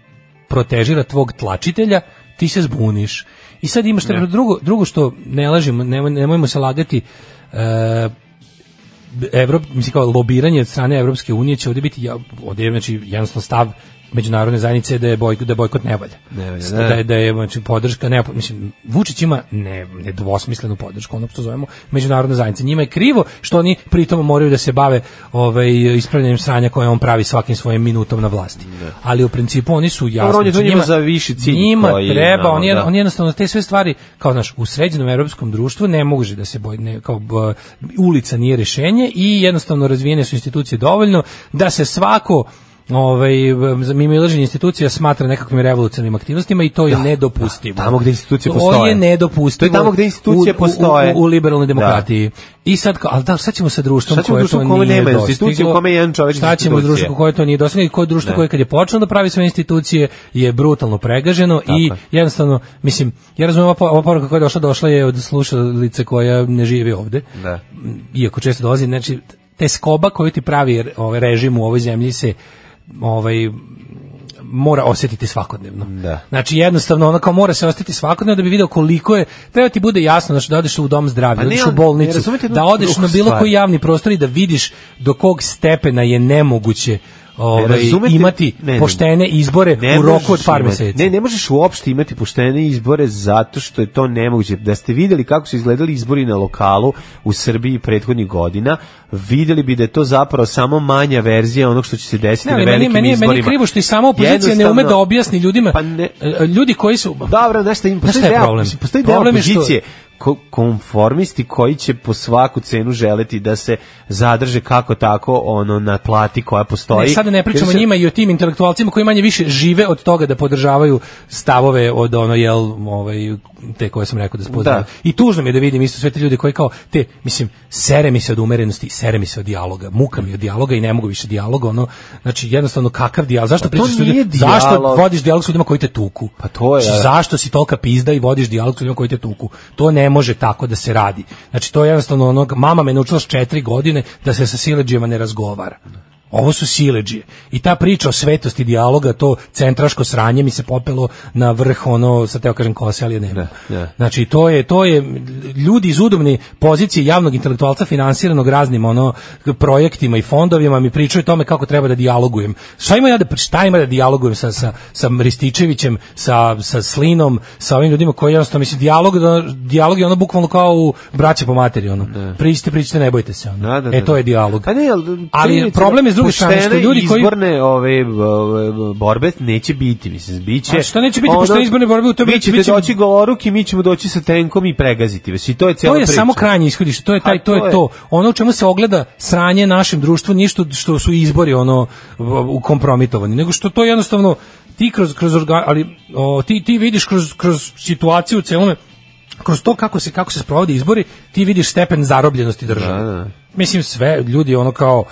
G: protežira tvog tlačitelja, ti se zbuniš. I sad imaš tebe drugo, drugo što ne lažimo, nemoj, nemojmo se lagati, e, Evrop, mislim kao lobiranje od strane Evropske unije će ovdje biti ja, ovdje je, znači jednostavno stav međunarodne zajednice je da je bojkot da bojkot ne valja.
E: Ne valja,
G: da.
E: da.
G: da je da je znači podrška ne mislim Vučić ima ne nedvosmislenu podršku ono što zovemo međunarodna zajednica. Njima je krivo što oni pritom moraju da se bave ovaj ispravljanjem sranja koje on pravi svakim svojim minutom na vlasti. Ali u principu oni su jasni.
E: Dobro, on je to
G: znači,
E: njima za viši cilj
G: Njima
E: koji,
G: treba,
E: znamo,
G: on, je,
E: da.
G: on jednostavno te sve stvari kao znaš u sređenom evropskom društvu ne može da se boj ne, kao b, ulica nije rješenje i jednostavno razvijene su institucije dovoljno da se svako ovaj mimilaženje institucija smatra nekakvim revolucionarnim aktivnostima i to je nedopustivo.
E: tamo gde institucije
G: To
E: postoje.
G: je nedopustivo.
E: To je tamo gde institucije
G: u- u-
E: postoje.
G: U, u, liberalnoj demokratiji. I sad kao, ali da, sad ćemo sa društvom
E: Šta ćemo
G: koje
E: društvo
G: to
E: u kome
G: nije
E: nema
G: dostiglo.
E: institucije, u kome je jedan čovek
G: Šta ćemo s
E: institucije?
G: društvom koje to nije dostiglo i koje društvo koje kad je počelo da pravi svoje institucije je brutalno pregaženo i
E: je.
G: jednostavno, mislim, ja razumijem ova, po- ova poruka koja je došla, došla je od slušalice koja ne živi ovde. Mm,
E: Da.
G: Iako često dolazi, znači, te skoba koju ti pravi ovaj režim u ovoj zemlji se ovaj mora osjetiti svakodnevno.
E: Da.
G: Znači jednostavno ono kao mora se osjetiti svakodnevno da bi video koliko je treba ti bude jasno znači da odeš u dom zdravlja,
E: Pa
G: da
E: ne,
G: odeš
E: ali
G: u
E: ne
G: bolnicu,
E: razumete jednu
G: da odeš na
E: drugu
G: bilo
E: stvar.
G: koji javni prostor i da vidiš do kog stepena je nemoguće ovaj,
E: razumete-
G: imati
E: ne, ne.
G: poštene izbore
E: Ne
G: u roku
E: možeš
G: od par
E: imati-
G: meseci.
E: Ne, ne možeš uopšte imati poštene izbore zato što je to nemoguće. Da ste videli kako su izgledali izbori na lokalu u Srbiji prethodnih godina, videli bi da je to zapravo samo manja verzija onog što će se desiti
G: Ne, ali
E: na
G: meni,
E: velikim
G: meni, je-
E: izborima.
G: meni je krivo što i sama opozicija ne ume
E: Jednostavno-
G: da objasni ljudima,
E: Pa ne-
G: e, ljudi koji su...
E: Dobro, nešto im
G: Znaš
E: postoji
G: šta je
E: deo,
G: problem?
E: mislim, postoji deo
G: Problem je što-
E: opozicije ko- konformisti koji će po svaku cenu želeti da se zadrže kako tako ono na plati koja postoji.
G: Ne, sada ne pričamo o
E: Jer se-
G: njima i o tim intelektualcima koji manje više žive od toga da podržavaju stavove od ono jel ovaj te koje sam rekao da spoznaju.
E: Da.
G: I tužno mi je da vidim isto sve te ljude koji kao te mislim sere mi se od umerenosti, sere mi se od dijaloga, muka mi od dijaloga i ne mogu više dijaloga, ono znači jednostavno kakav dijalog,
E: Pa
G: zašto
E: to
G: pričaš s
E: nije
G: ljudima, zašto
E: dijalog.
G: vodiš dijalog s ljudima koji te tuku?
E: Pa to je,
G: Znači,
E: da.
G: zašto si tolika pizda i vodiš dijalog sa ljudima koji te tuku? To ne može tako da se radi. Znači, to je jednostavno onog, mama me naučila s četiri godine da se sa sileđijama ne razgovara. Ovo su sileđije. I ta priča o svetosti dijaloga, to centraško sranje mi se popelo na vrh ono, sa teo kažem kose, ali je nema.
E: Da, da.
G: Znači, to je, to je ljudi iz udobne pozicije javnog intelektualca finansiranog raznim ono projektima i fondovima mi pričaju o tome kako treba da dijalogujem. Šta ima ja da, šta ima da dijalogujem sa, sa, sa Rističevićem, sa, sa Slinom, sa ovim ljudima koji jednostavno, mislim, dijalog, dijalog je ono bukvalno kao u braće po materi, ono. Pričite, pričite, ne bojte se, ono.
E: Da, da,
G: e,
E: da,
G: to
E: da.
G: je dijalog.
E: Pa ne, ali,
G: Ali
E: činjenica
G: problem je s druge
E: da
G: strane što
E: poštene
G: ljudi koji-
E: izborne ove b- b- borbe neće biti, mislim, biće.
G: A što neće biti poštene izborne borbe, to
E: vi
G: biće-
E: ćete
G: biće-
E: doći goloruk i mi ćemo doći sa tenkom i pregaziti vas. I to je cela
G: to je
E: priča.
G: samo krajnje ishodište, to je taj
E: A,
G: to
E: to
G: je
E: je.
G: to. Ono u čemu se ogleda sranje našem društvu nije što, što su izbori ono u kompromitovani, nego što to jednostavno ti kroz kroz orga- ali o, ti ti vidiš kroz kroz situaciju u celome kroz to kako se kako se sprovode izbori, ti vidiš stepen zarobljenosti države. Mislim sve ljudi ono kao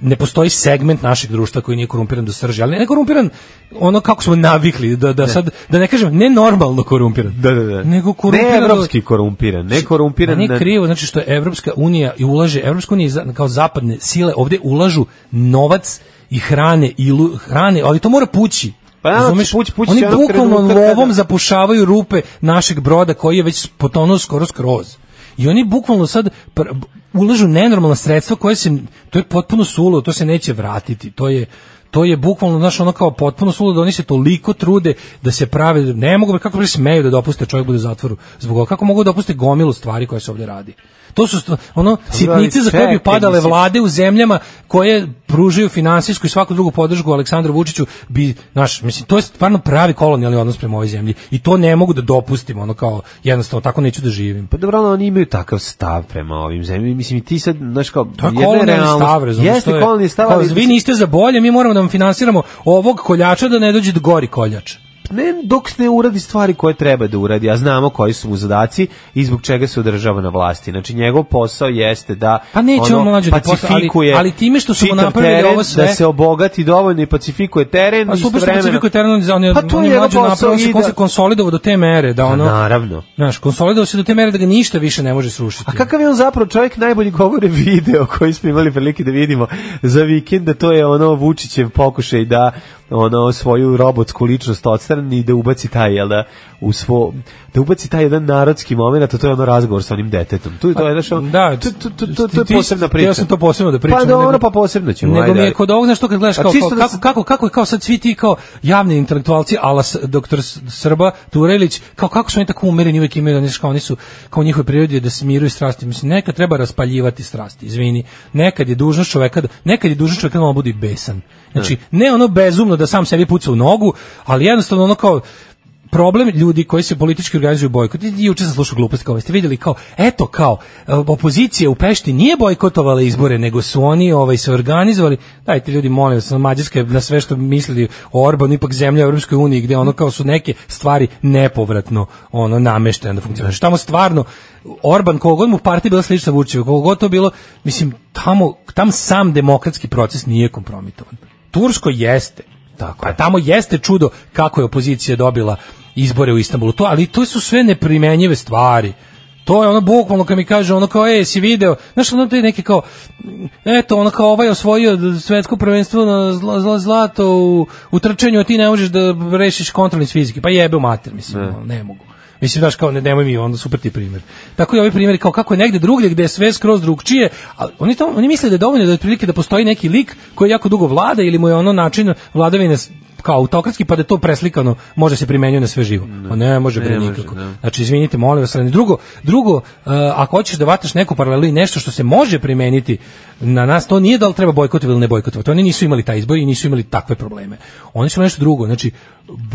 G: ne postoji segment našeg društva koji nije korumpiran do srži, ali ne korumpiran ono kako smo navikli da da sad da ne kažem ne normalno korumpiran.
E: Da, da, da.
G: Nego korumpiran.
E: Ne
G: do-
E: evropski korumpiran, ne korumpiran.
G: meni je
E: na-
G: krivo, znači što je Evropska unija i ulaže, Evropska unija i za- kao zapadne sile ovde ulažu novac i hrane, i lu- hrane, ali to mora pući.
E: Pa naravno,
G: Razumeš?
E: pući- pući
G: Oni
E: će jednog
G: bukvalno
E: trenutka
G: lovom
E: kada-
G: zapušavaju rupe našeg broda koji je već potonuo skoro skroz. I oni bukvalno sad pr- ulažu nenormalna sredstva koje se, to je potpuno sulo, to se neće vratiti, to je to je bukvalno znaš ono kao potpuno sulo da oni se toliko trude da se prave ne mogu bre, kako bre smeju da dopuste da čovjek bude u zatvoru zbog ovoga kako mogu da dopuste gomilu stvari koje se ovdje radi To su stva- ono sitnice za koje bi
E: Pa čekaj,
G: padale
E: mislim.
G: vlade u zemljama koje pružaju finansijsku i svaku drugu podršku Aleksandru Vučiću bi naš mislim to je stvarno pravi kolonijalni odnos prema ovoj zemlji i to ne mogu da dopustim ono kao jednostavno tako neću da živim.
E: Pa dobro, ono, oni imaju takav stav prema ovim zemljama. Mislim, i ti sad, znaš kao,
G: To je
E: jedna je
G: kolonijalni
E: realnost.
G: stav, razumiješ,
E: Jeste
G: to je-
E: kolonijalni stav,
G: kao,
E: ali
G: vi niste za bolje, mi moramo da vam finansiramo ovog koljača da ne dođe do gori Pa koljač.
E: ne, dok ne uradi stvari koje treba da uradi, a znamo koji su mu zadaci i zbog čega se održava na vlasti. Znači, njegov posao jeste da ono,
G: Pa neće on mlađe da posla- ali-
E: pacifikuje
G: ali time što su mu
E: čitav
G: napravili
E: teren,
G: ovo sve-
E: da se obogati dovoljno i pacifikuje teren.
G: Pa super što
E: istovremeno-
G: Pacifico Eternal za on,
E: Pa to
G: on
E: je
G: je
E: njegov
G: mlađo
E: posao
G: napravio
E: i
G: se, on
E: da- Pa
G: se konsolidovao do te mere da ono...
E: Naravno.
G: Znaš, konsolidovao se do te mere da ga ništa više ne može srušiti.
E: A Pa kakav je on zapravo čovjek najbolji govore video koji smo imali prilike da vidimo za vikend, da to je ono Vučićev pokušaj da ono svoju robotsku ličnost odstrani i da ubaci taj jel da u svo da ubaci taj jedan narodski momenat, a to je ono razgovor sa onim detetom. Tu je to je znaš, ono-
G: Pa, Da,
E: to, to, to, to, to
G: ti-
E: je posebna priča.
G: Ja sam to posebno da pričam.
E: Pa dobro, pa posebno ćemo.
G: Nego
E: ajde,
G: mi je
E: ajde.
G: kod ovog, znaš to kad gledaš
E: A
G: kao,
E: čisto
G: kao
E: da
G: kako,
E: se-
G: kako, kako, kao sad svi ti kao javni intelektualci, ala s- doktor S- Srba, Turelić, kao kako su oni tako umereni, uvijek imaju, znaš, kao oni su, kao u njihovoj prirodi je da smiruju strasti. Mislim, nekad treba raspaljivati strasti, izvini. Nekad je dužnost čoveka, da- nekad je dužnost čoveka da malo bude i besan. Znači, ne ono bezumno da sam sebi puca u nogu, ali jednostavno ono kao, problem ljudi koji se politički organizuju bojkot. I Juče sam slušao gluposti kao ste vidjeli kao eto kao e, opozicija u Pešti nije bojkotovala izbore nego su oni ovaj se organizovali. Dajte ljudi molim vas, Mađarska je na sve što mislili o Orbanu ipak zemlja u Europskoj uniji gde ono kao su neke stvari nepovratno ono nameštene da funkcionišu. Znači, Tamo stvarno Orban koliko god mu partija bila slična Vučiću, koliko god to bilo, mislim tamo tam sam demokratski proces nije kompromitovan. Tursko jeste, tako A Pa tamo jeste čudo kako je opozicija dobila izbore u Istanbulu. To, ali to su sve neprimenjive stvari. To je ono bukvalno kad mi kaže ono kao, e, si video, znaš ono te neke kao, mm, eto, ono kao ovaj osvojio svetsko prvenstvo na zla, zla- zlato u, u trčanju, a ti ne možeš da rešiš kontrolni iz fizike. Pa jebe u mater, mislim, ono, ne mogu. Mislim, znaš, kao, ne, nemoj mi, onda super ti primjer. Tako i ovi primjeri, kao kako je negde drugdje, gde je sve skroz drugčije, a oni, to, oni misle da je dovoljno da otprilike da postoji neki lik koji jako dugo vlada ili mu je ono način vladavine s- kao autokratski, pa da je to preslikano može se primenjuje na sve živo. Ne, ne može bre nikako. Znači, izvinite, molim vas, ali drugo, drugo, e, ako hoćeš da vataš neku paralelu i nešto što se može primeniti na nas, to nije da li treba bojkotovati ili ne bojkotovati. Oni nisu imali taj izbor i nisu imali takve probleme. Oni su nešto drugo. Znači,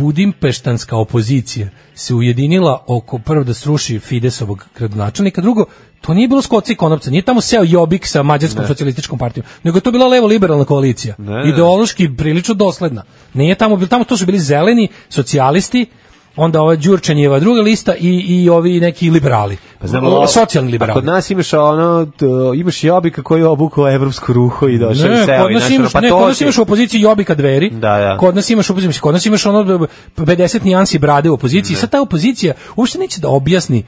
G: budimpeštanska opozicija se ujedinila oko prvo da sruši Fidesovog gradonačelnika, drugo, to nije bilo skoci i konopca, nije tamo seo Jobik sa Mađarskom socijalističkom partijom, nego je to bila levo-liberalna koalicija,
E: ne.
G: ideološki prilično dosledna. Nije tamo bilo, tamo to su bili zeleni, socijalisti, onda ova Đurčanjeva druga lista i, i ovi neki liberali,
E: Pa
G: O, socijalni
E: a
G: liberali.
E: Kod nas imaš ono, t- imaš Jobika koji je obukao evropsku ruho i došao i
G: Ne,
E: seo.
G: kod
E: i
G: nas
E: znaš, ono,
G: imaš,
E: pa
G: ne,
E: to
G: kod nas
E: ti-
G: imaš u opoziciji Jobika dveri.
E: Da, da.
G: Kod nas imaš u opoziciji, kod nas imaš ono b- b- 50 nijansi brade u opoziciji. Sad ta opozicija uopšte neće da objasni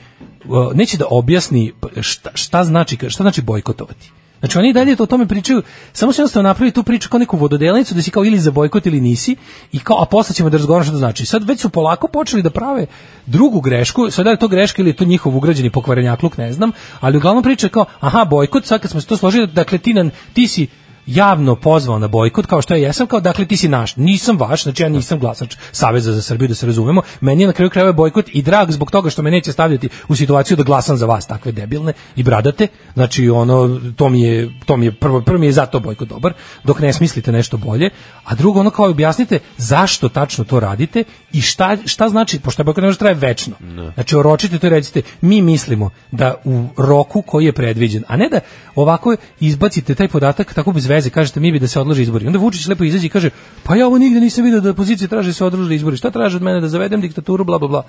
G: uh, neće da objasni šta, šta znači šta znači bojkotovati. Znači oni i dalje to o tome pričaju, samo se jednostavno napravi tu priču kao neku vododelnicu da si kao ili za bojkot ili nisi i kao a posle ćemo da razgovaramo šta to znači. Sad već su polako počeli da prave drugu grešku, sad da li je to greška ili je to njihov ugrađeni pokvarenjakluk, ne znam, ali uglavnom priča je kao aha bojkot, sad kad smo se to složili, dakle ti, na, ti si javno pozvao na bojkot kao što ja jesam kao dakle ti si naš nisam vaš znači ja nisam glasač Saveza za Srbiju da se razumemo meni je na kraju krajeva bojkot i drag zbog toga što me neće stavljati u situaciju da glasam za vas takve debilne i bradate znači ono to mi je to mi je prvo prvo mi je zato bojkot dobar dok ne smislite nešto bolje a drugo ono kao objasnite zašto tačno to radite i šta šta znači pošto bojkot ne može da traje večno znači oročite to i recite mi mislimo da u roku koji je predviđen a ne da ovako izbacite taj podatak tako bez veze, kažete mi bi da se odlože izbori. Onda Vučić lepo izađe i kaže, pa ja ovo nigde nisam vidio da opozicija traži da se odlože izbori. Šta traže od mene da zavedem diktaturu, bla, bla, bla.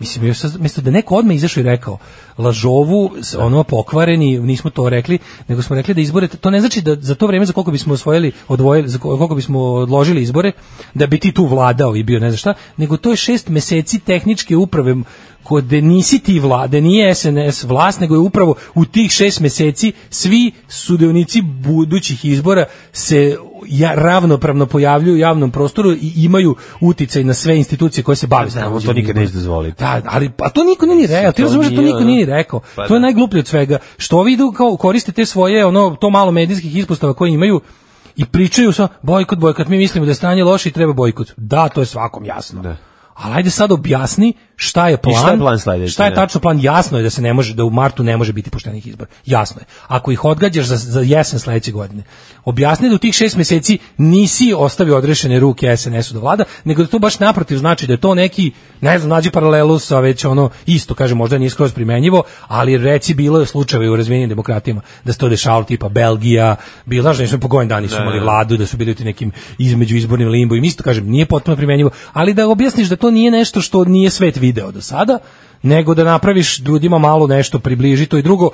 G: Mislim, još sad- umjesto da neko odmah izašao i rekao, lažovu, s- ono pokvareni, nismo to rekli, nego smo rekli da izbore, to ne znači da za to vreme za koliko bismo osvojili, odvojili, za ko- koliko bismo odložili izbore, da bi ti tu vladao i bio ne znam šta, nego to je šest meseci tehničke uprave kod nisi ti vlade, nije SNS vlast, nego je upravo u tih šest meseci svi sudionici budućih izbora se ja, ravnopravno pojavljuju u javnom prostoru i imaju uticaj na sve institucije koje se bave
E: Znamo, to
G: sprovođenjem
E: nikad
G: izbora.
E: neće dozvoliti.
G: Da, ali pa to niko nije ni rekao. Ti
E: to
G: razumeš da to
E: nije,
G: niko
E: ono.
G: nije ni rekao.
E: Pa
G: to je
E: da.
G: najgluplje od svega. Što ovi idu kao koriste te svoje ono to malo medijskih ispostava koje imaju i pričaju sa bojkot, bojkot, mi mislimo da je stanje loše i treba bojkot. Da, to je svakom jasno. Ali ajde sad objasni šta je plan,
E: I šta je plan sledeći,
G: šta je
E: da.
G: tačno plan, jasno je da se ne može, da u martu ne može biti poštenih izbora. Jasno je. Ako ih odgađaš za, za jesen sledeće godine, objasni da u tih šest meseci nisi ostavio odrešene ruke SNS-u do vlada, nego da to baš naprotiv znači da je to neki, ne znam, nađi paralelu sa već ono isto, kaže, možda nije skroz primenjivo, ali reci bilo je slučajeva i u razvijenim demokratijama da se to dešavalo tipa Belgija, bilo, znaš, nešto po gojen dani su imali vladu, da su bili u tim nekim između izbornim limbo i isto kažem, nije potpuno primenjivo, ali da objasniš da to nije nešto što nije svet video do sada, nego da napraviš ljudima malo nešto približi to i drugo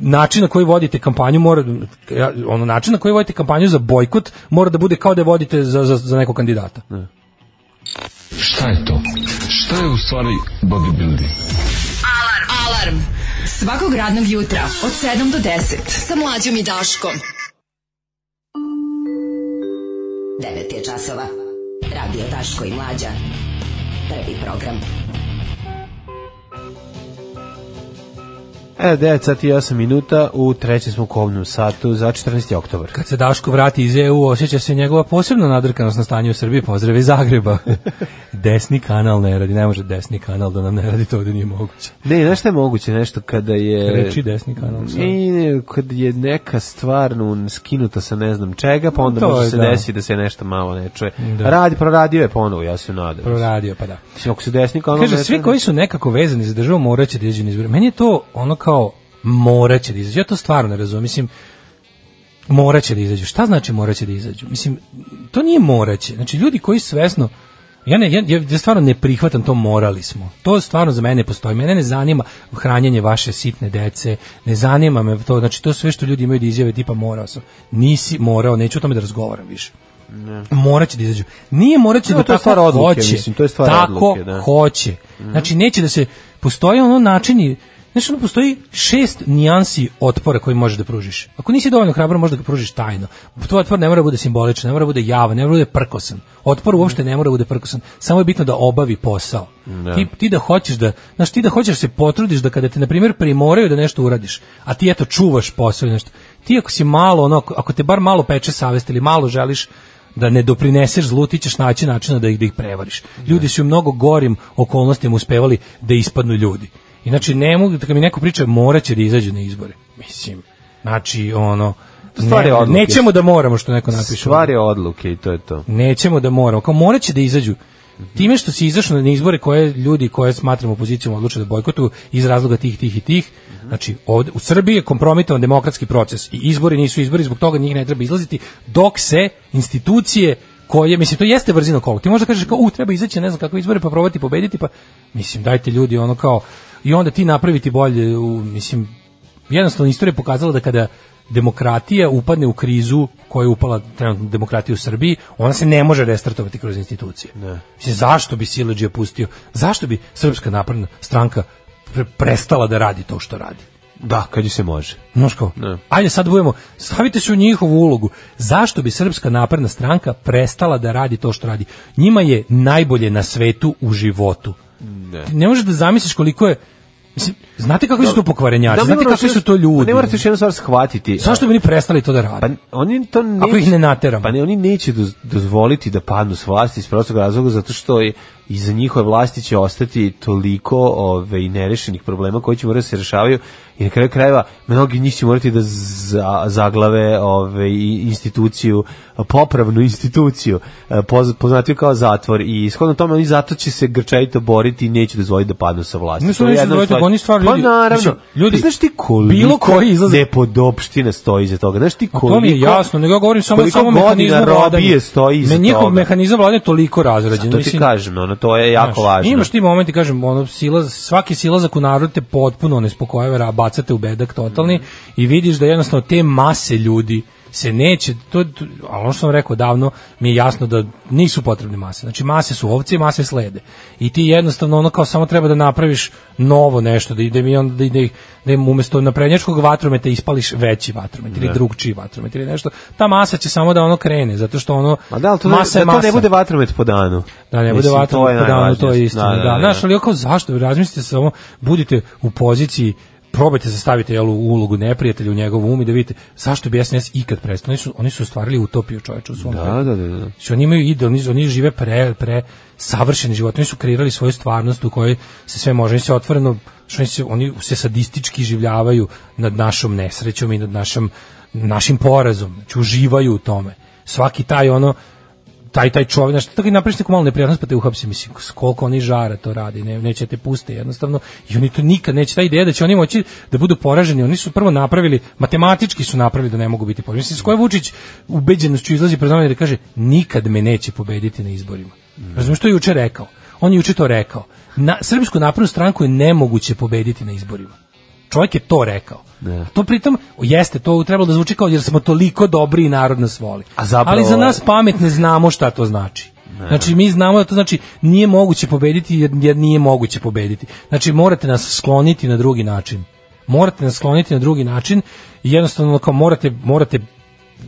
G: način na koji vodite kampanju mora ja, ono način na koji vodite kampanju za bojkot mora da bude kao da je vodite za, za, za nekog kandidata.
K: Šta je to? Šta je u stvari bodybuilding?
D: Alarm. Alarm. Svakog radnog jutra od 7 do 10 sa mlađom i Daškom. 9 je časova. Radio Daško i Mlađa. Prvi program.
E: E, 9 sati i 8 minuta, u trećem smo kobnom satu za 14. oktobar.
G: Kad se Daško vrati iz EU, osjeća se njegova posebna nadrkanost na stanje u Srbiji, pozdrav iz Zagreba. desni kanal ne radi, ne može desni kanal da nam ne radi, to ovde nije moguće.
E: Ne, znaš šta je moguće nešto kada je...
G: Reči desni kanal. sad.
E: E, I ne, kad je neka stvar nu, skinuta sa ne znam čega, pa onda
G: To
E: može
G: je,
E: se
G: da.
E: desi da se nešto malo ne čuje.
G: Da.
E: Radi, proradio je ponovo, ja se nadam.
G: Proradio, pa da.
E: Mislim, Ako se desni kanal...
G: Kaže,
E: ono ne
G: svi
E: treba-
G: koji su nekako vezani za državu morat će da izađu na izbore. Meni je to ono kao morat će da izađu. Ja to stvarno ne razumem. Mislim, morat će da izađu. Šta znači morat će da izađu? Mislim, to nije morat će. Znači, ljudi koji svesno Ja, ne, ja, ja stvarno ne prihvatam to morali smo. To stvarno za mene ne postoji. Mene ne zanima hranjenje vaše sitne dece, ne zanima me to, znači to sve što ljudi imaju da izjave tipa morao sam. Nisi morao, neću o tome da razgovaram više. Ne. Moraće da izađu. Nije moraće
E: No,
G: da
E: to je
G: tako
E: stvar odluke,
G: hoće.
E: mislim, to je stvar
G: tako
E: odluke, da. Mhm.
G: hoće. Znači, neće da se... Postoje ono načini... Znači, ono postoji šest nijansi otpora koji možeš da pružiš. Ako nisi dovoljno hrabar, možeš da ga pružiš tajno. Tvoj otpor ne mora da bude simboličan, ne mora da bude javan, ne mora da bude prkosan. Otpor uopšte ne mora da bude prkosan. Samo je bitno da obavi posao. Ti, ti da hoćeš da, znači ti da hoćeš da se potrudiš da kada te na primjer primoraju da nešto uradiš, a ti eto čuvaš posao i nešto. Ti ako si malo ono ako- ako te bar malo peče savest ili malo želiš da ne doprineseš zlu, ti ćeš naći načina da ih, da ih prevariš. Ljudi su u mnogo gorim okolnostima uspevali da ispadnu ljudi. I znači, ne mogu, da kad mi neko priča, morat će da izađu na izbore. Mislim, znači, ono,
E: stvar je
G: ne-
E: odluke.
G: nećemo da moramo što neko napiše.
E: Stvar je odluke i to je to.
G: Nećemo da moramo. Kao morat će da izađu. Time što si izašao na izbore koje ljudi koje smatramo opozicijom odluče da bojkotuju iz razloga tih, tih i tih, znači ovde, u Srbiji je kompromitovan demokratski proces i izbori nisu izbori, zbog toga njih ne treba izlaziti dok se institucije koje, mislim, to jeste vrzino kolo. Ti možda kažeš kao, u, treba izaći, na ne znam kakve izbore, pa probati pobediti, pa, mislim, dajte ljudi ono kao, i onda ti napraviti bolje, u, mislim, jednostavno istorija je pokazala da kada demokratija upadne u krizu koja je upala trenutno demokratija u Srbiji, ona se ne može restartovati kroz institucije. Ne. Mislim, zašto bi Sileđija pustio, zašto bi Srpska napredna stranka pre- prestala da radi to što radi?
E: Da, kad ju se može.
G: Znaš kao, ajde sad budemo, stavite se u njihovu ulogu. Zašto bi Srpska napredna stranka prestala da radi to što radi? Njima je najbolje na svetu u životu. Ne, ne možeš da zamisliš koliko je, mislim, znate kakvi su to pokvarenjači,
E: Da,
G: znate
E: ne moraš
G: kakvi su
E: još-
G: to ljudi.
E: pa Ne morate još jednu stvar shvatiti.
G: Zašto bi oni prestali to da rade?
E: Pa oni to neće,
G: Ako ih ne nateramo.
E: Pa ne, oni neće doz, dozvoliti da padnu s vlasti iz prostog razloga zato što je iza njihove vlasti će ostati toliko ove, nerešenih problema koji će morati da se rešavaju i na kraju krajeva mnogi od njih će morati da za, zaglave ove, i instituciju, popravnu instituciju, e, poz, poznatiju kao zatvor i ishodno tome oni zato će se grčajito boriti i neće dozvoliti da padnu sa vlasti.
G: Ne,
E: To je
G: neće
E: jedna
G: dozvoliti,
E: stvar.
G: nego oni stvarno
E: pa
G: ljudi-
E: naravno,
G: mislim, ljudi,
E: Pa znaš ti koliko
G: bilo koji izlaze-
E: nepodopština E, stoji iza toga, znaš ti
G: A
E: koliko...
G: to mi je jasno, nego ja govorim samo
E: koliko
G: samo
E: godina
G: mehanizmu
E: robije
G: vladanja.
E: stoji iza
G: Me njihov
E: toga.
G: mehanizam vladanja je toliko razrađen.
E: To ti
G: mislim,
E: kažem, ono, to je jako
G: znaš,
E: važno.
G: Imaš ti momenti, kažem, ono, sila, svaki silazak u narod te potpuno nespokojeva, bacate u bedak totalni i vidiš da jednostavno te mase ljudi se neće, to, to, ali ono što sam rekao davno, mi je jasno da nisu potrebne mase. Znači, mase su ovce i mase slede. I ti jednostavno ono kao samo treba da napraviš novo nešto, da, da, mi onda, da, da, ih- da im umesto naprednjačkog vatrometa ispališ veći vatromet ili drugčiji vatromet ili nešto. Ta masa će samo da ono krene, zato što ono,
E: Ma da, ali to,
G: masa
E: ne,
G: je
E: da to
G: masa.
E: ne bude vatromet po danu.
G: Da ne
E: Mislim,
G: bude vatro po danu, to
E: najvažnije.
G: je istina. Da, da, da, Znaš, ali kao zašto? Razmislite samo, budite u poziciji probajte se staviti jel, u ulogu neprijatelja u njegov um i da vidite zašto bi SNS ikad prestao. Oni su, oni su stvarili utopiju čoveča u svom
E: Da, da, da, da.
G: Znači, oni imaju ideal, oni, oni žive pre, pre savršeni život, oni su kreirali svoju stvarnost u kojoj se sve može, oni se otvoreno, što oni, se, oni se sadistički življavaju nad našom nesrećom i nad našom, našim porazom, znači uživaju u tome. Svaki taj ono, taj taj čovjek, znači tako i napraviš neku malu neprijatnost pa te uhapsi, mislim, s koliko oni žara to radi, ne, neće te puste jednostavno i oni to nikad neće, ta ideja da će oni moći da budu poraženi, oni su prvo napravili, matematički su napravili da ne mogu biti poraženi. Mislim, s koje Vučić ubeđenošću izlazi pred nama i da kaže, nikad me neće pobediti na izborima. Razumiješ, to je juče rekao, on je juče to rekao. Na, srpsku napravnu stranku je nemoguće pobediti na izborima. Čovjek je to rekao.
E: Da.
G: To pritom jeste, to trebalo da zvuči kao jer smo toliko dobri i narod nas voli.
E: A zapravo-
G: Ali za nas pametne znamo šta to znači. Znači mi znamo da to znači nije moguće pobediti jer, jer nije moguće pobediti. Znači morate nas skloniti na drugi način. Morate nas skloniti na drugi način i jednostavno kao morate morate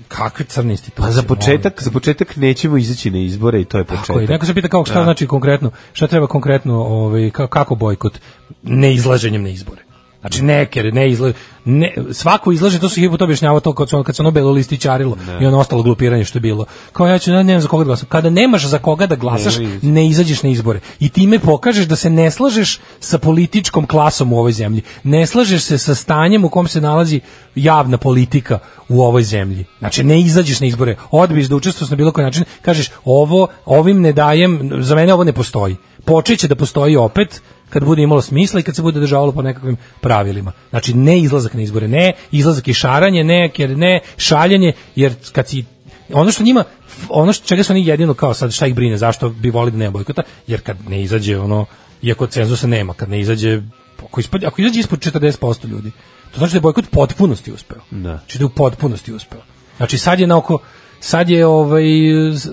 G: kakve crne institucije.
E: Pa za
G: molim.
E: početak, za početak nećemo izaći na izbore i to je
G: Tako je.
E: početak.
G: Neko se pita kako šta
E: Da.
G: znači konkretno, šta treba konkretno, ovaj ka- kako bojkot ne izlaženjem na izbore. Znači neke, ne izla, ne, svako izlaže, to su hiljadu puta objašnjavao to kad se ono, kad se ono belo listićarilo i ono ostalo glupiranje što je bilo. Kao ja ću, ne, nemam za koga da glasam. Kada nemaš za koga da glasaš,
E: Ne,
G: ne,
E: vidi.
G: izađeš na izbore. I time pokažeš da se ne slažeš sa političkom klasom u ovoj zemlji. Ne slažeš se sa stanjem u kom se nalazi javna politika u ovoj zemlji. Znači ne izađeš na izbore, odbiješ da učestvuješ na bilo koji način, kažeš ovo ovim ne dajem, za mene ovo ne postoji. Počeće da postoji opet kad bude imalo smisla i kad se bude državalo po nekakvim pravilima. Znači ne izlazak na izbore, ne izlazak i šaranje, ne jer ne šaljenje, jer kad si ono što njima ono što čega su oni jedino kao sad šta ih brine zašto bi volili da nema bojkota jer kad ne izađe ono iako cenzusa nema kad ne izađe ako, ispad, ako izađe ispod 40% ljudi to znači da je bojkot u potpunosti uspeo
E: Da.
G: znači da je u potpunosti uspeo znači sad je na oko sad je ovaj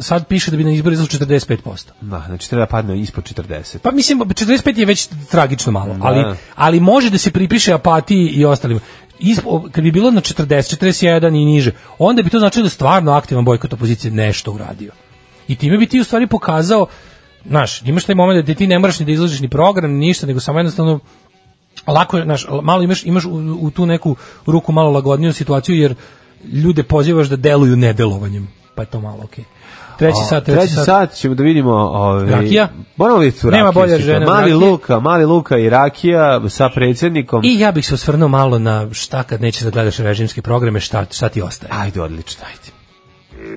G: sad piše da bi na izbor izašlo 45%
E: Da, znači treba da padne ispod 40.
G: pa mislim 45 je već tragično malo,
E: Da.
G: ali ali može da se pripiše apatiji i ostalim. Ispo, kad bi bilo na 40, 41 i niže, onda bi to značilo da je stvarno aktivan bojkot opozicije nešto uradio. I time bi ti u stvari pokazao, znaš, imaš taj moment da ti ne moraš ni da izlažiš ni program, ni ništa, nego samo jednostavno lako je, znaš, malo imaš, imaš u, u tu neku ruku malo lagodniju situaciju, jer ljude pozivaš da deluju nedelovanjem, pa je to malo okej. Treći
E: A,
G: sat, treći, sat.
E: ćemo da vidimo ovaj
G: Rakija?
E: Moramo vidjeti tu
G: Nema
E: rakiju
G: bolje
E: sutra.
G: žene od
E: Mali
G: rakije.
E: Luka, Mali Luka i Rakija sa predsjednikom.
G: I ja bih se osvrnuo malo na šta kad nećeš da gledaš režimske programe, šta, šta ti ostaje.
E: Ajde, odlično, ajde.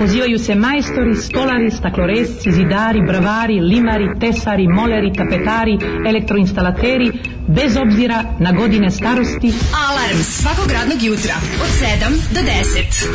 L: Pozivaju se majstori, stolari, stakloresci, zidari, bravari, limari, tesari, moleri, tapetari, elektroinstalateri, bez obzira na godine starosti.
D: Alarm svakog radnog jutra od 7 do 10.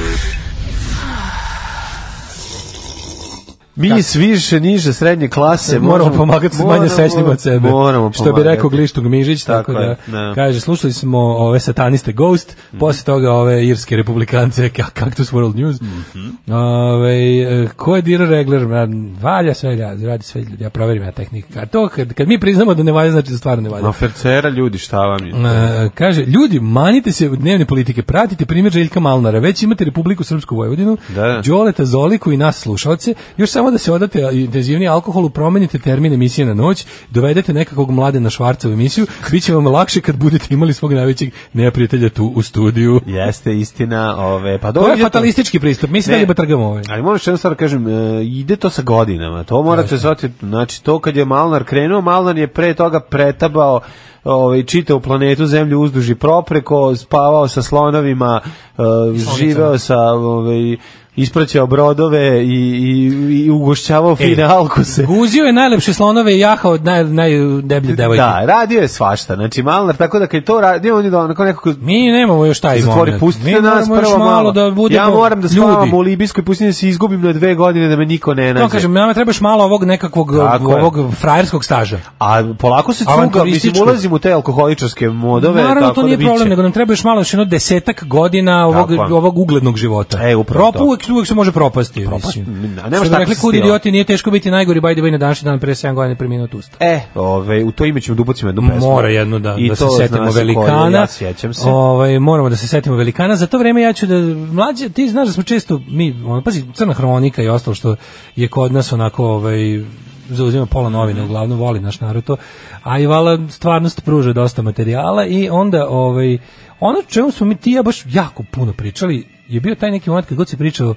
E: Mi iz više, niže, srednje klase
G: moramo, pomagati s manje
E: moramo-
G: sečnim od sebe.
E: Moramo
G: Što bi rekao
E: pomagati.
G: Glištog Mižić, tako,
E: Tako je,
G: da,
E: da. Mhm.
G: kaže, slušali smo ove sataniste Ghost, posle toga ove irske republikance (laughs) Ka- Cactus World News.
E: Mhm.
G: Ove, e, ko je dirao regler? Ma, Valja sve, ja, radi sve ljudi, ja proverim ja tehnika. A to kad, kad mi priznamo da ne valja, znači da stvarno ne valja.
E: Ofercera, ljudi, šta vam je?
G: E, kaže, ljudi, manite se dnevne politike, pratite primjer Željka Malnara, već imate Republiku Srpsku Vojvodinu,
E: Da, da.
G: Đoleta Zoliku i nas slušalce, još samo da se odate intenzivnije alkoholu, promenite termin emisije na noć, dovedete nekakvog mlade na švarca u emisiju, bit će vam lakše kad budete imali svog najvećeg neprijatelja tu u studiju.
E: Jeste istina, ove, pa
G: To
E: dobro.
G: je fatalistički pristup, mislim da
E: Ne.
G: li trgamo ovaj.
E: Ali moram što stvar da kažem, e, ide to sa godinama. To morate shvatiti. Znači, to kad je Malnar krenuo, Malnar je pre toga pretabao ovaj čitao planetu zemlju uzduži propreko, spavao sa slonovima, e, živeo sa ovaj ispraćao brodove i, i, i
G: E,
E: ugošćavao finalku se.
G: Guzio je najlepše slonove i jahao naj, najdeblje devojke.
E: Da, radio je svašta. Znači, Malnar, tako da kad je to radio, on je do- onako nekako
G: Mi nemamo još taj
E: Zatvori,
G: moment. Mi
E: pustite nas
G: moramo još
E: prvo malo.
G: malo da budemo
E: ja moram da spavam
G: ljudi.
E: u Libijskoj pustinji da se izgubim na dve godine da me niko ne nađe.
G: To kažem, nama trebaš malo ovog nekakvog
E: Tako je.
G: ovog frajerskog staža.
E: A polako se cuga, mislim,
G: Avanturističko.
E: ulazim u te alkoholičarske modove.
G: Naravno,
E: tako
G: to
E: da
G: nije
E: bit će.
G: problem, nego nam treba još malo još jedno desetak godina ovog,
E: Tako je.
G: ovog uglednog života.
E: E, upravo to.
G: Propu uvek, uvek se može propasti. Propast,
E: a nemaš
G: Što
E: šta
G: bi rekli,
E: se
G: kud
E: stila.
G: idioti, nije teško biti najgori, by the way, na današnji dan pre 7 godina preminuo od usta.
E: E, ove, u to ime ćemo da ubacimo jednu pesmu.
G: Mora jedno da,
E: I
G: da se
E: to
G: setimo
E: zna se koju,
G: velikana.
E: Ja sjećam se.
G: Ovaj, moramo da se setimo velikana. Za to vreme ja ću da... Mlađe, ti znaš da smo često... Mi, ono, pazi, crna hronika i ostalo što je kod nas onako... Ovaj, zauzima pola novine, uglavnom voli naš narod to. A i vala stvarnost pruža dosta materijala i onda ovaj ono čemu smo mi ti i ja baš jako puno pričali je bio taj neki moment kad god se pričao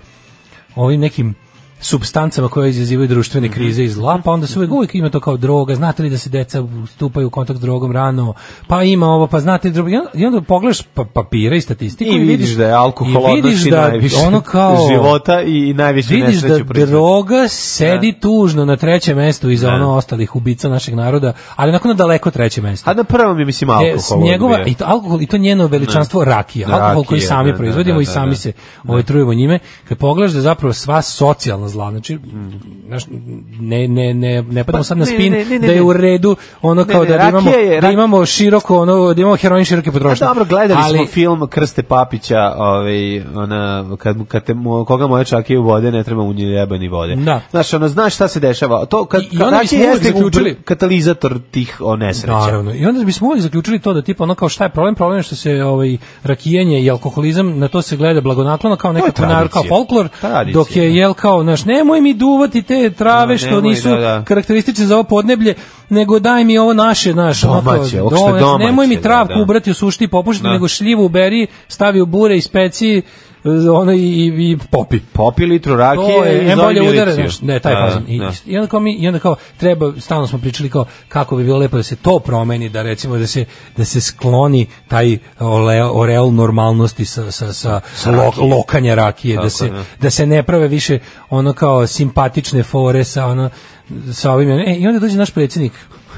G: o ovim nekim substancama koje izazivaju društvene
E: Mhm.
G: krize i zla, pa onda se uvek, uvek ima to kao droga, znate li da se deca stupaju u kontakt s drogom rano, pa ima ovo, pa znate li droga, i onda- i onda pogledaš pa, papire i statistiku
E: I vidiš da je alkohol
G: i vidiš
E: odnosi
G: da
E: najviše (laughs)
G: ono kao,
E: života i najviše
G: vidiš da
E: nesreću proizvodi.
G: droga sedi tužno na trećem mestu iza ono ostalih ubica našeg naroda, ali onako na daleko treće mesto.
E: A na prvom je, mislim,
G: E, s
E: alkohol.
G: njegova,
E: odbija.
G: i, to, alkohol, I to njeno veličanstvo
E: Ne.
G: rakija, alkohol koji
E: Rakija,
G: sami
E: da,
G: proizvodimo
E: da, da,
G: i sami
E: da.
G: se ovaj, trujemo njime, kad pogledaš da je zapravo sva socijalna zla, znači, znaš, ne, ne, ne, ne
E: Mm.
G: padamo
E: Pa,
G: sad na
E: ne,
G: spin
E: ne, ne, ne,
G: da je
E: ne.
G: u redu ono
E: Ne,
G: kao
E: ne,
G: da, da,
E: rakija
G: imamo,
E: je-
G: da
E: rak-
G: imamo široko, ono, da imamo heroin široke potrošnje.
E: A Pa dobro, gledali
G: ali,
E: smo film Krste Papića, ovaj, ona, kad, mu- kad te, mu- koga moja čakije u vode, ne treba mu ni jeba ni vode.
G: Da.
E: Znaš, ono, znaš šta se dešava. To, kad,
G: I- i onda
E: rakija
G: bismo uvek
E: jeste ubr-
G: zaključili-
E: katalizator tih o, nesreća.
G: Naravno. I onda bismo uvijek zaključili to da tipa ono kao šta je problem, problem je što se ovaj rakijanje i alkoholizam na to se gleda blagonaklono kao
E: To je
G: nekako nar kao
E: tradicija.
G: folklor,
E: Tradicija,
G: dok je
E: da.
G: jel kao naš nemoj mi duvati te trave
E: Da,
G: što
E: nemoj,
G: nisu
E: da, da.
G: karakteristične za ovo podneblje, nego daj mi ovo naše, naš ono kao,
E: Domaće, ovo što je
G: doma- znaš,
E: domaće,
G: nemoj mi
E: da,
G: travku
E: da.
G: ubrati u sušti i popušiti,
E: Da.
G: nego šljivu uberi, stavi u bure i speci eh, ono i, i, i popi.
E: Popi litru rakije
G: To je,
E: i
G: em
E: zove
G: bolje
E: miliciju.
G: udare, znaš, ne, taj
E: Da,
G: fazon. I,
E: da.
G: i onda kao mi, i onda kao, treba, stalno smo pričali kao, kako bi bilo lepo da se to promeni, da recimo da se, da se skloni taj ole, oreol normalnosti sa, sa, sa, lo-
E: rakijom.
G: lokanja rakije,
E: Tako
G: da se,
E: je, da.
G: da se ne prave više ono kao simpatične fore sa ono, sa ovim, e, i onda dođe naš predsjednik,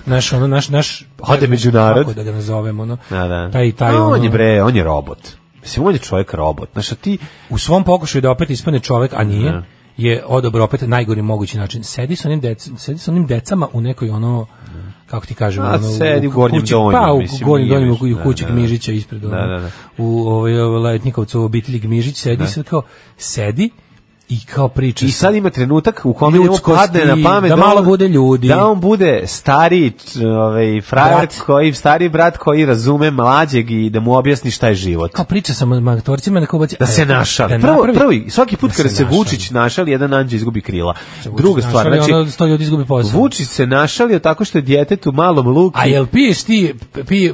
G: naš, ono, naš, naš,
E: Ode među narod.
G: Kako da ga nazovemo, ono,
E: Da, da.
G: taj, taj,
E: A, on
G: ono-
E: je bre, on je robot. Mislim, on je čovjek robot. Znaš, a ti,
G: u svom pokušaju da opet ispane čovek, a nije,
E: Da.
G: je odobro opet najgori mogući način. Sedi sa onim, dec, sedi sa onim decama u nekoj ono, kako ti kažem,
E: A,
G: ono,
E: sedi u gornjem
G: kući-
E: donjem,
G: pa, u
E: mislim,
G: gornjem
E: nije
G: donjem,
E: više,
G: u
E: da,
G: kući
E: da, da.
G: Gmižića ispred, ono,
E: Da, da, da.
G: u ovaj, ovaj, Letnikovcu u obitelji Gmižić, sedi i sad kao, sedi i kao priča.
E: I
G: sa-
E: sad ima trenutak u kome mu
G: Ljudskosti,
E: padne na pamet
G: da
E: on-
G: malo bude ljudi.
E: Da on bude stari č- ovaj frajer
G: Brat.
E: koji stari brat koji razume mlađeg i da mu objasni šta je život.
G: kao priča sa magtorcima, neko baci...
E: Da se
G: e,
E: našali.
G: da
E: prvo,
G: napravi-
E: prvo, i svaki put
G: da
E: kada se
G: našali.
E: Vučić našali, jedan anđe izgubi krila.
G: Se Vučić
E: Druga stvar,
G: našali,
E: znači,
G: ono, sto ljudi izgubi posao.
E: Vučić se našalio tako što je djetetu malom luki.
G: A jel piješ ti, pi,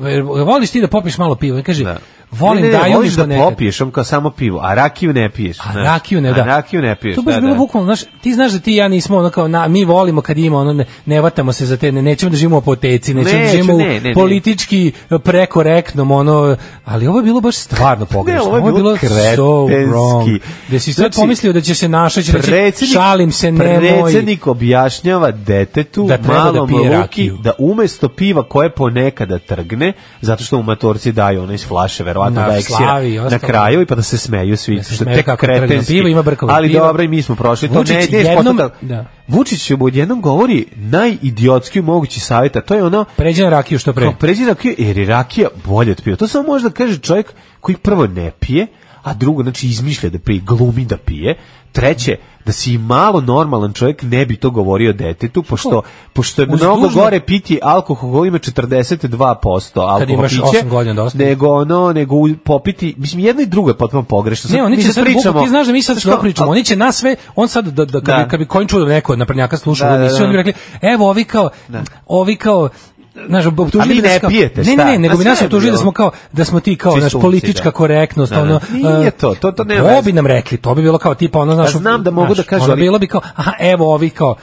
G: voliš ti da popiš malo piva? I kaže,
E: Da.
G: volim
E: Ne, ne,
G: daju mi
E: voliš da
G: ponekad.
E: popiješ, on kao samo pivo, a rakiju ne piješ.
G: A
E: znaš.
G: rakiju ne, da.
E: A rakiju ne piješ,
G: To baš
E: da,
G: bilo
E: da.
G: bukvalno, znaš, ti znaš da ti i ja nismo ono kao, na, mi volimo kad ima ono, ne, ne vatamo se za te, ne, nećemo da živimo po teci, nećemo
E: Neću,
G: da živimo u
E: ne, ne, ne.
G: politički e, prekorektnom, ono, ali ovo je bilo baš stvarno
E: (laughs)
G: pogrešno.
E: Ne, ovo je bilo
G: so
E: kretenski.
G: wrong. Da si sad
E: Znači,
G: pomislio da će se našaći, da će,
E: Predsjednik,
G: Znači, šalim se, nemoj.
E: predsjednik objašnjava detetu
G: Da treba da
E: malom
G: pije
E: Luki
G: rakiju.
E: da umesto piva koje ponekada trgne, zato što mu matorci daju ono iz flaše, verovatno
G: Na
E: da eksira
G: slavi i
E: na
G: ostalo.
E: kraju i pa da se smeju svi,
G: Da
E: što
G: se
E: je
G: smeju
E: tek
G: kako trgne
E: kretenski.
G: pivo, ima brkove
E: Ali
G: piva.
E: dobro, i mi smo prošli to.
G: Vučić
E: Ne, ideš
G: jednom-
E: postao tako-
G: da.
E: Vučić mu odjednom govori najidiotski mogući savjet, a to je ono
G: Pređi na rakiju što pre.
E: kao pređi rakiju, jer je rakija bolje od piva. To samo može da kaže čovjek koji prvo ne pije, a drugo, znači, izmišlja da pije, glumi da pije. Treće, da si i malo normalan čovjek ne bi to govorio detetu, pošto, pošto je
G: Uz
E: mnogo
G: dužno-
E: gore piti alkohol, koji ima 42% alkohola
G: Kad imaš
E: piće,
G: osam godina da ostane.
E: nego ono, nego u- popiti, mislim, jedno i drugo je potpuno pogrešno.
G: Ne, oni
E: mi
G: će sad pričamo. Ti znaš da mi sad
E: Znaš
G: što
E: kao,
G: pričamo.
E: a-
G: Oni će nas sve, on sad da da kad
E: Da.
G: bi, kad bi kojim čudom neko na prnjaka slušao
E: Da,
G: da,
E: da,
G: emisiju,
E: da.
G: oni bi rekli: "Evo ovi kao ovi kao Znaš,
E: A vi
G: optužili bi nas
E: ne
G: kao-
E: pijete,
G: Ne, ne,
E: šta?
G: ne, nego
E: A
G: bi
E: sve
G: nas
E: je
G: optužili da
E: bilo.
G: smo kao da smo ti kao naš
E: Čistunci,
G: politička
E: da.
G: korektnost,
E: Da, da.
G: ono.
E: Nije
G: eh,
E: to, to- to nema
G: To
E: veze.
G: bi nam rekli, to bi bilo kao tipa ono, znaš,
E: Ja znam da mogu
G: znaš,
E: da kažu,
G: ono
E: ali-
G: bilo bi kao, aha, evo ovi kao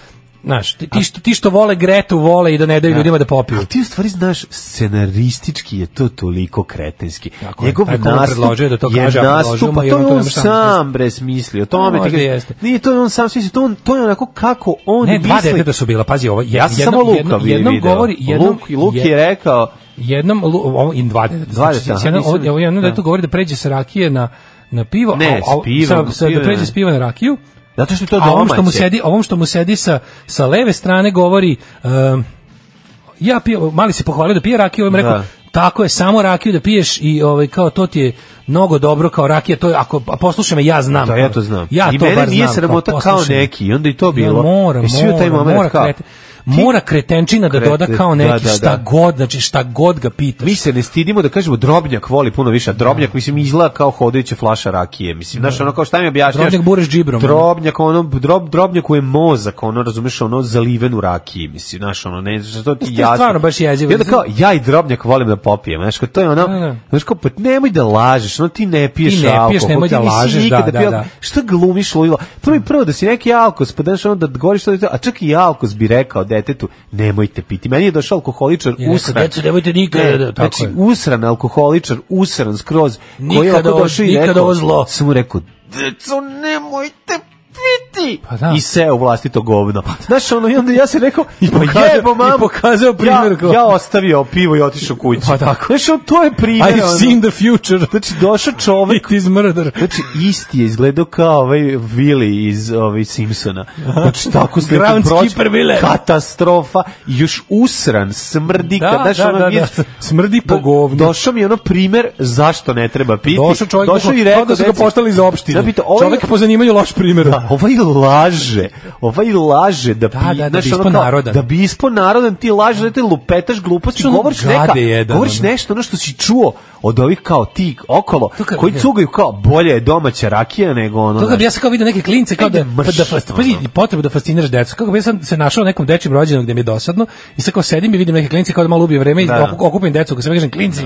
G: Znaš, ti, ti, što, ti što vole Gretu vole i da ne daju ljudima da popiju.
E: Ali ti u stvari znaš, scenaristički je to toliko kretenski.
G: Tako je,
E: Njegov
G: taj ko mu
E: nastup
G: predložio da to
E: je
G: kaže, a
E: nastup,
G: predložio mu
E: pa to
G: i
E: je
G: on to
E: on
G: nema šta da
E: sam bre smislio. To me
G: Možda
E: ti
G: jeste.
E: kažem. Nije to je on sam smislio, to, on, to je onako kako on
G: Ne, dva
E: misli.
G: deteta su bila, pazi, ovo,
E: Ja sam samo Luka
G: jednom,
E: vi-
G: jednom
E: video.
G: govori, jednom,
E: Luk, Luk je rekao,
G: jednom lu- ovo in dva deta. Znači,
E: deteta,
G: s jednom-
E: aha, nisam-
G: ovo- ovo jedno
E: da.
G: dete govori da pređe sa rakije na na pivo,
E: Ne,
G: a, a
E: s pivom,
G: sa, sa,
E: pivo,
G: da pređe
E: ne.
G: s piva na rakiju.
E: zato što je to
G: a ovom što mu
E: domaće.
G: sedi, ovom što mu sedi sa sa leve strane govori um, ja pijem, mali se pohvalio da pije rakiju, ovaj mu rekao
E: Da.
G: tako je samo rakiju da piješ i ovaj kao to ti je mnogo dobro kao rakija, to je ako a poslušaj me ja znam. ono."
E: Da, ja to znam.
G: Ja
E: I
G: to
E: mene
G: bar
E: nije
G: znam,
E: sramota kao
G: poslušaj me.
E: neki, i onda i to
G: Ja,
E: bilo.
G: mora,
E: I svi u taj
G: mora,
E: moment
G: mora
E: kao,
G: kreti- mora kretenčina da
E: Kreten-
G: doda kao neki
E: da, da, da.
G: šta god, znači šta god ga pitaš.
E: Mi se ne stidimo da kažemo drobnjak voli puno više, a drobnjak mislim izgleda kao hodajuća flaša rakije. Mislim, znaš, ono kao šta mi objašnjaš?
G: Drobnjak bureš džibrom.
E: Drobnjak, ono, drob, drobnjaku je mozak, ono, razumeš, ono, zaliven u rakiji, mislim, znaš, ono, ne, znaš, to ti
G: Mislim, to je
E: jasno.
G: stvarno baš jezivo.
E: I onda kao, ja i drobnjak volim da popijem, znaš, kao, to je ono,
G: Da, da.
E: znaš, kao, pa nemoj da lažeš, ono, ti ne piješ
G: Ti ne piješ,
E: alkohol,
G: nemoj
E: ti
G: da
E: nisi
G: lažeš,
E: nikada
G: da, da,
E: pio-
G: da.
E: Šta glumiš ludilo? Prvo i prvo da si neki alkos, pa daš ono da govoriš to, a čak i alkos bi rekao detetu, nemojte piti. Meni je došao alkoholičar
G: Je rekao,
E: usran.
G: "Deco, nemojte nikada",
E: Ne,
G: da, tako
E: znači,
G: je.
E: usran alkoholičar, usran skroz. koji je
G: Nikada
E: ovako
G: ovo-
E: došao i
G: nikada
E: rekao,
G: ovo zlo.
E: Sam mu rekao, deco, nemojte piti.
G: Pa da.
E: I seo u vlastito govno. Znaš, ono, i onda ja se rekao, i
G: pokazao-
E: jebo,
G: i
E: mamu.
G: pokazao primjer
E: Ja,
G: kao-
E: ja ostavio pivo i otišao kući.
G: Pa tako.
E: Znaš, ono, to je primjer. ono.
G: I've seen the future.
E: (laughs) Znači, došao čovek
G: It is murder.
E: Znači, isti je izgledao kao ovaj Willy iz ovaj Simpsona. Znači, tako se
G: Groundskeeper Willy.
E: Katastrofa. I Još usran, smrdi.
G: Da,
E: kad, znaš,
G: da,
E: ono,
G: da,
E: vidiš-
G: da. Smrdi po
E: Do-
G: govnu.
E: Došao mi je ono primer zašto ne treba piti.
G: Došao čovjek, došao i rekao da su ga
E: deci-
G: poštali za opštinu.
E: Da, pita, ovaj-
G: Čovjek po zanimanju loš primjer.
E: Da, ovaj laže, ovaj laže da,
G: Da,
E: pi-
G: da, da
E: znaš,
G: bi
E: ono
G: ispao
E: kao,
G: narodan.
E: Da bi ispao narodan, ti lažeš, da te lupetaš gluposti,
G: Ono
E: govoriš,
G: gade
E: neka,
G: jedan,
E: govoriš
G: ono.
E: nešto ono što si čuo od ovih kao ti okolo,
G: To kad-
E: koji cugaju kao bolje je domaća rakija nego ono...
G: To kako
E: znaš.
G: bi ja sam kao vidio neke klince kao da,
E: Ajde, mrš,
G: pa da fas- pa vidi,
E: ono.
G: potrebu da fasciniraš decu. Kako bi ja sam se našao na nekom dečjem rođendan gde mi je dosadno i sad kao sedim i vidim neke klince kao da malo ubije vreme i
E: Da, da.
G: oku- okupim decu, kao sam kažem klinci.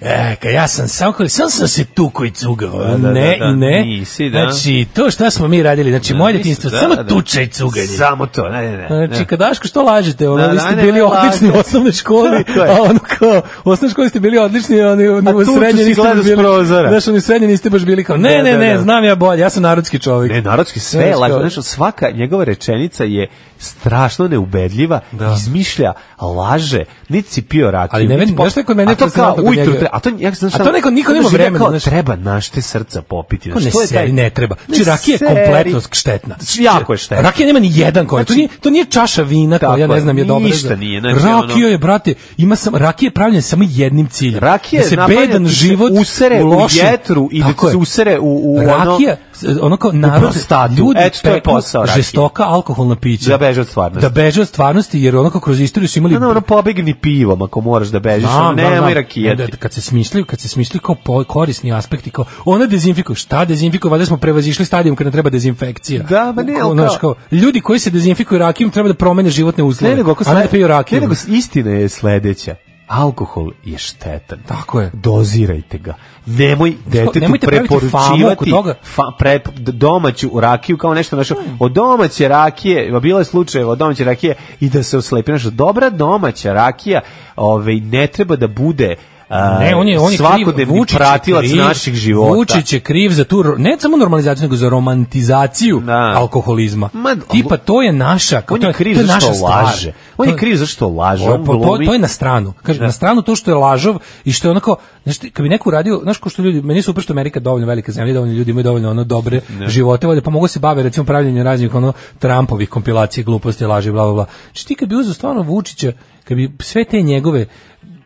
G: E, ka ja sam samo kao, sam sam se tu koji cugao,
E: Da, da,
G: ne
E: da, da,
G: i ne,
E: nisi, da.
G: znači to šta smo mi radili, znači moje
E: Nisu,
G: djetinjstvo,
E: da,
G: samo
E: da.
G: tuča i cuganje.
E: Samo to, ne, ne, ne.
G: Znači,
E: ne.
G: kad Daško, što lažete? Ono,
E: Da,
G: vi
E: da,
G: ste
E: ne,
G: bili
E: ne,
G: odlični u
E: lažete.
G: osnovnoj školi,
E: Tako je.
G: a ono kao, u osnovnoj školi ste bili odlični, a oni
E: A
G: u
E: tu
G: srednje
E: si
G: niste
E: gledao
G: baš
E: s
G: bili.
E: prozora.
G: Znaš, oni u srednje niste baš bili kao, ne,
E: Da,
G: ne,
E: da,
G: ne,
E: da.
G: znam ja bolje, ja sam narodski čovjek.
E: Ne, narodski sve je
G: Znaš,
E: lažno.
G: kao-
E: Znaš, svaka njegova rečenica je strašno neubedljiva, izmišlja, laže, niti si pio rakiju.
G: Ali ne
E: niti
G: vidim,
E: pop-
G: znaš šta je kod mene
E: A to kao
G: fascinantno kod
E: ujutru,
G: njega?
E: tre- a to, ja, znaš,
G: A
E: šta-
G: to neko- niko nema
E: znaš, živim
G: vremena,
E: kao,
G: znaš.
E: Treba našte srca popiti.
G: Ko
E: znaš,
G: ne
E: to je taj-
G: seri, ne treba.
E: Ne
G: Znači, rakija je
E: seri.
G: kompletno štetna.
E: Znači, Jako je štetna.
G: Rakija nema ni jedan korak. to,
E: Znači-
G: nije, to nije čaša vina koja,
E: Tako
G: ja ne
E: je,
G: znam, je dobra.
E: ništa
G: za-
E: nije, znači, ono-
G: Rakija je, brate, ima sam, rakija je pravljena samo jednim ciljem.
E: Rakija
G: da se
E: napravljena
G: bedan
E: da se
G: život
E: usere u
G: lošim-
E: jetru i da
G: Tako
E: se
G: je.
E: usere u- u ono-
G: rakija, s- ono kao narod,
E: prostatu.
G: ljudi
E: Eto, to je
G: peku
E: posao rakije.
G: žestoka alkoholna pića.
E: Da beže od stvarnosti.
G: Da beže od stvarnosti, jer ono kao kroz istoriju su imali
E: Ne, ne, ono pobegni pivom ako moraš da bežiš, ono, nemoj rakijati.
G: da, kad se smislio, kad se smislio kao po- korisni aspekti, kao ona dezinfikuje, šta dezinfikuje, valjda smo prevazišli stadijum kada treba dezinfekcija.
E: Da, ba ne,
G: Ko-
E: ali
G: znaš,
E: kao-
G: ljudi koji se dezinfikuju rakijom treba da promene životne uslove.
E: Ne, nego ako
G: a ne
E: sled-
G: da piju
E: ne,
G: rakiju.
E: nego istina je sledeća. Alkohol je štetan.
G: Tako je.
E: Dozirajte ga. Nemoj detetu
G: nemojte praviti famu oko
E: preporučivati
G: toga.
E: fa- pre- d- domaću rakiju kao nešto našo. Od domaće rakije, ma bilo je slučajeva od domaće rakije i da se oslepi nešto. Dobra domaća rakija ovaj, ne treba da bude a,
G: Ne, on je, on je kriv,
E: svakodnevni
G: Vučić je
E: pratilac
G: kriv,
E: naših života.
G: Vučić je kriv za tu, ro- ne samo normalizaciju, nego za romantizaciju
E: Da.
G: alkoholizma.
E: Ma,
G: Tipa, to je naša, kao,
E: on
G: to
E: je
G: je,
E: kriv
G: to je naša
E: zašto
G: stvar.
E: laže. On
G: To
E: je kriv zašto laže.
G: To,
E: on
G: to, to,
E: glumi-
G: to je na stranu. Kaže, na stranu to što je lažov i što je onako, znaš, ti, kad bi neko uradio, znaš ko što ljudi, meni su upršto Amerika dovoljno velika zemlja, dovoljno ljudi imaju dovoljno ono dobre živote, valjda pa mogu se bave recimo pravljenjem raznih ono Trumpovih kompilacija gluposti, laži, bla bla bla. Znači ti kad bi uzeo stvarno Vučića, kad bi sve te njegove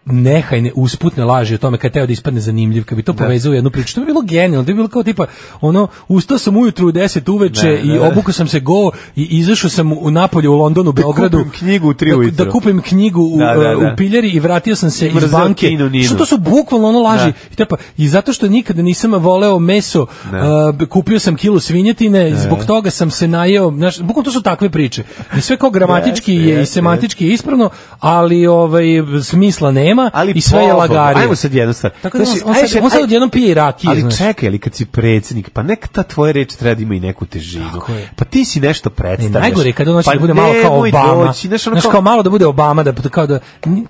G: nehajne usputne laži o tome kad je teo da ispadne zanimljiv, kad bi to povezao u jednu priču, to bi bilo genijalno, to bi bilo kao tipa ono, ustao sam ujutru u 10 uveče
E: Ne, ne,
G: i
E: ne.
G: obukao sam se go i izašao sam u napolje u Londonu, u Beogradu.
E: kupim knjigu u tri
G: da-
E: ujutru.
G: Da kupim knjigu u,
E: Da, da,
G: uh,
E: da.
G: u piljari i vratio sam se
E: I
G: iz
E: mrzeo
G: banke.
E: Kinu Ninu.
G: Što to su bukvalno ono laži.
E: Da.
G: I, tepa, I zato što nikada nisam voleo meso,
E: Da.
G: uh, kupio sam kilu svinjetine, zbog toga sam se najeo, znaš, bukvalno to su takve priče. I sve kao gramatički
E: Jeste,
G: je i
E: jeste,
G: semantički je ispravno, ali ovaj smisla nema i sve je
E: pobogu,
G: lagarije.
E: Ajmo sad jednu stvar.
G: Tako da on-
E: Znači,
G: on
E: ajde
G: sad- on sad
E: ajde-
G: odjednom pije i rakiju,
E: Ali
G: znaš.
E: čekaj, ali kad si predsjednik, pa nek ta tvoja reč treba da ima i neku težinu.
G: Tako je.
E: Pa ti si nešto
G: Ne,
E: predstavljaš.
G: najgore je kada on hoće
E: Pa
G: da bude malo kao
E: nemoj
G: Obama.
E: doći, znaš, ono
G: Znaš, kao malo da bude Obama, da, kao da,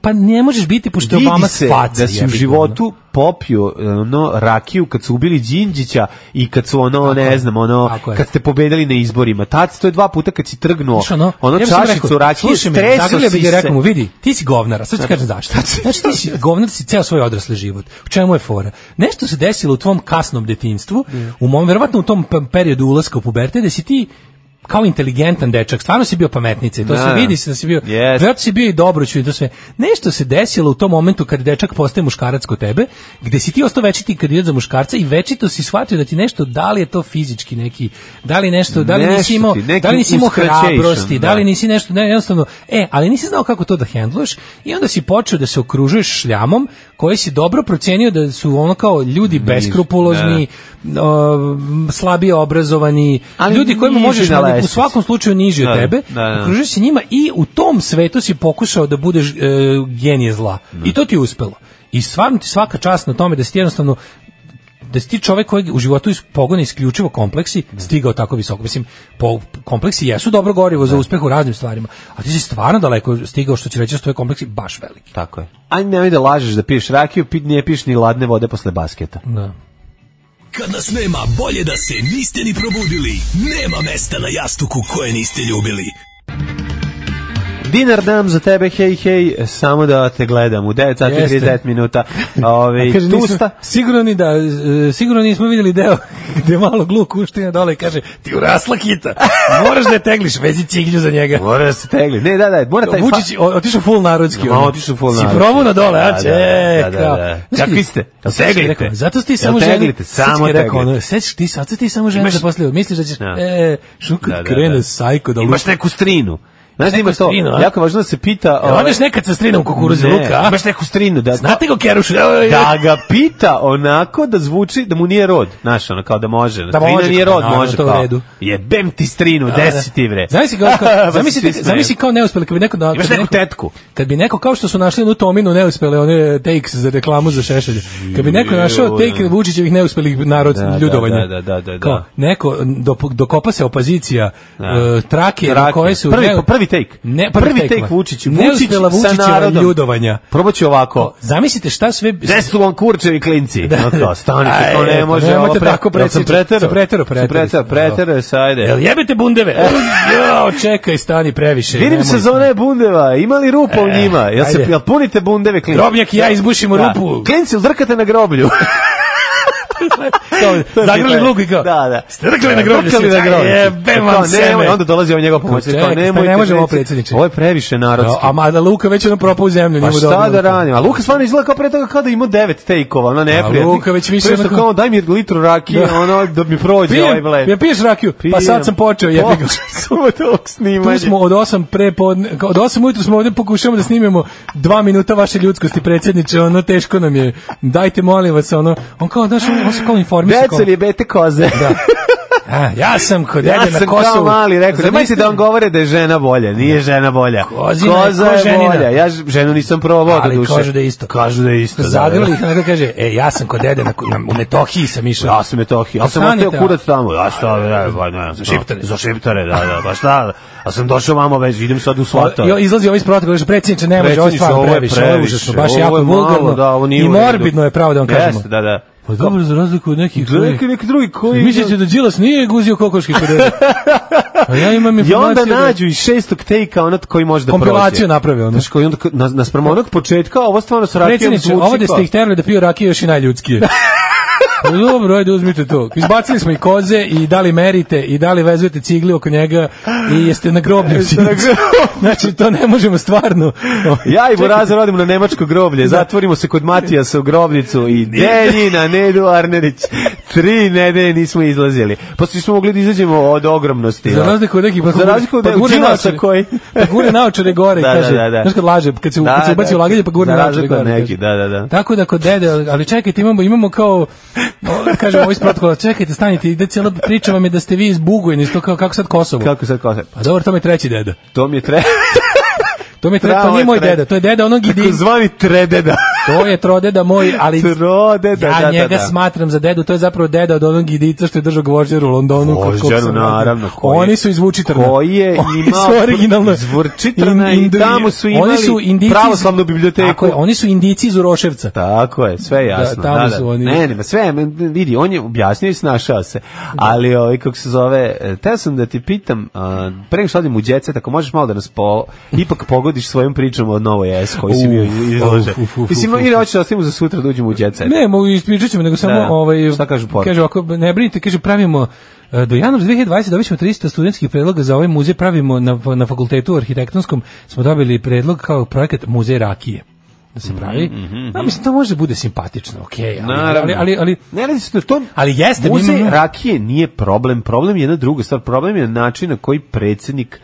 G: pa ne možeš biti, pošto je
E: vidi
G: Obama
E: se
G: faca.
E: da si u
G: jebi ga, ono.
E: životu popio ono rakiju kad su ubili Đinđića i kad su ono ne
G: je.
E: znam ono
G: Tako je.
E: kad ste pobedili na izborima tad to je dva puta kad si trgnuo
G: Znaš, ono,
E: ono
G: ja bi samo
E: čašicu
G: rekao,
E: rakije
G: slušaj me,
E: stresao
G: zagrlio bi
E: si
G: ga i
E: se
G: rekao mu, vidi, ti si govnar, a sad ću ti kažem zašto. Znači, ti si govnar, si ceo svoj odrasli život. U čemu je fora? Nešto se desilo u tvom kasnom detinjstvu, u mom, verovatno u tom pe- periodu ulaska u pubertet, da si ti kao inteligentan dečak, stvarno si bio pametnica i to
E: Da.
G: se vidi se da si bio,
E: Jest.
G: yes. si bio i dobroću i to sve. Nešto se desilo u tom momentu kad dečak postaje muškarac kod tebe, gde si ti ostao večiti kandidat za muškarca i večito si shvatio da ti nešto, da li je to fizički neki, da li nešto, da li
E: Nešto
G: nisi imao,
E: ti, neki
G: da li nisi imao
E: uskraćation,
G: hrabrosti, da.
E: da.
G: li nisi nešto, ne, jednostavno, e, ali nisi znao kako to da hendluješ i onda si počeo da se okružuješ šljamom koji si dobro procenio da su ono kao ljudi beskrupulozni, o, slabije obrazovani,
E: Ali
G: ljudi kojima
E: niži
G: možeš
E: na
G: mani- u
E: lestvici.
G: svakom slučaju niži od
E: Da,
G: tebe,
E: da, da.
G: okružuješ se njima i u tom svetu si pokušao da budeš e, genije zla. I to ti je uspelo. I stvarno ti svaka čast na tome da si ti jednostavno da si ti čovek koji u životu iz pogone isključivo kompleksi stigao tako visoko. Mislim, po, kompleksi jesu dobro gorivo za uspeh u raznim stvarima, a ti si stvarno daleko stigao što će reći da su tvoji kompleksi baš veliki.
E: Tako je. Aj nemoj da lažeš da piješ rakiju, pi, ne piješ ni ladne vode posle basketa.
G: Da.
M: Kad nas nema, bolje da se niste ni probudili. Nema mesta na jastuku koje niste ljubili.
E: Dinar dam za tebe, hej, hej, samo da te gledam u 9 sati i
G: Jeste.
E: 30
G: (laughs)
E: minuta. Ove,
G: A kaže, nismo-
E: tusta.
G: sigurno, ni da, e, sigurno nismo vidjeli deo (laughs) gde malo gluk uštine dole i kaže ti urasla kita, moraš da je tegliš, vezi ciglju za njega.
E: Mora da se tegli. Ne, da, da, mora taj... fa-
G: Vučić je o- otišao full narodski.
E: Ma,
G: ono.
E: otišao full
G: Si
E: narodski.
G: probao na dole, a
E: Da,
G: će,
E: da,
G: e,
E: da, da,
G: kao.
E: da.
G: Znaš
E: Kakvi
G: ti-
E: ste?
G: Znaš ti šta je
E: Teglite?
G: rekao? Zato si ti
E: Jel
G: samo ženi.
E: teglite? Samo teglite.
G: Sećaš ti, sad ti samo ženi
E: Imaš-
G: da poslije, misliš da ćeš,
E: Da.
G: e, šuk
E: Da, da,
G: krene
E: da.
G: sajko da
E: Imaš neku strinu. Znaš da imaš to,
G: strinu, a?
E: jako je važno da se pita...
G: Jel odeš nekad sa strinom kukuruze
E: ovaj- Ne,
G: luka, a?
E: Imaš neku strinu da...
G: Znate ga kerušu? Evo,
E: Da ga pita onako da zvuči da mu nije rod. Znaš, ono kao da može.
G: Da
E: Strina
G: može,
E: nije rod,
G: naravno,
E: može
G: to u
E: kao.
G: redu.
E: Jebem ti strinu,
G: Da,
E: desi
G: da.
E: ti vre.
G: Zamisli kao,
E: (laughs) Pa
G: kao
E: se
G: zamisli,
E: svi
G: te-
E: smeju.
G: zamisli kao neuspeli, kad bi neko da
E: Imaš
G: kad bi
E: neku
G: neko-
E: tetku.
G: Kad bi neko kao što su našli onu Tominu neuspele one takes za reklamu za šešelj. Kad bi neko našao take Vučićevih neuspelih narod
E: Da, da,
G: ljudovanja.
E: da, da, da, da, da.
G: Kao, neko do, dokopa se opozicija
E: Da.
G: e, trake, na
E: Trake.
G: koje su
E: prvi,
G: neu-
E: prvi take.
G: Ne,
E: prvi,
G: prvi,
E: take,
G: take
E: Vučić. Vučić
G: Neuspela
E: sa
G: Vučićeva
E: narodom.
G: ljudovanja.
E: Probaću ovako.
G: Zamislite šta sve
E: Gde su vam kurčevi klinci? Da. No, stanite,
G: Aj,
E: to ne može.
G: nemojte
E: ovo pre-
G: tako
E: Jel sam
G: presjeći.
E: pretero.
G: Sam pretero,
E: Sam pretero,
G: pretero.
E: pretero, sajde.
G: Jel jebete bundeve? Jo, čekaj, stani previše.
E: E. Vidim
G: nemoj.
E: sezone bundeva, ima li rupa u njima? Jel, se,
G: E, ajde.
E: jel punite bundeve klinci?
G: Grobnjak i ja izbušimo
E: (laughs)
G: rupu.
E: Klinci, jel drkate na groblju? (laughs)
G: Kao, zagrali luk i kao.
E: Da, da.
G: Strkali na groblju.
E: Drkali na groblju.
G: Jebem vam
E: Kao, nemoj,
G: seme.
E: Onda dolazi ovaj njegov pomoćnik.
G: Čekaj,
E: Kao,
G: stani,
E: nemojte,
G: ne možemo ovo,
E: reci.
G: predsjedniče.
E: Ovo je previše narodski.
G: A mada Luka već ono propao u zemlju.
E: Pa
G: njemu
E: šta
G: dobro.
E: da radim? A Luka stvarno izgleda kao pre toga kao da ima devet take-ova, ono neprijatno.
G: Luka već više
E: Prešto
G: onako-
E: kao daj mi litru rakije,
G: Da.
E: ono da mi prođe ovaj
G: Pijem,
E: bled.
G: ja piješ rakiju? Pa sad sam počeo, jebi ga.
E: Samo tog snimanja.
G: (laughs) Tu smo od 8 pre podne, od 8 ujutru smo ovde pokušavamo da snimimo dva minuta vaše ljudskosti predsjedniče, ono teško nam je. Dajte molim vas ono. On kao znaš, on, on se kao informisao. kao-
E: Deca li bete koze.
G: Da. A, ja sam kod
E: Ja
G: dede na
E: sam
G: Kosovu.
E: kao mali rekao,
G: Zamislite-
E: nemojte da vam govore da je žena bolja, nije žena bolja.
G: Kozina je
E: Koza
G: ko
E: je
G: ženina.
E: bolja. Ja ž- ženu nisam probao do
G: Ali
E: duše.
G: kažu da je isto.
E: Kažu da je isto. da,
G: Zagrli
E: da.
G: ih, onako kaže, e, ja sam kod dede na, na, u Metohiji sam išao.
E: Ja sam Metohija, ja sam
G: Stanite,
E: ostao
G: a?
E: kurac tamo. Ja šta, ja, pa ne, za
G: Šiptare.
E: Za šiptare, da, da, pa šta, ja sam došao vamo već, idem sad u svata.
G: Pa, Jo, izlazi ovaj sprotok, kaže predsjedniče, ne može, ovo je
E: Predsjedniče,
G: stvarno
E: ovo je
G: previše, ovo je
E: previše,
G: užasno, baš
E: ovo je
G: jako
E: malo,
G: vulgarno
E: da, ovo nije
G: i
E: u redu.
G: morbidno je pravo da vam kažemo.
E: Jeste, da, da.
G: Pa dobro, za razliku od nekih
E: Neki, neki drugi koji...
G: Mislite da Đilas nije guzio kokoške kod dede? A ja
E: (laughs)
G: imam
E: I onda
G: informaciju da-
E: nađu iz šestog tejka onat koji može da prođe.
G: Kompilaciju naprave, ono.
E: Znaš koji onda, na, naspram onog početka, ovo stvarno sa rakijom
G: Predsjedniče,
E: zvuči
G: ovo da
E: kao-
G: ste ih terali da piju rakije još i
E: (laughs)
G: najljudskije. Pa dobro, ajde uzmite to. Izbacili smo i koze i da li merite i da li vezujete cigli oko njega i jeste na groblju.
E: Jeste na
G: sinoć.
E: groblju.
G: (laughs) znači, to ne možemo stvarno.
E: (laughs) Ja i Burazer odimo na nemačko groblje, zatvorimo se kod Matijasa u grobnicu i Deljina, Nedu Arnerić. Tri nedelje nismo izlazili. Poslije smo mogli da izađemo od ogromnosti.
G: Za
E: da.
G: razliku od nekih, pa,
E: Za razliku od
G: pa gurne
E: Đilasa
G: naočare-
E: koji...
G: Pa gure naočare gore
E: (laughs)
G: i
E: Da, da,
G: kaže,
E: da, da.
G: znaš kad laže, kad se,
E: Da,
G: kad se ubaci
E: da.
G: u laganje pa gurne
E: Za
G: naočare
E: razliku od
G: gore. kaže.
E: neki, da, da, da.
G: Tako da kod dede, ali čekajte, imamo, imamo kao, o, kažemo ovaj protokol, čekajte, stanite, ide cijela priča vam je da ste vi iz Bugojne, isto kao, kako sad Kosovo.
E: Kako sad kao...
G: Pa dobro, to mi je treći deda.
E: To mi je
G: (laughs)
E: tre...
G: To mi je treći, to
E: Pravo
G: nije
E: je
G: moj
E: tre-
G: deda, to je deda onog idi.
E: Tako zvani
G: (laughs)
E: trededa.
G: To je trodeda moj, ali
E: Trodeda, da,
G: ja
E: da,
G: njega
E: da.
G: smatram za dedu, to je zapravo deda od onog idica što je držao gvožđer u Londonu. kod kog sam
E: Vožđaru,
G: rođen.
E: naravno. Koji,
G: Oni su iz Vučitrna.
E: Koji je
G: Oni
E: imao
G: su originalno.
E: iz Vučitrna i
G: Indu-
E: tamo su imali
G: Indijci iz-
E: pravoslavnu biblioteku.
G: Tako je, oni su indici iz Uroševca.
E: Tako je, sve je jasno.
G: Da, tamo
E: da,
G: su
E: da.
G: oni.
E: Ne, ne, ma sve, je, vidi, on je objasnio i snašao se. Ali, ovaj, kako se zove, e, teo sam da ti pitam, a, pre nego što odim u djece, tako možeš malo da nas po, ipak pogodiš svojom pričom o Novoj S, koji si bio
G: Uf,
E: izložen.
G: uf, uf, uf,
E: Mislim, ili, ili hoćeš da ostavimo za sutra da uđemo u jet set.
G: Ne, mogu ispričat ćemo, nego samo
E: E, Da.
G: ovaj,
E: Šta kažu poruke?
G: Kaže, ako ne brinite, kaže, pravimo e, do januara 2020 dobit ćemo 300 studentskih predloga za ovaj muzej, pravimo na, na fakultetu arhitektonskom, smo dobili predlog kao projekat Muzej Rakije da se pravi. Da, mislim, to može da bude simpatično, okej, ali, ali,
E: Mhm, Naravno.
G: ali, ali,
E: Ne radi se o tom.
G: ali jeste, mi
E: Muzej
G: imamo-
E: rakije nije problem, problem je jedna druga stvar, problem je način na koji predsjednik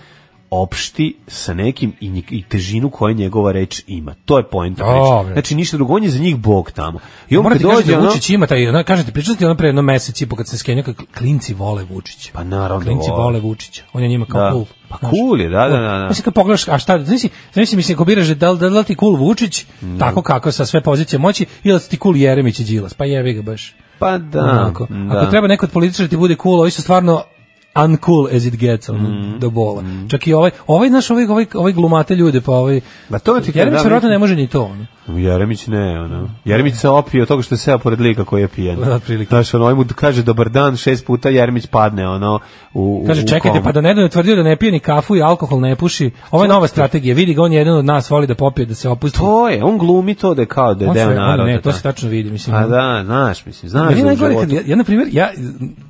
E: opšti sa nekim i, nje- i težinu koju njegova reč ima. To je poenta priče.
G: Dobre.
E: Znači ništa drugo, on je za njih bog tamo. I on
G: Morate
E: kad dođe,
G: kažete da
E: ono-
G: Vučić ima taj, ono, kažete, pričali ste ono pre jedno mesec i po kad se skenio, kad klinci vole Vučića.
E: Pa naravno.
G: Klinci
E: vole.
G: vole Vučića. On je njima kao
E: Da.
G: cool.
E: Pa
G: znaš.
E: cool je, da, da, da, da.
G: Mislim, kad pogledaš, a šta, znači, znači, mislim, ako biraš da li, da li ti cool Vučić,
E: Mm.
G: tako kako sa sve pozicije moći, ili da ti cool Jeremić i Đilas, pa jevi ga baš.
E: Pa da.
G: Onako.
E: da.
G: Ako treba neko od političara da ti bude cool, ovi su stvarno uncool as it gets, ono,
E: Mm.
G: do bola. Čak i ovaj, ovaj naš, ovaj, ovaj, ovaj glumate ljude, pa ovaj...
E: Ma to ti
G: Jeremić
E: da,
G: verovatno
E: mislim-
G: ne može ni to, ono.
E: Jeremić ne, ono. Jeremić se opio od toga što je seo pored lika koji je pijen.
G: Da, otprilike.
E: Znaš, ono, ovaj mu kaže dobar dan, šest puta Jeremić padne, ono, u, u
G: Kaže,
E: u
G: čekajte,
E: komu.
G: pa da nedavno je tvrdio da ne pije ni kafu i alkohol ne puši. Ovo je nova strategija. Vidi ga, on je jedan od nas, voli da popije, da se opusti.
E: To je, on glumi to da je kao da je
G: On sve-
E: deo
G: on
E: naroda.
G: Ne, to
E: da.
G: se tačno vidi, mislim.
E: A da, znaš, mislim, znaš
G: Meni
E: da
G: je
E: u
G: najgore kad
E: životu-
G: ja, ja, na primjer, ja,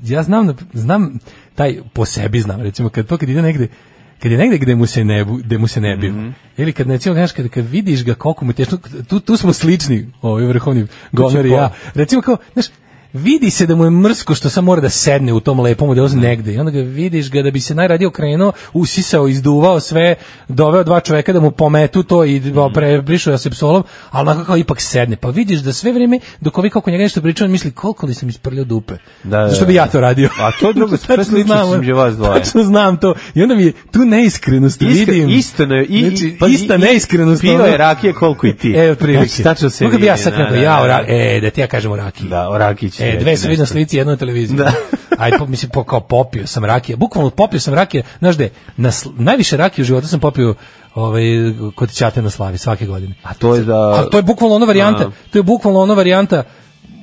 G: ja znam, na- znam taj, po sebi znam, recimo, kad to kad ide negde, kad je negde gde mu se ne, bu- gde mu se ne biva.
E: Mhm.
G: Ili kad recimo, znaš, kad, kad vidiš ga koliko mu je teško, tu, tu smo slični, ovi vrhovni govnar i
E: po-
G: ja. Recimo kao, znaš, vidi se da mu je mrsko što sam mora da sedne u tom lepom odelazu negde i onda ga vidiš ga da bi se najradije okrenuo, usisao, izduvao sve, doveo dva čoveka da mu pometu to i
E: Mhm.
G: prebrišu ja se psolom, ali onako kao ipak sedne. Pa vidiš da sve vrijeme dok ovi kako njega nešto pričaju, on misli koliko li sam isprljao dupe.
E: Da, da,
G: Zašto bi
E: da.
G: ja to radio?
E: A to je
G: (laughs)
E: drugo,
G: Tačno
E: sve slično
G: znam,
E: sam je vas dvoje.
G: Tačno znam to. I onda mi je tu neiskrenost,
E: Iskre-
G: vidim.
E: isto ne- i- i-
G: znači,
E: pa i-
G: ista
E: i-
G: neiskrenost.
E: pio
G: ono.
E: je rakije koliko i ti.
G: E, otprilike.
E: Znači, tačno se
G: Koliko bi ja
E: vidi,
G: sad
E: da,
G: rekao,
E: da,
G: ja,
E: da.
G: o ra- e, da ti ja kažem o rakiji.
E: Da, o Rakiji će
G: E,
E: reći
G: dve sam vidio na
E: nešto.
G: slici, jedno na televiziji. (laughs)
E: Da.
G: Aj, po, mislim, po, kao popio sam rakije. Bukvalno popio sam rakije. Znaš gde, na, sl- najviše rakije u životu sam popio ovaj, kod Ćate na Slavi svake godine.
E: A to je da...
G: Ali to je bukvalno ona varijanta,
E: A.
G: to je bukvalno ona varijanta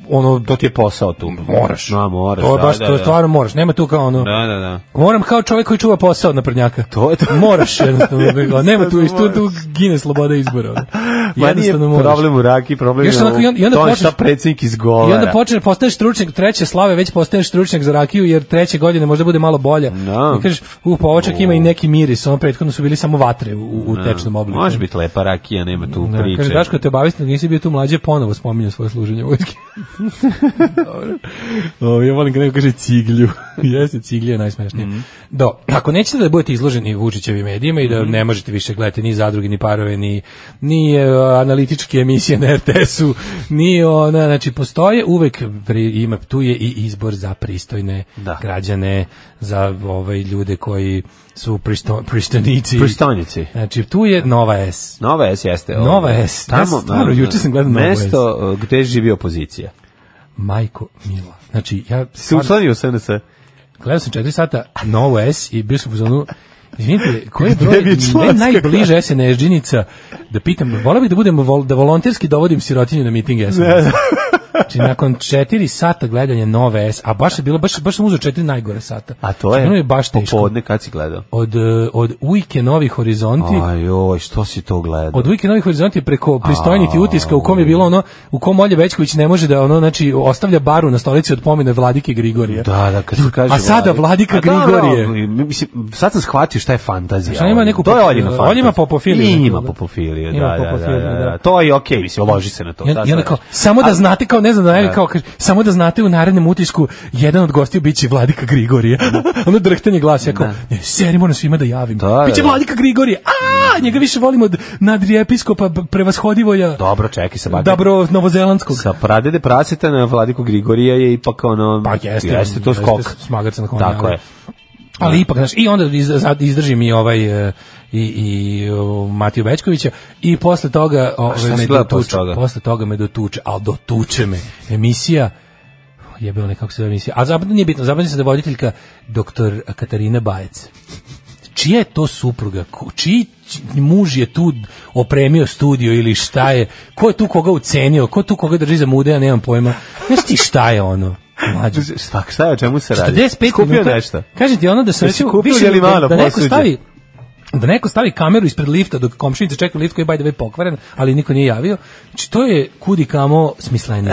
G: ono
E: To ti je posao tu.
G: moraš.
E: Ma, moraš.
G: to je
E: da,
G: baš,
E: da,
G: to je
E: da.
G: stvarno moraš. Nema tu kao ono,
E: Da, da, da.
G: Moram kao čovjek koji čuva posao od naprednjaka.
E: To je to. (laughs)
G: Moraš jednostavno.
E: Jednostavno
G: Nema tu, tu, tu
E: moraš.
G: gine sloboda izbora. ono.
E: Ma nije
G: Jednostavno moraš.
E: problem u raki, problem
G: Još
E: je
G: onako i on- i
E: u
G: onda
E: tome šta
G: počneš-
E: predsjednik izgovara.
G: I onda počneš, postaješ stručnjak treće slave, već postaješ stručnjak za rakiju, jer treće godine možda bude malo bolja.
E: Da.
G: I kažeš, u, pa ovo čak ima i neki miris, ono prethodno su bili samo vatre u, u tečnom obliku.
E: Može biti lepa rakija, nema tu
G: Da,
E: priče.
G: kaže, Daško, te obavesti, da nisi bio tu mlađe, ponovo spominjam svoje služenje
E: (laughs)
G: vojske. Dobro. O, ja volim kad neko kaže ciglju. (laughs) Jeste, ciglje je najsmešnije.
E: Mhm.
G: Do, ako nećete da budete izloženi Vučićevim medijima i da
E: Mhm.
G: ne možete više gledati ni zadruge, ni parove, ni, ni e, analitičke emisije na RTS-u, ni ona, znači, postoje uvek, pri- ima, tu je i izbor za pristojne
E: Da.
G: građane, za ovaj, ljude koji su pristo, pristojnici.
E: Pristojnici.
G: Znači, tu je Nova S. ovaj.
E: Nova S jeste. ovo.
G: Nova S, ja stvarno, juče sam gledao Novu S.
E: Mesto uh, gde živi opozicija.
G: Majko Mila. Znači, ja
E: Se
G: stvarno,
E: učlanio se na se.
G: gledao sam 4 sata Novo S i bio sam u zonu Izvinite, koji je broj,
E: Gde bi je
G: ne
E: članska
G: najbliže SNS džinica, da pitam, volao bih da budem, vol, da volonterski dovodim sirotinju na miting SNS. Znači, nakon četiri sata gledanja nove S, a baš je bilo, baš, baš sam uzeo četiri najgore sata. Znači,
E: A to
G: Bilo mi
E: je
G: ono baš teško.
E: popodne kad si gledao.
G: Od, e, od ujke Novi Horizonti,
E: Ajoj, što si to gledao?
G: od Vike Novih Horizonti preko pristojniti utiska u kom je bilo ono u kom Olje Bećković ne može da ono znači ostavlja baru na stolici od pomene Vladike Grigorija.
E: Da, da, kad se kaže
G: A sada Vladika
E: A da, da,
G: Grigorije.
E: mislim, sad sam shvatio šta je fantazija.
G: Šta ima
E: Oljina.
G: neku
E: to je
G: popu-
E: Oljina
G: Olja
E: fantazija.
G: ima popofiliju.
E: I Ima
G: Da.
E: popofiliju, da,
G: Ima
E: da, da,
G: popofiliju,
E: da, da.
G: da.
E: To je okej, mislim, loži se na to.
G: I
E: da,
G: onda, i onda
E: da.
G: kao, samo da
E: A-
G: znate, kao ne znam, najavio, kao, kaže, samo da znate u narednom utisku jedan od gostiju biće Vladika Grigorije. (laughs) ono drhtanje glasa, ja kao, ne, seri, moram svima da javim.
E: Da, da,
G: biće
E: da.
G: Vladika Grigorije, a njega više volimo od nadrijepiskopa b- prevashodivolja
E: Dobro, pa čekaj, sa bakat.
G: Dobro, novozelandskog.
E: Sa pradede praseta na Vladiku Grigorija je ipak ono...
G: Pa jeste,
E: to
G: jeste
E: skok.
G: smagarca na konju,
E: Tako
G: ali-
E: je.
G: Ali ipak, znaš, i onda iz- za- izdrži mi ovaj e, i, i o, Matiju Bečkovića i posle toga
E: šta
G: ovaj,
E: si
G: me
E: gledao
G: dotuče.
E: posle toga?
G: Posle toga me dotuče, ali dotuče me. Emisija, jebe onaj kako se zove emisija, a zapadno nije bitno, zapadno se da je voditeljka doktor Katarina Bajec. Čija je to supruga? Ko- Čiji ć- muž je tu opremio studio ili šta je? Ko je tu koga ucenio? Ko tu koga drži za mude? Ja nemam pojma. Znaš ti šta je ono? Mlađo.
E: Šta, šta je, o čemu se radi?
G: 45
E: Skupio
G: minuta.
E: nešto.
G: Kažem ti ono da sam
E: Jesi
G: recimo
E: kupio
G: više
E: Jelimano
G: da, da neko
E: posuđe?
G: stavi da neko stavi kameru ispred lifta dok komšinica čeka lift koji je by the way pokvaren, ali niko nije javio. Znači to je kudi kamo
E: (laughs)
G: smisleno.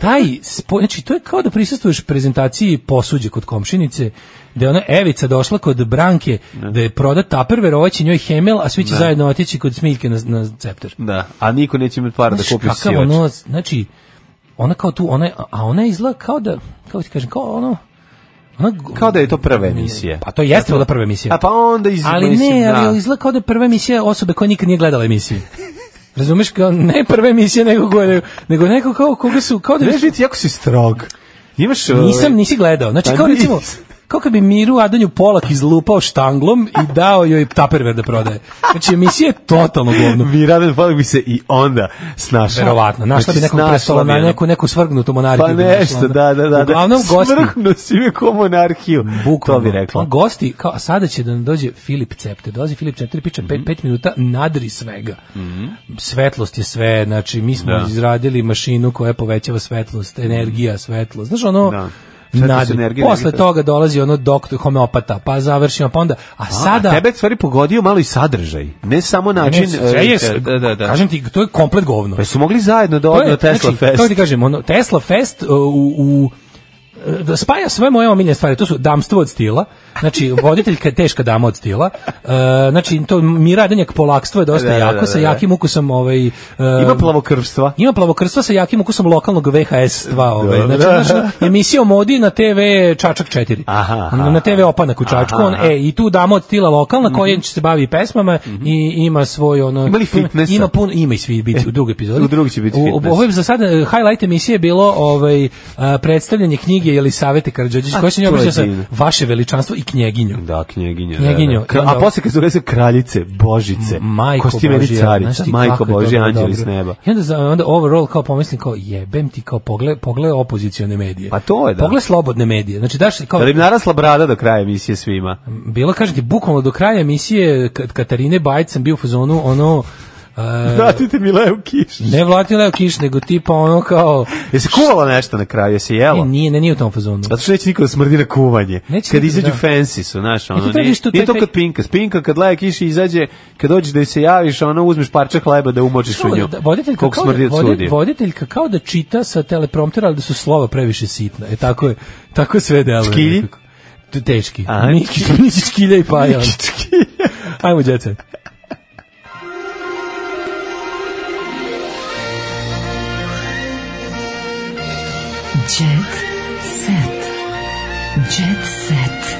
G: Taj spo, znači to je kao da prisustvuješ prezentaciji posuđe kod komšinice da je ona Evica došla kod Branke da je proda taperver, ovaj će njoj hemel, a svi će
E: Da.
G: zajedno otići kod Smiljke na, na cepter.
E: Da, a niko neće imati para da
G: Znaš
E: kupi
G: kakav
E: sivač.
G: ono, znači, ona kao tu, ona, je- a ona izgleda kao da, kako ti kažem, kao ono, ona,
E: Kao da je to prva emisija.
G: Pa to jeste bila prva emisija.
E: A pa onda iz...
G: ali ne,
E: mislim,
G: ali izgleda kao da je prva emisija osobe koja nikad nije
E: (laughs)
G: gledala emisiju. Razumeš, kao ne prva emisija nego koja, nego, nego neko kao koga su, kao da...
E: Znaš, biti jako si strog. Imaš... ovaj,
G: Nisam, nisi gledao. Znači,
E: Pa
G: kao
E: nis-
G: recimo, kao kad bi Miru Adonju Polak izlupao štanglom i dao joj taperver da prodaje. Znači, emisija je totalno
E: (laughs)
G: govno.
E: Mi Radan Falk bi se i onda snašao.
G: Verovatno, našla bi
E: Znači,
G: nekog
E: snašla
G: prestola
E: bi
G: na
E: ono.
G: neku, neku svrgnutu monarhiju.
E: Pa
G: bi našla,
E: nešto,
G: ono.
E: da, da, da.
G: Uglavnom,
E: da.
G: gosti,
E: Svrhnu si me ko monarhiju. To bi rekla.
G: ono, gosti, kao, a sada će da nam dođe Filip Cepter, dolazi Filip Cepter i priča 5
E: Mhm.
G: minuta nadri svega. Svetlost je sve, znači, mi smo
E: Da.
G: izradili mašinu koja povećava svetlost, energija, svetlost, znaš, ono,
E: Da. Svetlost,
G: Nadri.
E: energija,
G: Posle
E: energija.
G: toga dolazi ono doktor homeopata, pa završimo, pa onda, a sada...
E: A, tebe je stvari pogodio malo i sadržaj. Ne samo način... e,
G: Ne, sve je, sve-
E: da, da, da.
G: kažem ti, to je komplet govno.
E: Pa su mogli zajedno da odu na Tesla
G: znači,
E: Fest.
G: Kako ti kažem, ono, Tesla Fest uh, u, u e, da spaja sve moje omiljene stvari, to su damstvo od stila, znači voditeljka je teška dama od stila, e, znači to miradenjak polakstvo je dosta
E: Da, da,
G: jako,
E: da, da,
G: sa
E: da.
G: jakim ukusom ovaj, e,
E: Ima plavokrvstva.
G: ima plavokrstva sa jakim ukusom lokalnog VHS-stva. Ovaj.
E: Dobro.
G: Znači, znaš, emisija o modi na TV Čačak 4.
E: Aha, aha.
G: na TV Opanak u Čačku.
E: Aha,
G: on,
E: aha. Mhm.
G: e, I tu dama od tila lokalna koja će se bavi pesmama i ima svoj... Ono,
E: Ima li fitnessa? E,
G: Ima, puno, ima i svi biti u drugoj epizodi.
E: U drugoj će biti
G: U- u-
E: fitness.
G: Ovo je za sada, e, highlight emisije je bilo ovaj, a, predstavljanje knjige Jelisavete Karđođić,
E: A,
G: koja se nje
E: to je
G: obraća sa
E: divno.
G: vaše veličanstvo i knjeginju.
E: Da, knjeginja. da,
G: Knjeginjo,
E: da. Kra-
G: i onda-
E: A posle kad zove se kraljice, božice,
G: majko
E: kostimeni
G: Božja,
E: carica,
G: znaš ti
E: majko
G: kako je
E: Božje,
G: dobro,
E: anđeli s
G: dobro.
E: neba.
G: I onda, za- onda overall kao pomislim kao jebem ti kao pogled, pogled opozicione medije.
E: Pa to je, da.
G: Pogled slobodne medije. Znači daš kao
E: Da li im narasla brada do kraja emisije svima?
G: bilo kažete bukvalno do kraja emisije Ka- Katarine Bajt sam bio u fazonu ono e,
E: Vratite mi Leo Kiš.
G: ne Vlati Leo Kiš nego tipa ono kao
E: Jesi kuvalo nešto na kraju, jesi
G: e,
E: jelo?
G: nije, ne, nije u tom fazonu.
E: Zato što neće niko da smrdi na kuvanje.
G: Neće
E: kad
G: niko,
E: izađu
G: da.
E: fancy su, znaš, ono,
G: to je
E: nije,
G: nešto, to
E: nije
G: je
E: to
G: taj-
E: kad pinka. Spinka kad laja kiši izađe, kad dođeš da joj se javiš, ono, uzmeš parče hleba da umočiš u nju.
G: Da, voditeljka,
E: Koliko
G: kao da,
E: smrdi od
G: vodi-
E: sudije. (laughs)
G: voditeljka kao da čita sa telepromptera, ali da su slova previše sitna. E tako je, tako sve deluje.
E: Škilji?
G: nekako. T- Teški.
E: Aha.
G: Mikić, (laughs) Mikić škilja i paja. Ajmo, djece.
D: Jet set. Jet set.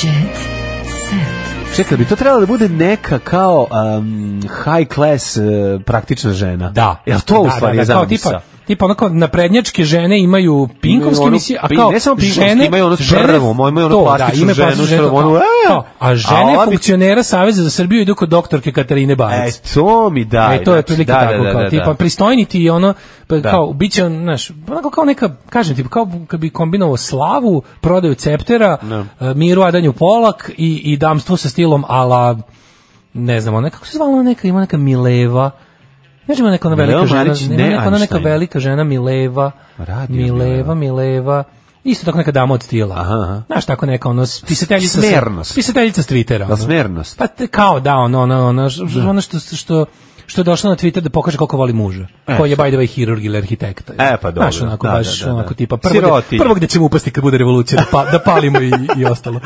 D: Jet set.
E: Čekaj, bi to trebalo da bude neka kao um, high class uh, praktična žena.
G: Da.
E: Jel to u stvari
G: da, da, kao tipa,
E: tipa,
G: tipa ono onako naprednjačke žene imaju pinkovske
E: Imaju onu
G: emisije, a
E: pin-
G: kao
E: Ono ne samo pinkovske,
G: žene,
E: imaju onu
G: žene-
E: prvu, imaju onu
G: to, da,
E: plastičnu
G: imaju
E: ženu,
G: plastičnu
E: što je
G: to,
E: ono,
G: kao-
E: "Eee!"
G: kao, a
E: A
G: žene
E: ova bi-
G: funkcionera Saveza za Srbiju idu kod doktorke Katarine
E: E,
G: Banac.
E: to mi daj.
G: E, to je
E: znači,
G: otprilike
E: da,
G: tako,
E: da,
G: kao,
E: da, da.
G: tipa, pristojni ti i ono, pa,
E: Da.
G: kao, bit će, on, znaš, onako kao neka, kažem ti, kao kad bi kombinovao slavu, prodaju ceptera,
E: Da.
G: e, miru adanju polak i, i damstvo sa stilom ala, ne znam, ona, kako se zvala ona neka, ima neka Mileva, Znaš ima neka ona
E: Mileva
G: velika žena,
E: Marić,
G: ima
E: ne
G: neka, ona neka
E: Einstein.
G: velika žena Mileva,
E: Radio Mileva.
G: Mileva, Mileva, isto tako neka dama od stila.
E: Aha, aha.
G: Znaš, tako neka, ono, pisateljica,
E: Smernost.
G: sa, pisateljica s Twittera. ono.
E: smernost?
G: Pa te, kao da, ono, ono, ono, š- ono što, što, što je došlo na Twitter da pokaže koliko voli muža.
E: E,
G: koji je by the way hirurg ili arhitekta.
E: E, pa dobro.
G: Znaš, onako
E: Da,
G: baš,
E: da, da, da.
G: onako tipa, prvog,
E: Sirotinja.
G: gde, prvog gde ćemo upasti kad bude revolucija, da, pa, da palimo i, i
E: (laughs)
G: ostalo.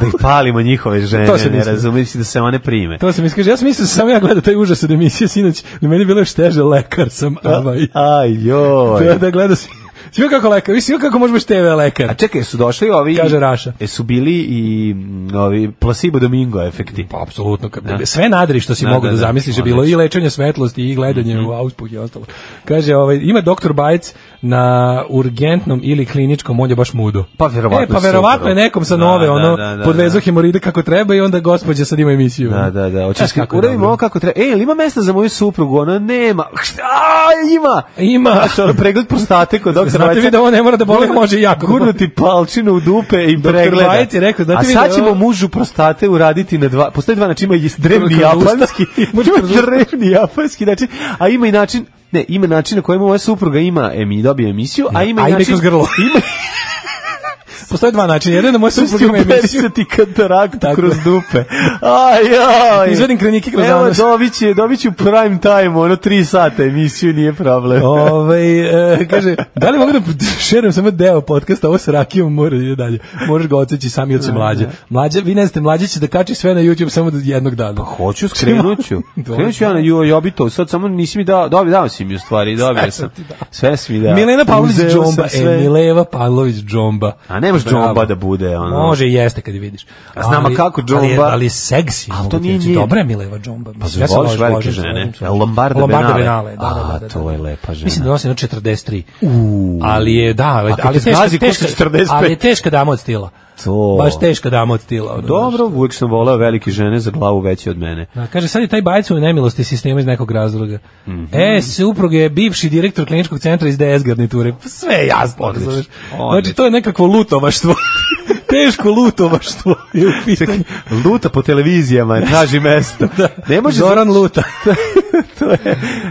E: da ih palimo njihove žene,
G: To se
E: ne
G: mislim.
E: razumiješ da se one prime.
G: To sam iskaže, ja sam mislio da sam ja gledao taj užas od emisije sinoć, na meni je bilo još teže, lekar sam, ovaj.
E: Aj,
G: Da,
E: joj.
G: da gledao sam, Svi kako lekar, svi kako može biti TV lekar.
E: A čekaj, su došli ovi...
G: Kaže Raša.
E: E, su bili i mm, ovi placebo domingo efekti.
G: Pa apsolutno, kad
E: Da.
G: sve nadri što si
E: Da,
G: mogu
E: da,
G: da,
E: da.
G: zamisliš je bilo
E: Odlično. Mhm.
G: i lečenje svetlosti i gledanje u auspuh i ostalo. Kaže, ovaj, ima doktor Bajec na urgentnom ili kliničkom, on je baš mudo.
E: Pa verovatno
G: E, pa verovatno je
E: super.
G: nekom sa
E: Da,
G: nove,
E: da,
G: ono,
E: da, da,
G: podvezo
E: da.
G: hemoride kako treba i onda gospođa sad ima emisiju.
E: Da, da, da. Hoćeš
G: Znaš
E: kako
G: kako je
E: uradimo
G: dobro?
E: ovo kako treba. E, jel ima mesta za moju suprugu? Ona nema. A, ima.
G: Ima.
E: Znaš, ono, pregled prostate kod doktora
G: Znate vi da ovo ne mora da boli, može i jako.
E: Gurnuti palčinu u dupe i
G: Doktor
E: pregleda.
G: Bajić je rekao, znate
E: A
G: vi
E: sad
G: da
E: ćemo
G: ovo-
E: mužu prostate uraditi na dva... Postoje dva načina, ima i drevni
G: Kroz usta.
E: japanski.
G: (laughs) Može kroz
E: Ima
G: usta.
E: drevni japanski način. A ima i način... Ne, ima (laughs) način na kojem moja supruga ima emi, dobije emisiju, a ima i
G: A ide
E: način...
G: kroz grlo.
E: Ima,
G: postoje dva načina. Jedan je da moj suprug ima
E: Uberi
G: emisiju.
E: se ti kataraktu
G: Tako
E: kroz
G: je.
E: dupe. Aj, aj.
G: Izvadim krenike kroz
E: Evo,
G: anus.
E: Dović je, Dović je u prime time, ono, tri sata emisiju, nije
G: (laughs)
E: problem.
G: Ovaj e, kaže, da li mogu da šerujem samo deo podcasta, ovo sa rakijom mora ide dalje. Možeš ga odseći sami ili će mlađe. Mlađe, vi ne znate, mlađe će da kači sve na YouTube samo do jednog dana.
N: Hoću, skrenut
G: (laughs)
N: ću. Skrenut ću ja na Jo- Jobitov, sad samo nisi mi dao, dobio, dao si mi u
G: (laughs)
N: stvari, dobio sam. Sve si mi dao.
G: Milena Pavlović
N: Uzeo sam
G: Džomba, e,
N: sve.
G: Mileva Pavlović Džomba.
N: A nemaš
G: Bravo.
N: džomba da bude, ono.
G: Može i jeste kad je vidiš.
N: A znam, a
G: Ali-
N: kako
G: Ali, je-
N: džomba?
G: ali je seksi.
N: Ali
G: mogu
N: to
G: ti
N: nije
G: reći.
N: njen.
G: Dobra je Mileva Džomba. Mislim,
N: Ja
G: ja sam
N: voliš
G: lož-
N: velike
G: ložim se,
N: žene.
G: ložim se.
N: Lombarda,
G: Lombarda
N: Benale.
G: Benale. Da, da, da,
N: A,
G: da, da.
N: to je lepa žena.
G: Mislim da nosi na 43. Ali je, da, ali,
N: A kad
G: ali je
N: te
G: teška,
N: zgazi,
G: teška,
N: košta 45.
G: ali je teška dama od stila.
N: To.
G: Baš teška dama od stila. ono,
N: Dobro, uvijek sam volao velike žene za glavu veće od mene.
G: Da, kaže, sad je taj bajcu u nemilosti sistema iz nekog razloga. E, suprug je bivši direktor kliničkog centra iz DS garniture. Pa Sve je jasno,
N: Odlično,
G: razumeš?
N: odlično.
G: Znači, to je nekakvo lutovaštvo. Teško lutovaštvo je u pitanju.
E: Luta po televizijama, traži mesto.
G: (laughs) Da.
E: Ne može...
G: Zoran
N: (laughs)
G: Luta.
E: to je...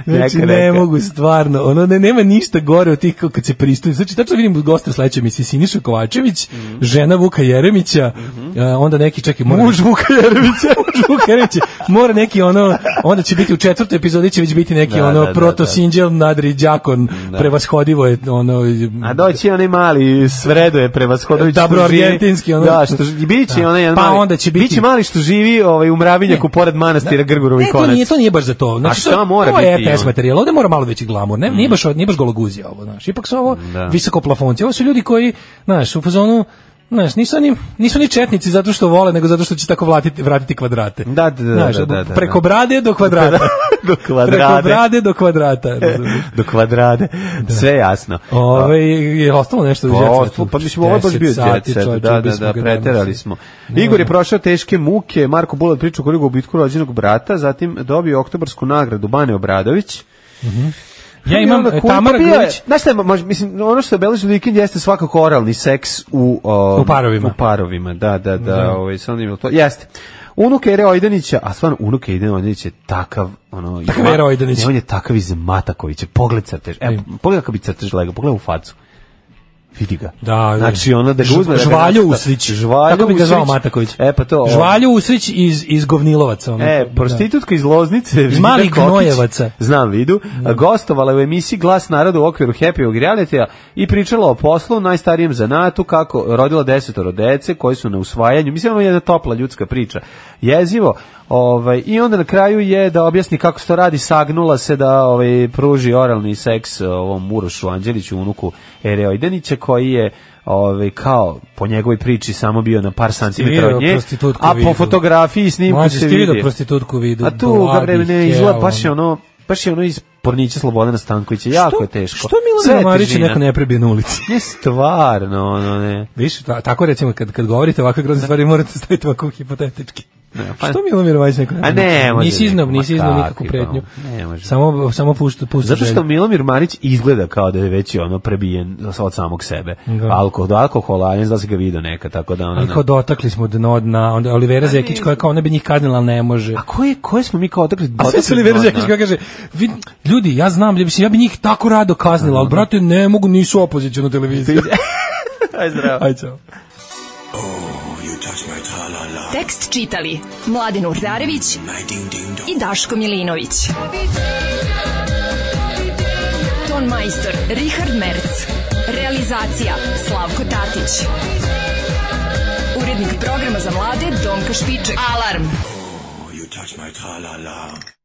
G: Znači,
E: neka,
G: ne
E: neka.
G: mogu stvarno. Ono, ne, nema ništa gore od tih kao kad se pristupi. Znači, tačno vidim goste sledeće mi Siniša Kovačević, žena Vuka Jeremića, a, onda neki, čekaj, mora... Muž Vuka Jeremića. (laughs) Muž Vuka Jeremića. Mora neki ono, onda će biti u četvrtoj epizodi će već biti neki
N: Da,
G: ono
N: da, da, da.
G: proto Sinđel, Nadri Đakon, prevashodivo je ono...
E: A doći je onaj mali Sredo je prevashodović.
G: Dobro,
E: što živi-
G: argentinski, ono.
E: Da, što ži- biće
G: Da.
E: onaj jedan
G: Pa
E: mali-
G: onda će biti-
E: biće mali što živi ovaj u mravinjaku pored manastira Grgurovi
G: Ne, e, to
E: konac.
G: nije, to nije baš za to. Znači,
E: šta
G: to, je-
E: mora
G: to je
E: biti,
G: RTS
E: ono? Mm.
G: materijal, ovde mora malo veći glamur, ne, nije, baš, nije baš gologuzija ovo, znaš, ipak su ovo
N: Da.
G: visokoplafonci, ovo su ljudi koji, znaš, u fazonu, znaš, nisu oni, nisu ni četnici zato što vole, nego zato što će tako vratiti, vratiti kvadrate.
E: Da, da, da,
G: Znaš, ono,
E: da, da, da.
G: preko brade do
E: (laughs)
G: kvadrata.
E: do
G: preko
E: kvadrade.
G: brade do kvadrata. razumiješ?
E: do kvadrade. Sve jasno.
G: Ove, je ostalo nešto
E: Pa,
G: u Jet
E: ostalo-
G: Setu?
E: pa mislim, ovo je baš
G: 10
E: bio jet
G: sati,
E: set,
G: čoveče,
E: da, da,
G: ubili smo
E: da,
G: ga,
E: preterali
G: danas.
E: smo.
G: Da.
E: Igor je prošao teške muke, Marko Bulat priča koliko je u bitku rođenog brata, zatim dobio oktobarsku nagradu Bane Obradović.
G: Ja
E: I
G: imam
E: onda
G: e,
E: koji-
G: Tamara
E: pa bio je-
G: Grujić,
E: Znaš šta, je, mož- mislim, ono što beleži vikend jeste svakako oralni seks u, o,
G: U parovima.
E: U parovima, da, da, da. Ovaj, sad imam to. Jeste. Unuk Ere Ojdanića, a stvarno unuk Ere Ojdanić je takav, ono...
G: Takav
E: izma-
G: Ere Ojdanić.
E: Ne, On je takav iz Matakovića. Pogled crtež. E, pogledaj kako bi crtež lega, pogledaj u facu. Vidi ga.
G: Da, da.
E: znači ona da ga
G: Ž-
E: uzme da ga
G: Žvaljo
E: nacrta.
G: Uslić.
E: Žvaljo
G: Tako bi ga zvao
E: Uslić.
G: Mataković.
E: E pa to.
G: Žvalju Usrić iz, iz Govnilovaca. Ono.
E: E, prostitutka iz Loznice, Vida
G: malih
E: Kokić,
G: gnojevaca.
E: znam vidu, gostovala je u emisiji Glas naroda u okviru Happy realitya i pričala o poslu, najstarijem zanatu, kako rodila desetoro dece koji su na usvajanju. Mislim, ovo je jedna topla ljudska priča. Jezivo. Ovaj, I onda na kraju je da objasni kako se to radi, sagnula se da ovaj, pruži oralni seks eh, ovom Urošu Anđeliću, unuku Ere Ojdenića, koji je ovaj, kao po njegovoj priči samo bio na par santimetra
G: video
E: od nje,
G: prostitutku
E: a po
G: vidu.
E: fotografiji i snimku
G: Mlađe,
E: se
G: jesi ti video
E: vidi.
G: prostitutku vidu?
E: A tu ga
G: Blagi
E: vreme ne
G: je,
E: izgleda, baš je
G: ono.
E: ono, baš je ono iz pornića Slobodana Stankovića, jako je teško.
G: Što
E: Sve je
G: Milana Marić
E: težina.
G: neko ne prebije na ulici?
E: Ne, stvarno, ono ne.
G: Viš, ta- tako recimo, kad, kad govorite ovakve grozne stvari, morate staviti ovako hipotetički.
E: pa-
G: Što Milomir Marić neko ne
E: A
G: prebije na
E: ne,
G: ulici?
E: može
G: Nisi
E: neko,
G: iznao,
E: ma
G: nisi iznao
E: kakvi,
G: nikakvu
E: pa,
G: pretnju.
E: ne može.
G: Samo, samo pušta, pušta
E: Zato što
G: želju.
E: Milomir Marić izgleda kao da je već ono prebijen od samog sebe.
G: Da.
E: Alko, do alkohola, ne znam da se ga vidio neka, tako da ono...
G: Ali
E: ne.
G: kao dotakli smo dno dna, onda Olivera Zekić koja kao ona bi njih kaznila, ali ne može.
E: Pa A koje, koje smo mi kao otakli?
G: A sve su Olivera Zekić koja kaže, vi, ljudi, ja znam, mislim, ja bi njih tako rado kaznila, ali brate, ne mogu, nisu opozicijona
E: (laughs)
G: televizija.
E: Aj, zdravo.
G: Aj, čao.
D: Tekst čitali Mladin Urdarević i Daško Milinović. Ton majstor Richard Merc. Realizacija Slavko Tatić. Urednik programa za mlade Donka Špiček. Alarm!
O: You touch my tra-la-la.